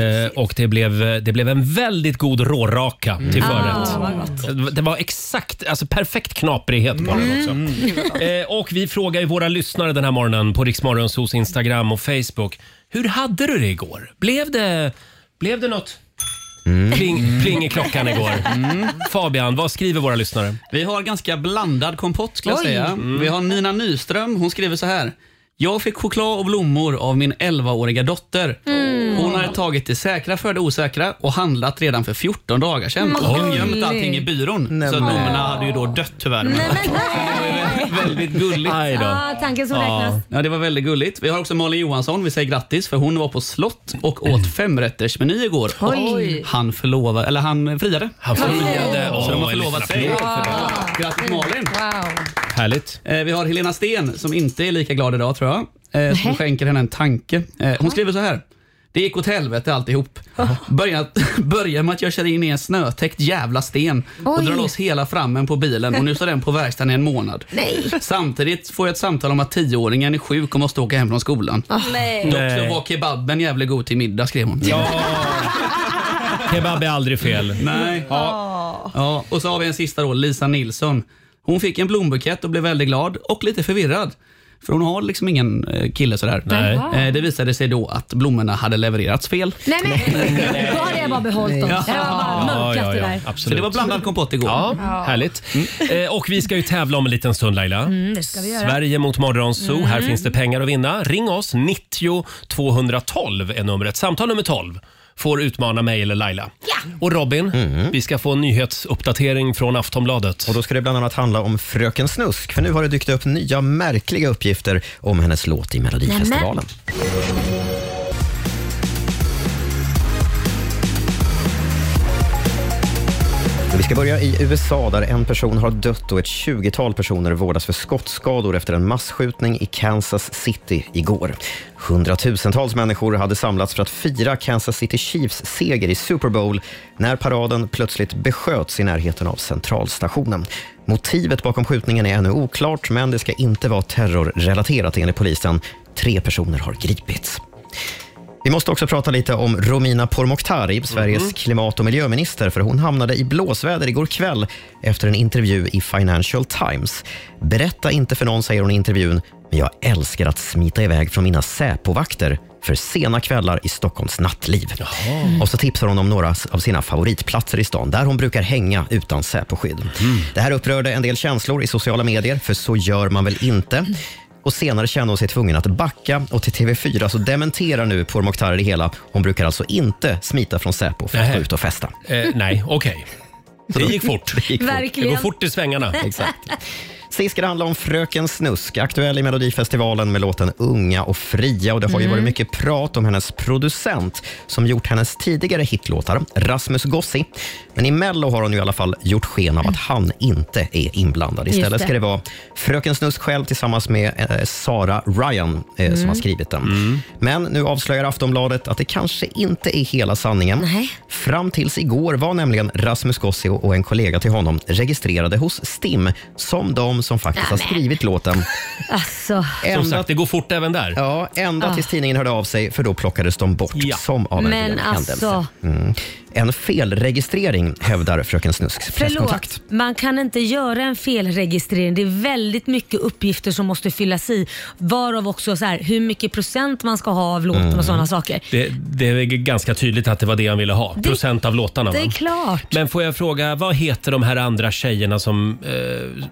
[SPEAKER 1] och det blev, det blev en väldigt god råraka till förrätt.
[SPEAKER 3] Ah, vad gott.
[SPEAKER 1] det var exakt, alltså perfekt knaprighet på den också.
[SPEAKER 3] Mm.
[SPEAKER 1] Eh, och vi frågar ju våra lyssnare den här morgonen på Riksmorgonsos Instagram och Facebook. Hur hade du det igår? Blev det, blev det något
[SPEAKER 9] Mm.
[SPEAKER 1] pling, pling i klockan igår? Fabian, vad skriver våra lyssnare?
[SPEAKER 9] Vi har ganska blandad kompott skulle jag
[SPEAKER 1] Oj.
[SPEAKER 9] säga.
[SPEAKER 1] Mm.
[SPEAKER 9] Vi har Nina Nyström, hon skriver så här. Jag fick choklad och blommor av min 11-åriga dotter.
[SPEAKER 15] Mm.
[SPEAKER 9] Hon hade tagit det säkra för det osäkra och handlat redan för 14 dagar sedan.
[SPEAKER 15] Vad
[SPEAKER 9] Och hon
[SPEAKER 15] gulligt.
[SPEAKER 9] gömt allting i byrån. så
[SPEAKER 15] men.
[SPEAKER 9] att blommorna hade ju då dött tyvärr. Men det var väldigt gulligt.
[SPEAKER 3] Aj då. Ja, tanken som räknas.
[SPEAKER 9] Ja, det var väldigt gulligt. Vi har också Malin Johansson. Vi säger grattis för hon var på slott och åt femrättersmeny igår. Och
[SPEAKER 15] Oj.
[SPEAKER 9] Han förlovade, eller han friade. Han
[SPEAKER 3] Alltså,
[SPEAKER 1] friade.
[SPEAKER 9] Så de har
[SPEAKER 1] Åh, en liten
[SPEAKER 9] förlovat sig.
[SPEAKER 1] applåd för det.
[SPEAKER 9] Grattis Malin.
[SPEAKER 15] Wow.
[SPEAKER 1] Härligt.
[SPEAKER 9] Eh, Vi har Helena Sten som inte är lika glad idag tror jag. eh, som
[SPEAKER 17] Nähä.
[SPEAKER 9] skänker henne en tanke. Eh, hon skriver så här. Det gick åt helvete alltihop. Börja, börja med att jag kör in i en snötäckt jävla sten och
[SPEAKER 17] Oj.
[SPEAKER 9] drar loss hela frammen på bilen och nu står den på verkstaden i en månad.
[SPEAKER 17] Nej.
[SPEAKER 9] Samtidigt får jag ett samtal om att tioåringen är sjuk och måste åka hem från skolan.
[SPEAKER 17] Nej.
[SPEAKER 9] Dock så var kebaben jävligt god till middag skrev hon.
[SPEAKER 1] Kebab är aldrig fel.
[SPEAKER 9] Nej. Ja. Ja. Och så har vi en sista då, Lisa Nilsson. Hon fick en blombukett och blev väldigt glad och lite förvirrad. För hon har liksom ingen eh, kille sådär.
[SPEAKER 3] Nej.
[SPEAKER 9] Eh, Det visade sig då att blommorna hade levererats fel.
[SPEAKER 3] Nej, nej. Då hade jag bara behållit dem. Jag har bara mörkat det där.
[SPEAKER 9] Så det var blandad kompott igår.
[SPEAKER 1] Ja,
[SPEAKER 3] Ja.
[SPEAKER 1] härligt. Eh, och vi ska ju tävla om en liten stund Laila.
[SPEAKER 3] Mm, det ska vi göra.
[SPEAKER 1] Sverige mot Morgonzoo.
[SPEAKER 3] Mm.
[SPEAKER 1] Här finns det pengar att vinna. Ring oss, 90 212 är numret. Samtal nummer 12 får utmana mig eller Laila. Och Robin, vi ska få en nyhetsuppdatering från Aftonbladet.
[SPEAKER 4] Mm. Och då ska det bland annat handla om Fröken Snusk, för nu har det dykt upp nya märkliga uppgifter om hennes låt i Melodifestivalen. Vi ska börja i USA där en person har dött och ett 20-tal personer vårdas för skottskador efter en massskjutning i Kansas City igår. Hundratusentals människor hade samlats för att fira Kansas City Chiefs seger i Super Bowl när paraden plötsligt besköts i närheten av centralstationen. Motivet bakom skjutningen är ännu oklart, men det ska inte vara terrorrelaterat enligt polisen. Tre personer har gripits. Vi måste också prata lite om Romina Pourmokhtari, Sveriges klimat och miljöminister, för hon hamnade i blåsväder igår kväll efter en intervju i Financial Times. Berätta inte för någon, säger hon i intervjun, men jag älskar att smita iväg från mina Säpovakter för sena kvällar i Stockholms nattliv. Och så tipsar hon om några av sina favoritplatser i stan, där hon brukar hänga utan Säposkydd. Det här upprörde en del känslor i sociala medier, för så gör man väl inte. Och senare kände hon sig tvungen att backa och till TV4 så dementerar nu Pourmokhtari det hela. Hon brukar alltså inte smita från Säpo för att gå ut och festa.
[SPEAKER 1] Eh, nej, okej. Det gick fort.
[SPEAKER 4] Det gick fort.
[SPEAKER 1] Det går fort i svängarna.
[SPEAKER 4] Exakt. Sist ska det handla om Fröken Snusk, aktuell i Melodifestivalen med låten Unga och fria. Och Det har ju
[SPEAKER 1] Mm.
[SPEAKER 4] varit mycket prat om hennes producent som gjort hennes tidigare hitlåtar, Rasmus Gossi. Men i Mello har hon ju i alla fall gjort sken av att han inte är inblandad.
[SPEAKER 17] Just
[SPEAKER 4] Istället
[SPEAKER 17] det.
[SPEAKER 4] ska det vara Fröken Snusk själv tillsammans med eh, Sara Ryan eh, som
[SPEAKER 17] Mm.
[SPEAKER 4] har skrivit den. Men nu avslöjar Aftonbladet att det kanske inte är hela sanningen. Fram tills igår var nämligen Rasmus Gossi och en kollega till honom registrerade hos STIM som de som faktiskt har skrivit låten.
[SPEAKER 3] Alltså.
[SPEAKER 1] Som sagt, det går fort även där.
[SPEAKER 4] Ja, ända
[SPEAKER 3] Ah.
[SPEAKER 4] tills tidningen hörde av sig för då plockades de bort som av en
[SPEAKER 3] Men
[SPEAKER 4] ren
[SPEAKER 3] alltså.
[SPEAKER 4] händelse. Mm. En felregistrering hävdar Fröken Snusks presskontakt.
[SPEAKER 3] Förlåt, man kan inte göra en felregistrering. Det är väldigt mycket uppgifter som måste fyllas i. Varav också så här, hur mycket procent man ska ha av låten
[SPEAKER 1] Mm.
[SPEAKER 3] och sådana saker.
[SPEAKER 1] Det, det är ganska tydligt att det var det han ville ha.
[SPEAKER 3] Det-
[SPEAKER 1] Procent av låtarna.
[SPEAKER 3] Det
[SPEAKER 1] va?
[SPEAKER 3] är klart.
[SPEAKER 1] Men får jag fråga, vad heter de här andra tjejerna som... Eh,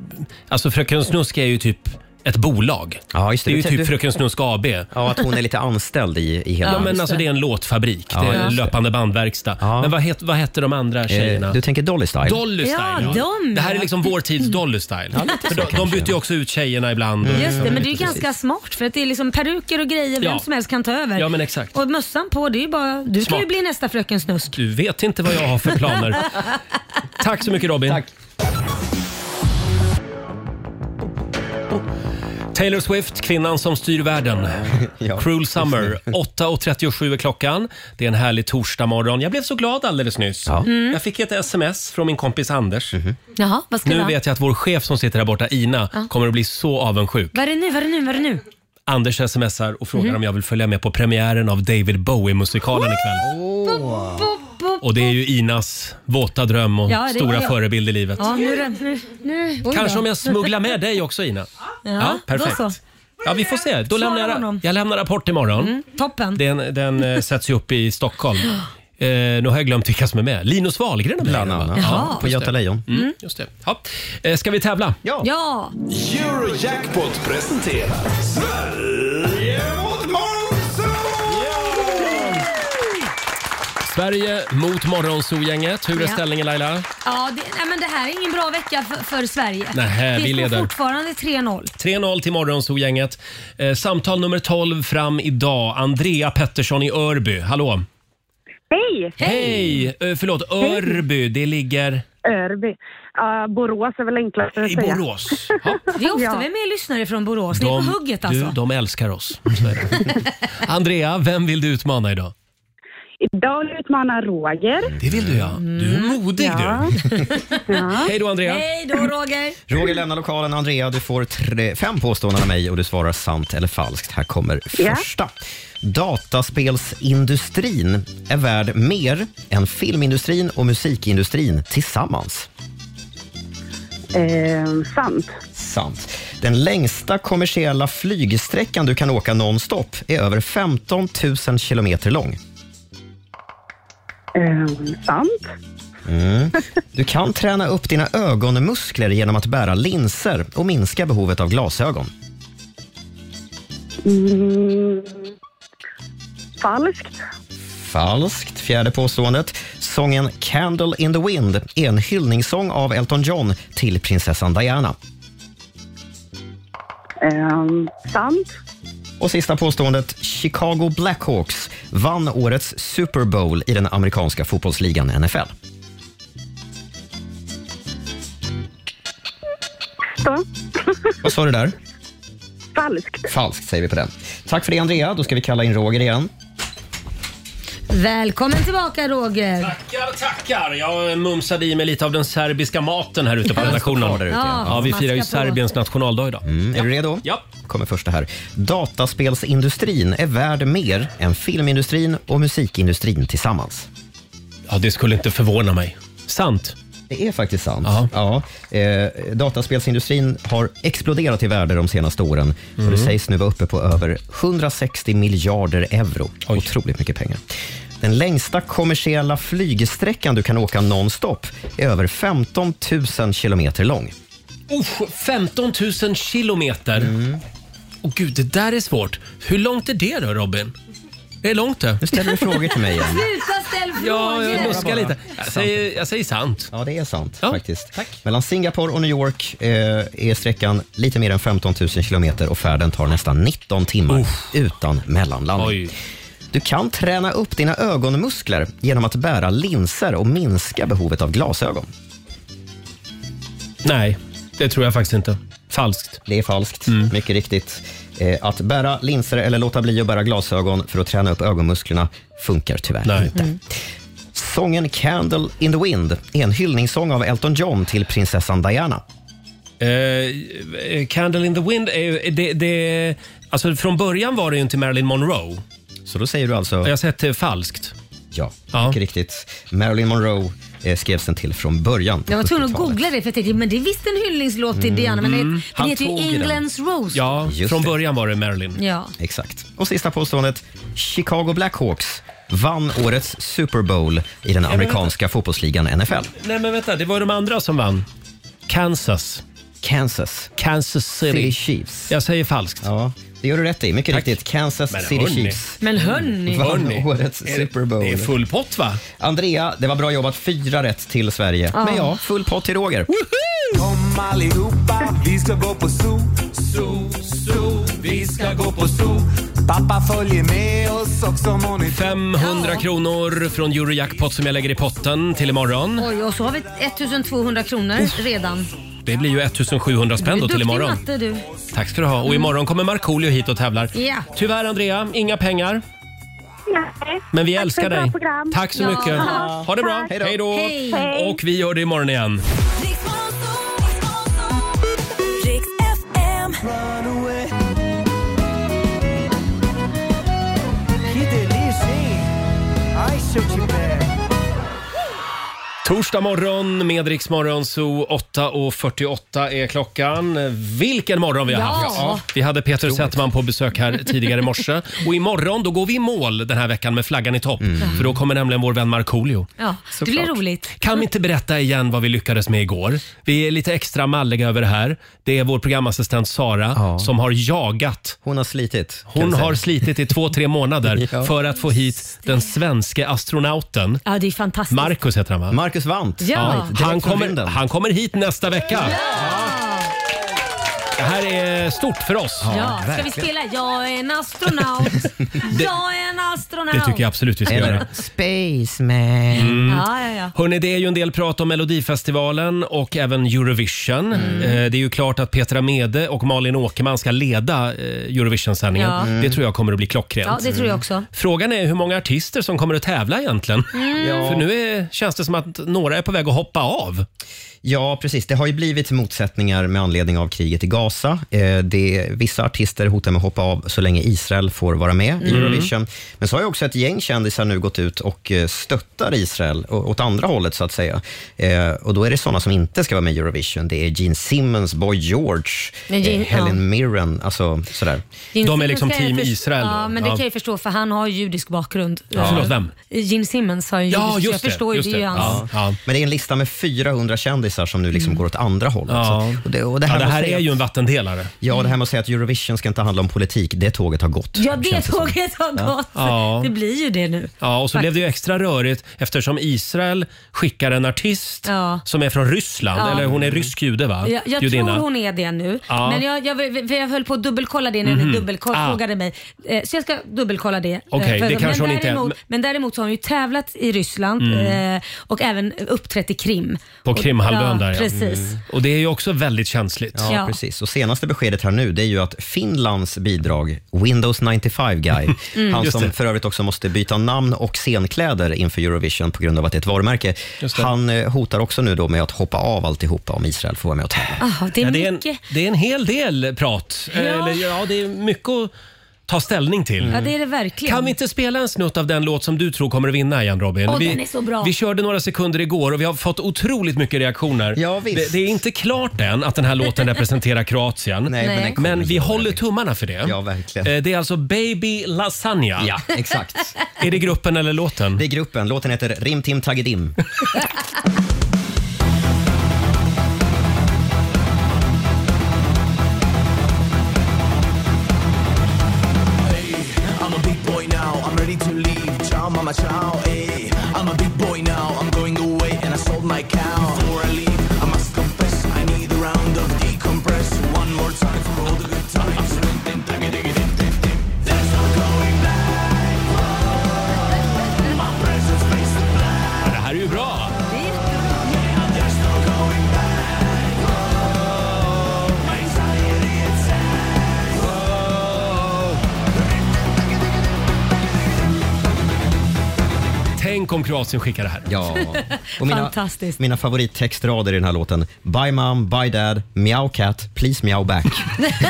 [SPEAKER 1] alltså Fröken Snusk är ju typ ett bolag.
[SPEAKER 4] Ja, just det.
[SPEAKER 1] är ju
[SPEAKER 4] Du-
[SPEAKER 1] typ
[SPEAKER 4] du-
[SPEAKER 1] Fröken Snusk AB.
[SPEAKER 4] Ja, att hon är lite anställd i, i hela... Eh,
[SPEAKER 1] Ja, men alltså det är en låtfabrik.
[SPEAKER 4] Ja,
[SPEAKER 1] det är en
[SPEAKER 4] just det.
[SPEAKER 1] löpande bandverkstad. Men vad, het, vad hette de andra tjejerna?
[SPEAKER 4] Eh, du tänker Dolly Style?
[SPEAKER 1] Dolly Style,
[SPEAKER 3] Ja, de,
[SPEAKER 1] Det här är
[SPEAKER 3] ja.
[SPEAKER 1] liksom vår tids Dolly Style. För de, de byter ju också ut tjejerna ibland. och-
[SPEAKER 3] Just det, men det är ju
[SPEAKER 1] Precis.
[SPEAKER 3] ganska smart för att det är liksom peruker och grejer, vem
[SPEAKER 1] Ja.
[SPEAKER 3] som helst kan ta över.
[SPEAKER 1] Ja, men exakt.
[SPEAKER 3] Och mössan på, det är ju bara, du kan ju
[SPEAKER 1] Smart.
[SPEAKER 3] bli nästa Fröken Snusk.
[SPEAKER 1] Du vet inte vad jag har för planer. Tack så mycket Robin. Taylor Swift, kvinnan som styr världen. Cruel Summer. 8.37 är klockan. Det är en härlig torsdagmorgon. Jag blev så glad alldeles nyss.
[SPEAKER 3] Mm.
[SPEAKER 1] Jag fick ett sms från min kompis Anders.
[SPEAKER 3] Jaha, vad ska det
[SPEAKER 1] Nu
[SPEAKER 3] vara?
[SPEAKER 1] vet jag att vår chef som sitter här borta, Ina,
[SPEAKER 3] Ja.
[SPEAKER 1] kommer att bli så avundsjuk.
[SPEAKER 3] Vad är det nu, vad är det nu, vad är det nu?
[SPEAKER 1] Anders smsar och frågar
[SPEAKER 3] Mhm.
[SPEAKER 1] om jag vill följa med på premiären av David Bowie-musikalen ikväll.
[SPEAKER 3] Bo, bo,
[SPEAKER 1] Och det är ju Inas våta dröm och
[SPEAKER 3] Ja, det är
[SPEAKER 1] stora
[SPEAKER 3] jag.
[SPEAKER 1] förebild i livet.
[SPEAKER 3] Ja, nu, är det- nu, nu, oj
[SPEAKER 1] Kanske
[SPEAKER 3] då.
[SPEAKER 1] om jag smugglar med dig också Ina?
[SPEAKER 3] Ja,
[SPEAKER 1] perfekt.
[SPEAKER 3] då så.
[SPEAKER 1] Ja, vi får se. Då
[SPEAKER 3] Svara
[SPEAKER 1] lämnar jag,
[SPEAKER 3] honom. Mm.
[SPEAKER 1] jag lämnar rapport imorgon.
[SPEAKER 3] Toppen.
[SPEAKER 1] Den, den eh, sätts ju upp i Stockholm. Eh, nu har jag glömt vilka som är med. Linus Wahlgren är med. Bland
[SPEAKER 4] annat. Jaha. På Göta Lejon.
[SPEAKER 1] Mm, just det. Ja. Eh, ska vi tävla?
[SPEAKER 4] Ja.
[SPEAKER 3] ja.
[SPEAKER 2] Eurojackpot presenterar Sverige mot
[SPEAKER 1] Sverige mot Morgonzoo-gänget. Hur är
[SPEAKER 3] Ja.
[SPEAKER 1] ställningen Laila?
[SPEAKER 3] Ja, det, nej, men det här är ingen bra vecka för, för Sverige.
[SPEAKER 1] Nähä,
[SPEAKER 3] det
[SPEAKER 1] vi
[SPEAKER 3] står
[SPEAKER 1] leder.
[SPEAKER 3] fortfarande 3-0.
[SPEAKER 1] 3-0 till Morgonzoo-gänget. Eh, samtal nummer 12 fram idag. Andrea Pettersson i Örby. Hallå!
[SPEAKER 6] Hej!
[SPEAKER 1] Hej! Eh, förlåt,
[SPEAKER 6] Hej.
[SPEAKER 1] Örby. Det ligger...
[SPEAKER 6] Örby. Ja, Borås är väl enklast att
[SPEAKER 1] I
[SPEAKER 6] säga.
[SPEAKER 1] Borås.
[SPEAKER 3] Det är ofta vi är med lyssnare från Borås. Ni är på hugget alltså.
[SPEAKER 1] du, de älskar oss. Så är det. Andrea, vem vill du utmana idag?
[SPEAKER 6] Idag vill jag utmana Roger.
[SPEAKER 1] Det vill du ja. Du är modig
[SPEAKER 6] Ja.
[SPEAKER 1] du. Hej då Andrea.
[SPEAKER 3] Mm, Hej då Roger.
[SPEAKER 4] Roger lämnar lokalen. Andrea, du får tre, fem påståenden av mig och du svarar sant eller falskt. Här kommer
[SPEAKER 6] Ja.
[SPEAKER 4] första. Dataspelsindustrin är värd mer än filmindustrin och musikindustrin tillsammans.
[SPEAKER 6] Eh, sant.
[SPEAKER 4] Sant. Den längsta kommersiella flygsträckan du kan åka nonstop är över 15 000 kilometer lång.
[SPEAKER 6] Eh, sant.
[SPEAKER 4] Mm. Du kan träna upp dina ögonmuskler genom att bära linser och minska behovet av glasögon.
[SPEAKER 6] Mm. Falskt.
[SPEAKER 4] Falskt. Fjärde påståendet. Sången Candle in the Wind är en hyllningssång av Elton John till prinsessan Diana.
[SPEAKER 6] Eh, sant.
[SPEAKER 4] Och sista påståendet. Chicago Blackhawks vann årets Super Bowl i den amerikanska fotbollsligan NFL.
[SPEAKER 6] Så.
[SPEAKER 4] Vad sa du där?
[SPEAKER 6] Falskt.
[SPEAKER 4] Falskt säger vi på den. Tack för det Andrea. Då ska vi kalla in Roger igen.
[SPEAKER 3] Välkommen tillbaka Roger.
[SPEAKER 1] Tackar, tackar. Jag mumsade i mig lite av den serbiska maten här ute på redaktionen.
[SPEAKER 4] Ja,
[SPEAKER 1] ja. vi firar ju
[SPEAKER 4] smaska på.
[SPEAKER 1] Serbiens nationaldag idag.
[SPEAKER 4] Mm, är du redo?
[SPEAKER 1] Ja.
[SPEAKER 4] kommer första här. Dataspelsindustrin är värd mer än filmindustrin och musikindustrin tillsammans.
[SPEAKER 1] Ja, det skulle inte förvåna mig. Sant.
[SPEAKER 4] Det är faktiskt sant. Ja. Eh, dataspelsindustrin har exploderat i värde de senaste åren.
[SPEAKER 1] Mm.
[SPEAKER 4] Och det sägs nu vara uppe på över 160 miljarder euro. Otroligt mycket pengar. Den längsta kommersiella flygsträckan du kan åka nonstop är över 15 000 kilometer lång.
[SPEAKER 1] Usch, 15 000 kilometer. Åh gud, det där är svårt. Hur långt är det då Robin? Det är långt det.
[SPEAKER 4] Nu ställer du frågor till mig igen.
[SPEAKER 3] Sluta ställ frågor.
[SPEAKER 1] Ja, jag
[SPEAKER 4] Bara,
[SPEAKER 1] luskar
[SPEAKER 4] bara.
[SPEAKER 1] lite. Jag säger, jag säger sant.
[SPEAKER 4] Ja, det är sant faktiskt. Mellan Singapore och New York eh, är sträckan lite mer än 15 000 kilometer och färden tar nästan 19 timmar utan mellanlandning. Du kan träna upp dina ögonmuskler genom att bära linser och minska behovet av glasögon.
[SPEAKER 1] Nej, det tror jag faktiskt inte. Falskt.
[SPEAKER 4] Det är falskt, mycket riktigt. Eh, att bära linser eller låta bli att bära glasögon för att träna upp ögonmusklerna funkar tyvärr inte. Sången Candle in the Wind är en hyllningssång av Elton John till prinsessan Diana.
[SPEAKER 1] Eh, Candle in the Wind är ju... Det, det, alltså från början var det ju inte Marilyn Monroe.
[SPEAKER 4] Så då säger du alltså...
[SPEAKER 1] Jag har sett det är falskt.
[SPEAKER 4] Ja, mycket riktigt. Marilyn Monroe eh, skrevs den till från början. på
[SPEAKER 3] Jag var tvungen att
[SPEAKER 4] 70-talet.
[SPEAKER 3] googla det för jag tänkte, men det är visst en hyllningslåt till
[SPEAKER 4] Mm.
[SPEAKER 3] Diana. Men
[SPEAKER 4] Mm.
[SPEAKER 3] den, den
[SPEAKER 4] Han
[SPEAKER 3] heter ju
[SPEAKER 4] tog den.
[SPEAKER 3] Englands Rose.
[SPEAKER 1] Ja, från början var det Marilyn.
[SPEAKER 3] Ja.
[SPEAKER 4] Exakt. Och sista påståendet. Chicago Blackhawks vann årets Super Bowl i den amerikanska fotbollsligan NFL.
[SPEAKER 1] Nej men vänta, det var de andra som vann. Kansas.
[SPEAKER 4] Kansas.
[SPEAKER 1] Kansas City.
[SPEAKER 4] City Chiefs.
[SPEAKER 1] Jag säger falskt.
[SPEAKER 4] Ja, det gör du rätt i. Mycket riktigt. Kansas
[SPEAKER 1] Men
[SPEAKER 4] City
[SPEAKER 1] hörni.
[SPEAKER 4] Chiefs.
[SPEAKER 3] Men hörni.
[SPEAKER 4] Vann
[SPEAKER 1] Hörni.
[SPEAKER 4] årets
[SPEAKER 1] Är det-
[SPEAKER 4] Super Bowl.
[SPEAKER 1] det är full pott va?
[SPEAKER 4] Andrea, det var bra jobbat. Fyra rätt till Sverige.
[SPEAKER 1] Ja.
[SPEAKER 4] Men ja, full pott till Roger.
[SPEAKER 17] Kom allihopa, vi ska gå på zoo, zoo, zoo. Vi ska gå på zoo. Pappa följer med oss också må ni
[SPEAKER 1] 500 kronor från Eurojackpot som jag lägger i potten till imorgon.
[SPEAKER 3] Oj, och så har vi 1200 kronor redan.
[SPEAKER 1] Det blir ju 1700 spänn då till
[SPEAKER 3] Du är
[SPEAKER 1] imorgon.
[SPEAKER 3] duktig i matte du.
[SPEAKER 1] Tack ska du
[SPEAKER 6] Mm.
[SPEAKER 1] ha. Och imorgon kommer Markoolio hit och tävlar.
[SPEAKER 3] Ja.
[SPEAKER 1] Tyvärr Andrea, inga pengar.
[SPEAKER 6] Nej.
[SPEAKER 1] Men vi
[SPEAKER 6] Tack för
[SPEAKER 1] älskar
[SPEAKER 6] ett bra
[SPEAKER 1] dig.
[SPEAKER 6] program.
[SPEAKER 1] Tack så
[SPEAKER 6] Ja.
[SPEAKER 1] mycket. Ha det bra.
[SPEAKER 6] Tack.
[SPEAKER 1] Hej då.
[SPEAKER 6] Hej. Hej.
[SPEAKER 1] Och vi gör det imorgon igen.
[SPEAKER 12] Riks FM.
[SPEAKER 1] Torsdag morgon med Rix Morgon, så 8.48 är klockan. Vilken morgon vi har
[SPEAKER 12] Ja.
[SPEAKER 1] haft! Vi hade Peter Settman på besök här tidigare i morse. Och imorgon då går vi i mål den här veckan med flaggan i topp. För då kommer nämligen vår vän Markoolio.
[SPEAKER 3] Ja, det blir roligt.
[SPEAKER 1] Kan vi inte berätta igen vad vi lyckades med igår? Vi är lite extra malliga över det här. Det är vår programassistent Sara som har jagat.
[SPEAKER 4] Hon har slitit.
[SPEAKER 1] Hon har slitit i två, tre månader för att få hit den svenske astronauten.
[SPEAKER 3] Ja, det är fantastiskt.
[SPEAKER 1] Marcus heter han va?
[SPEAKER 4] Marcus Vant.
[SPEAKER 3] Ja.
[SPEAKER 1] Han, kommer, han kommer hit nästa vecka. Det här är stort för oss.
[SPEAKER 3] Ja, ska vi spela Jag är en astronaut? Jag är en astronaut.
[SPEAKER 1] Det tycker jag Mm. absolut vi ska
[SPEAKER 4] Eller
[SPEAKER 1] göra.
[SPEAKER 4] Spaceman.
[SPEAKER 3] Ja, ja, ja.
[SPEAKER 1] Hörrni, det är ju en del prat om Melodifestivalen och även Eurovision.
[SPEAKER 3] Mm.
[SPEAKER 1] Eh, Det är ju klart att Petra Mede och Malin Åkerman ska leda eh, Eurovision-sändningen.
[SPEAKER 3] Ja. Mm.
[SPEAKER 1] Det tror jag kommer att bli klockrent.
[SPEAKER 3] Ja, det tror jag också.
[SPEAKER 1] Frågan är hur många artister som kommer att tävla egentligen.
[SPEAKER 3] Mm. Ja.
[SPEAKER 1] För nu är, känns det som att några är på väg att hoppa av.
[SPEAKER 4] Ja, precis. Det har ju blivit motsättningar med anledning av kriget i Gaza. Eh, det, vissa artister hotar med att hoppa av så länge Israel får vara med i
[SPEAKER 18] Mm.
[SPEAKER 4] Eurovision. Men så har ju också ett gäng kändisar nu gått ut och eh, stöttar Israel å- åt andra hållet, så att säga. Eh, och då är det sådana som inte ska vara med i Eurovision. Det är Gene Simmons, Boy George,
[SPEAKER 3] Men Gene-
[SPEAKER 4] eh, Helen
[SPEAKER 3] ja.
[SPEAKER 4] Mirren, alltså sådär.
[SPEAKER 3] Gene Simmons
[SPEAKER 1] liksom
[SPEAKER 3] kan jag först- Ja, men det kan jag ju förstå för han har ju judisk bakgrund.
[SPEAKER 4] Ja. Förlåt, vem?
[SPEAKER 3] Gene Simmons har ju judisk. Ja, jag förstår ju, det är ju hans.
[SPEAKER 4] Men det är en lista med 400 kändisar som nu liksom går åt andra hållet.
[SPEAKER 1] Mm. Ja.
[SPEAKER 4] Så- Och det, och det
[SPEAKER 1] Ja,
[SPEAKER 4] här,
[SPEAKER 1] det
[SPEAKER 4] med att
[SPEAKER 1] här
[SPEAKER 4] säga-
[SPEAKER 1] är ju en vattendelare.
[SPEAKER 4] Ja, det här med att säga att Eurovision ska inte handla om politik, det tåget har gått.
[SPEAKER 3] Ja, det tåget har
[SPEAKER 4] Ja.
[SPEAKER 3] gått.
[SPEAKER 1] Ja.
[SPEAKER 3] Det blir ju det nu.
[SPEAKER 1] Ja, och så
[SPEAKER 3] Fakt-
[SPEAKER 1] blev det ju extra rörigt eftersom Israel skickar en artist
[SPEAKER 3] Ja.
[SPEAKER 1] som är från Ryssland,
[SPEAKER 3] Ja.
[SPEAKER 1] eller hon är rysk jude va?
[SPEAKER 3] Jag, jag
[SPEAKER 1] Judinna.
[SPEAKER 3] tror hon är det nu.
[SPEAKER 1] Ja.
[SPEAKER 3] Men jag, jag, för jag höll på att dubbelkolla det när ni
[SPEAKER 1] Mhm. Ah.
[SPEAKER 3] dubbelfrågade mig. Eh, Så jag ska dubbelkolla det. eh,
[SPEAKER 1] Okej, det
[SPEAKER 3] för- men,
[SPEAKER 1] kanske hon inte är,
[SPEAKER 3] däremot,
[SPEAKER 1] men-
[SPEAKER 3] men däremot så har hon ju tävlat i Ryssland
[SPEAKER 1] Mm.
[SPEAKER 3] eh, och även uppträtt i Krim.
[SPEAKER 1] På
[SPEAKER 3] Och-
[SPEAKER 1] Krimhalvön
[SPEAKER 3] ja,
[SPEAKER 1] där ja. Mm.
[SPEAKER 3] Precis.
[SPEAKER 1] Och det är ju också väldigt känsligt.
[SPEAKER 4] Ja,
[SPEAKER 3] Ja.
[SPEAKER 4] precis. Och senaste beskedet här nu, det är ju att Finlands bidrag, Windows 95 Guy,
[SPEAKER 1] Mm.
[SPEAKER 4] han
[SPEAKER 1] Just
[SPEAKER 4] som
[SPEAKER 1] det.
[SPEAKER 4] för övrigt också måste byta namn och scenkläder inför Eurovision på grund av att det är ett varumärke, han eh, hotar också nu då med att hoppa av alltihopa om Israel får vara med och tävla.
[SPEAKER 3] Aha, Ah, det är
[SPEAKER 1] Ja, det, är en,
[SPEAKER 3] mycket.
[SPEAKER 1] det är en hel del prat. Eh,
[SPEAKER 3] Ja.
[SPEAKER 1] Eller, ja, det är mycket att ta ställning till.
[SPEAKER 3] Ja, det är det verkligen.
[SPEAKER 1] Kan vi inte spela en snutt av den låt som du tror kommer att vinna igen Robin?
[SPEAKER 3] Åh,
[SPEAKER 1] vi,
[SPEAKER 3] den är så bra.
[SPEAKER 1] vi körde några sekunder igår och vi har fått otroligt mycket reaktioner.
[SPEAKER 4] Ja, visst.
[SPEAKER 1] Det, det är inte klart än att den här låten representerar Kroatien.
[SPEAKER 4] men den Nej. kommer
[SPEAKER 1] vi håller tummarna för det.
[SPEAKER 4] Ja, verkligen.
[SPEAKER 1] Eh, Det är alltså Baby Lasagna.
[SPEAKER 4] Ja, exakt.
[SPEAKER 1] är det gruppen eller låten?
[SPEAKER 4] Det är gruppen. Låten heter Rim Tim Tagedim.
[SPEAKER 19] I'm a big boy now, I'm ready to leave. Ciao, mama, ciao, ayy. I'm a big boy now, I'm going away and I sold my cow. Before I leave, I must confess, I need a round of decompress. One more time for all the good times. Ring, ding, dang, ding, ding, ding, ding, ding. There's no going back. My presence face the black.
[SPEAKER 1] Ja, Det här är ju bra!
[SPEAKER 19] Yeah, there's no going back. Oh, anxiety, it's sad. Whoa.
[SPEAKER 1] Tänk om Kroatien skickar det här.
[SPEAKER 4] Ja.
[SPEAKER 3] Fantastiskt.
[SPEAKER 4] Mina favorittextrader i den här låten. Bye mom, bye dad, meow cat, please meow back.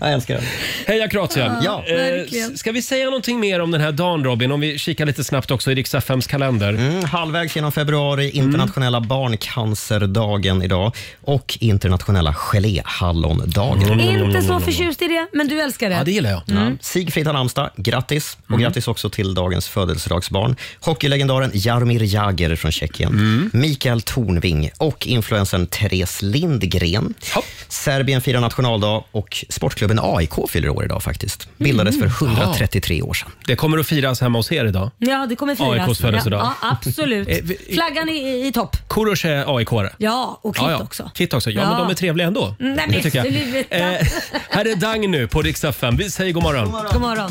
[SPEAKER 4] Jag älskar den.
[SPEAKER 1] Heja Kroatien!
[SPEAKER 4] Ja.
[SPEAKER 1] Eh,
[SPEAKER 4] Verkligen.
[SPEAKER 1] ska vi säga någonting mer om den här dagen Robin? Om vi kikar lite snabbt också i Rix FMs kalender.
[SPEAKER 4] Mm, halvvägs genom februari, internationella barncancerdagen idag och internationella
[SPEAKER 3] Mm.
[SPEAKER 4] geléhallondagen.
[SPEAKER 3] Inte så förtjust i det, men du älskar det. Ja,
[SPEAKER 1] det gillar jag.
[SPEAKER 3] Mm.
[SPEAKER 4] Ja. Sigfrid har namnsdag, grattis! Och grattis också till dagens födelsedagsbarn. Hockeylegendaren Jaromir Jagr från Tjeckien, Mikael Tornving och influensen Therese Lindgren. Serbien firar nationaldag och sportklubben AIK fyller år idag faktiskt. Bildades
[SPEAKER 3] Mm.
[SPEAKER 4] för 133 år sedan.
[SPEAKER 1] Det kommer att firas hemma hos er idag.
[SPEAKER 3] Ja, det kommer firas.
[SPEAKER 1] AIKs födelsedag.
[SPEAKER 3] Ja, ja, absolut.
[SPEAKER 1] Eh, vi-
[SPEAKER 3] Flaggan i, i topp.
[SPEAKER 1] Korosh är aik -are.
[SPEAKER 3] Ja, och Kit också.
[SPEAKER 1] Kit också. Ja,
[SPEAKER 3] Ja. Mm,
[SPEAKER 1] men de är trevliga ändå.
[SPEAKER 3] Nej,
[SPEAKER 1] Det
[SPEAKER 3] men
[SPEAKER 1] tycker jag.
[SPEAKER 3] sluta.
[SPEAKER 1] Eh, här är Dang nu på Rix FM. Vi säger god morgon.
[SPEAKER 3] God morgon.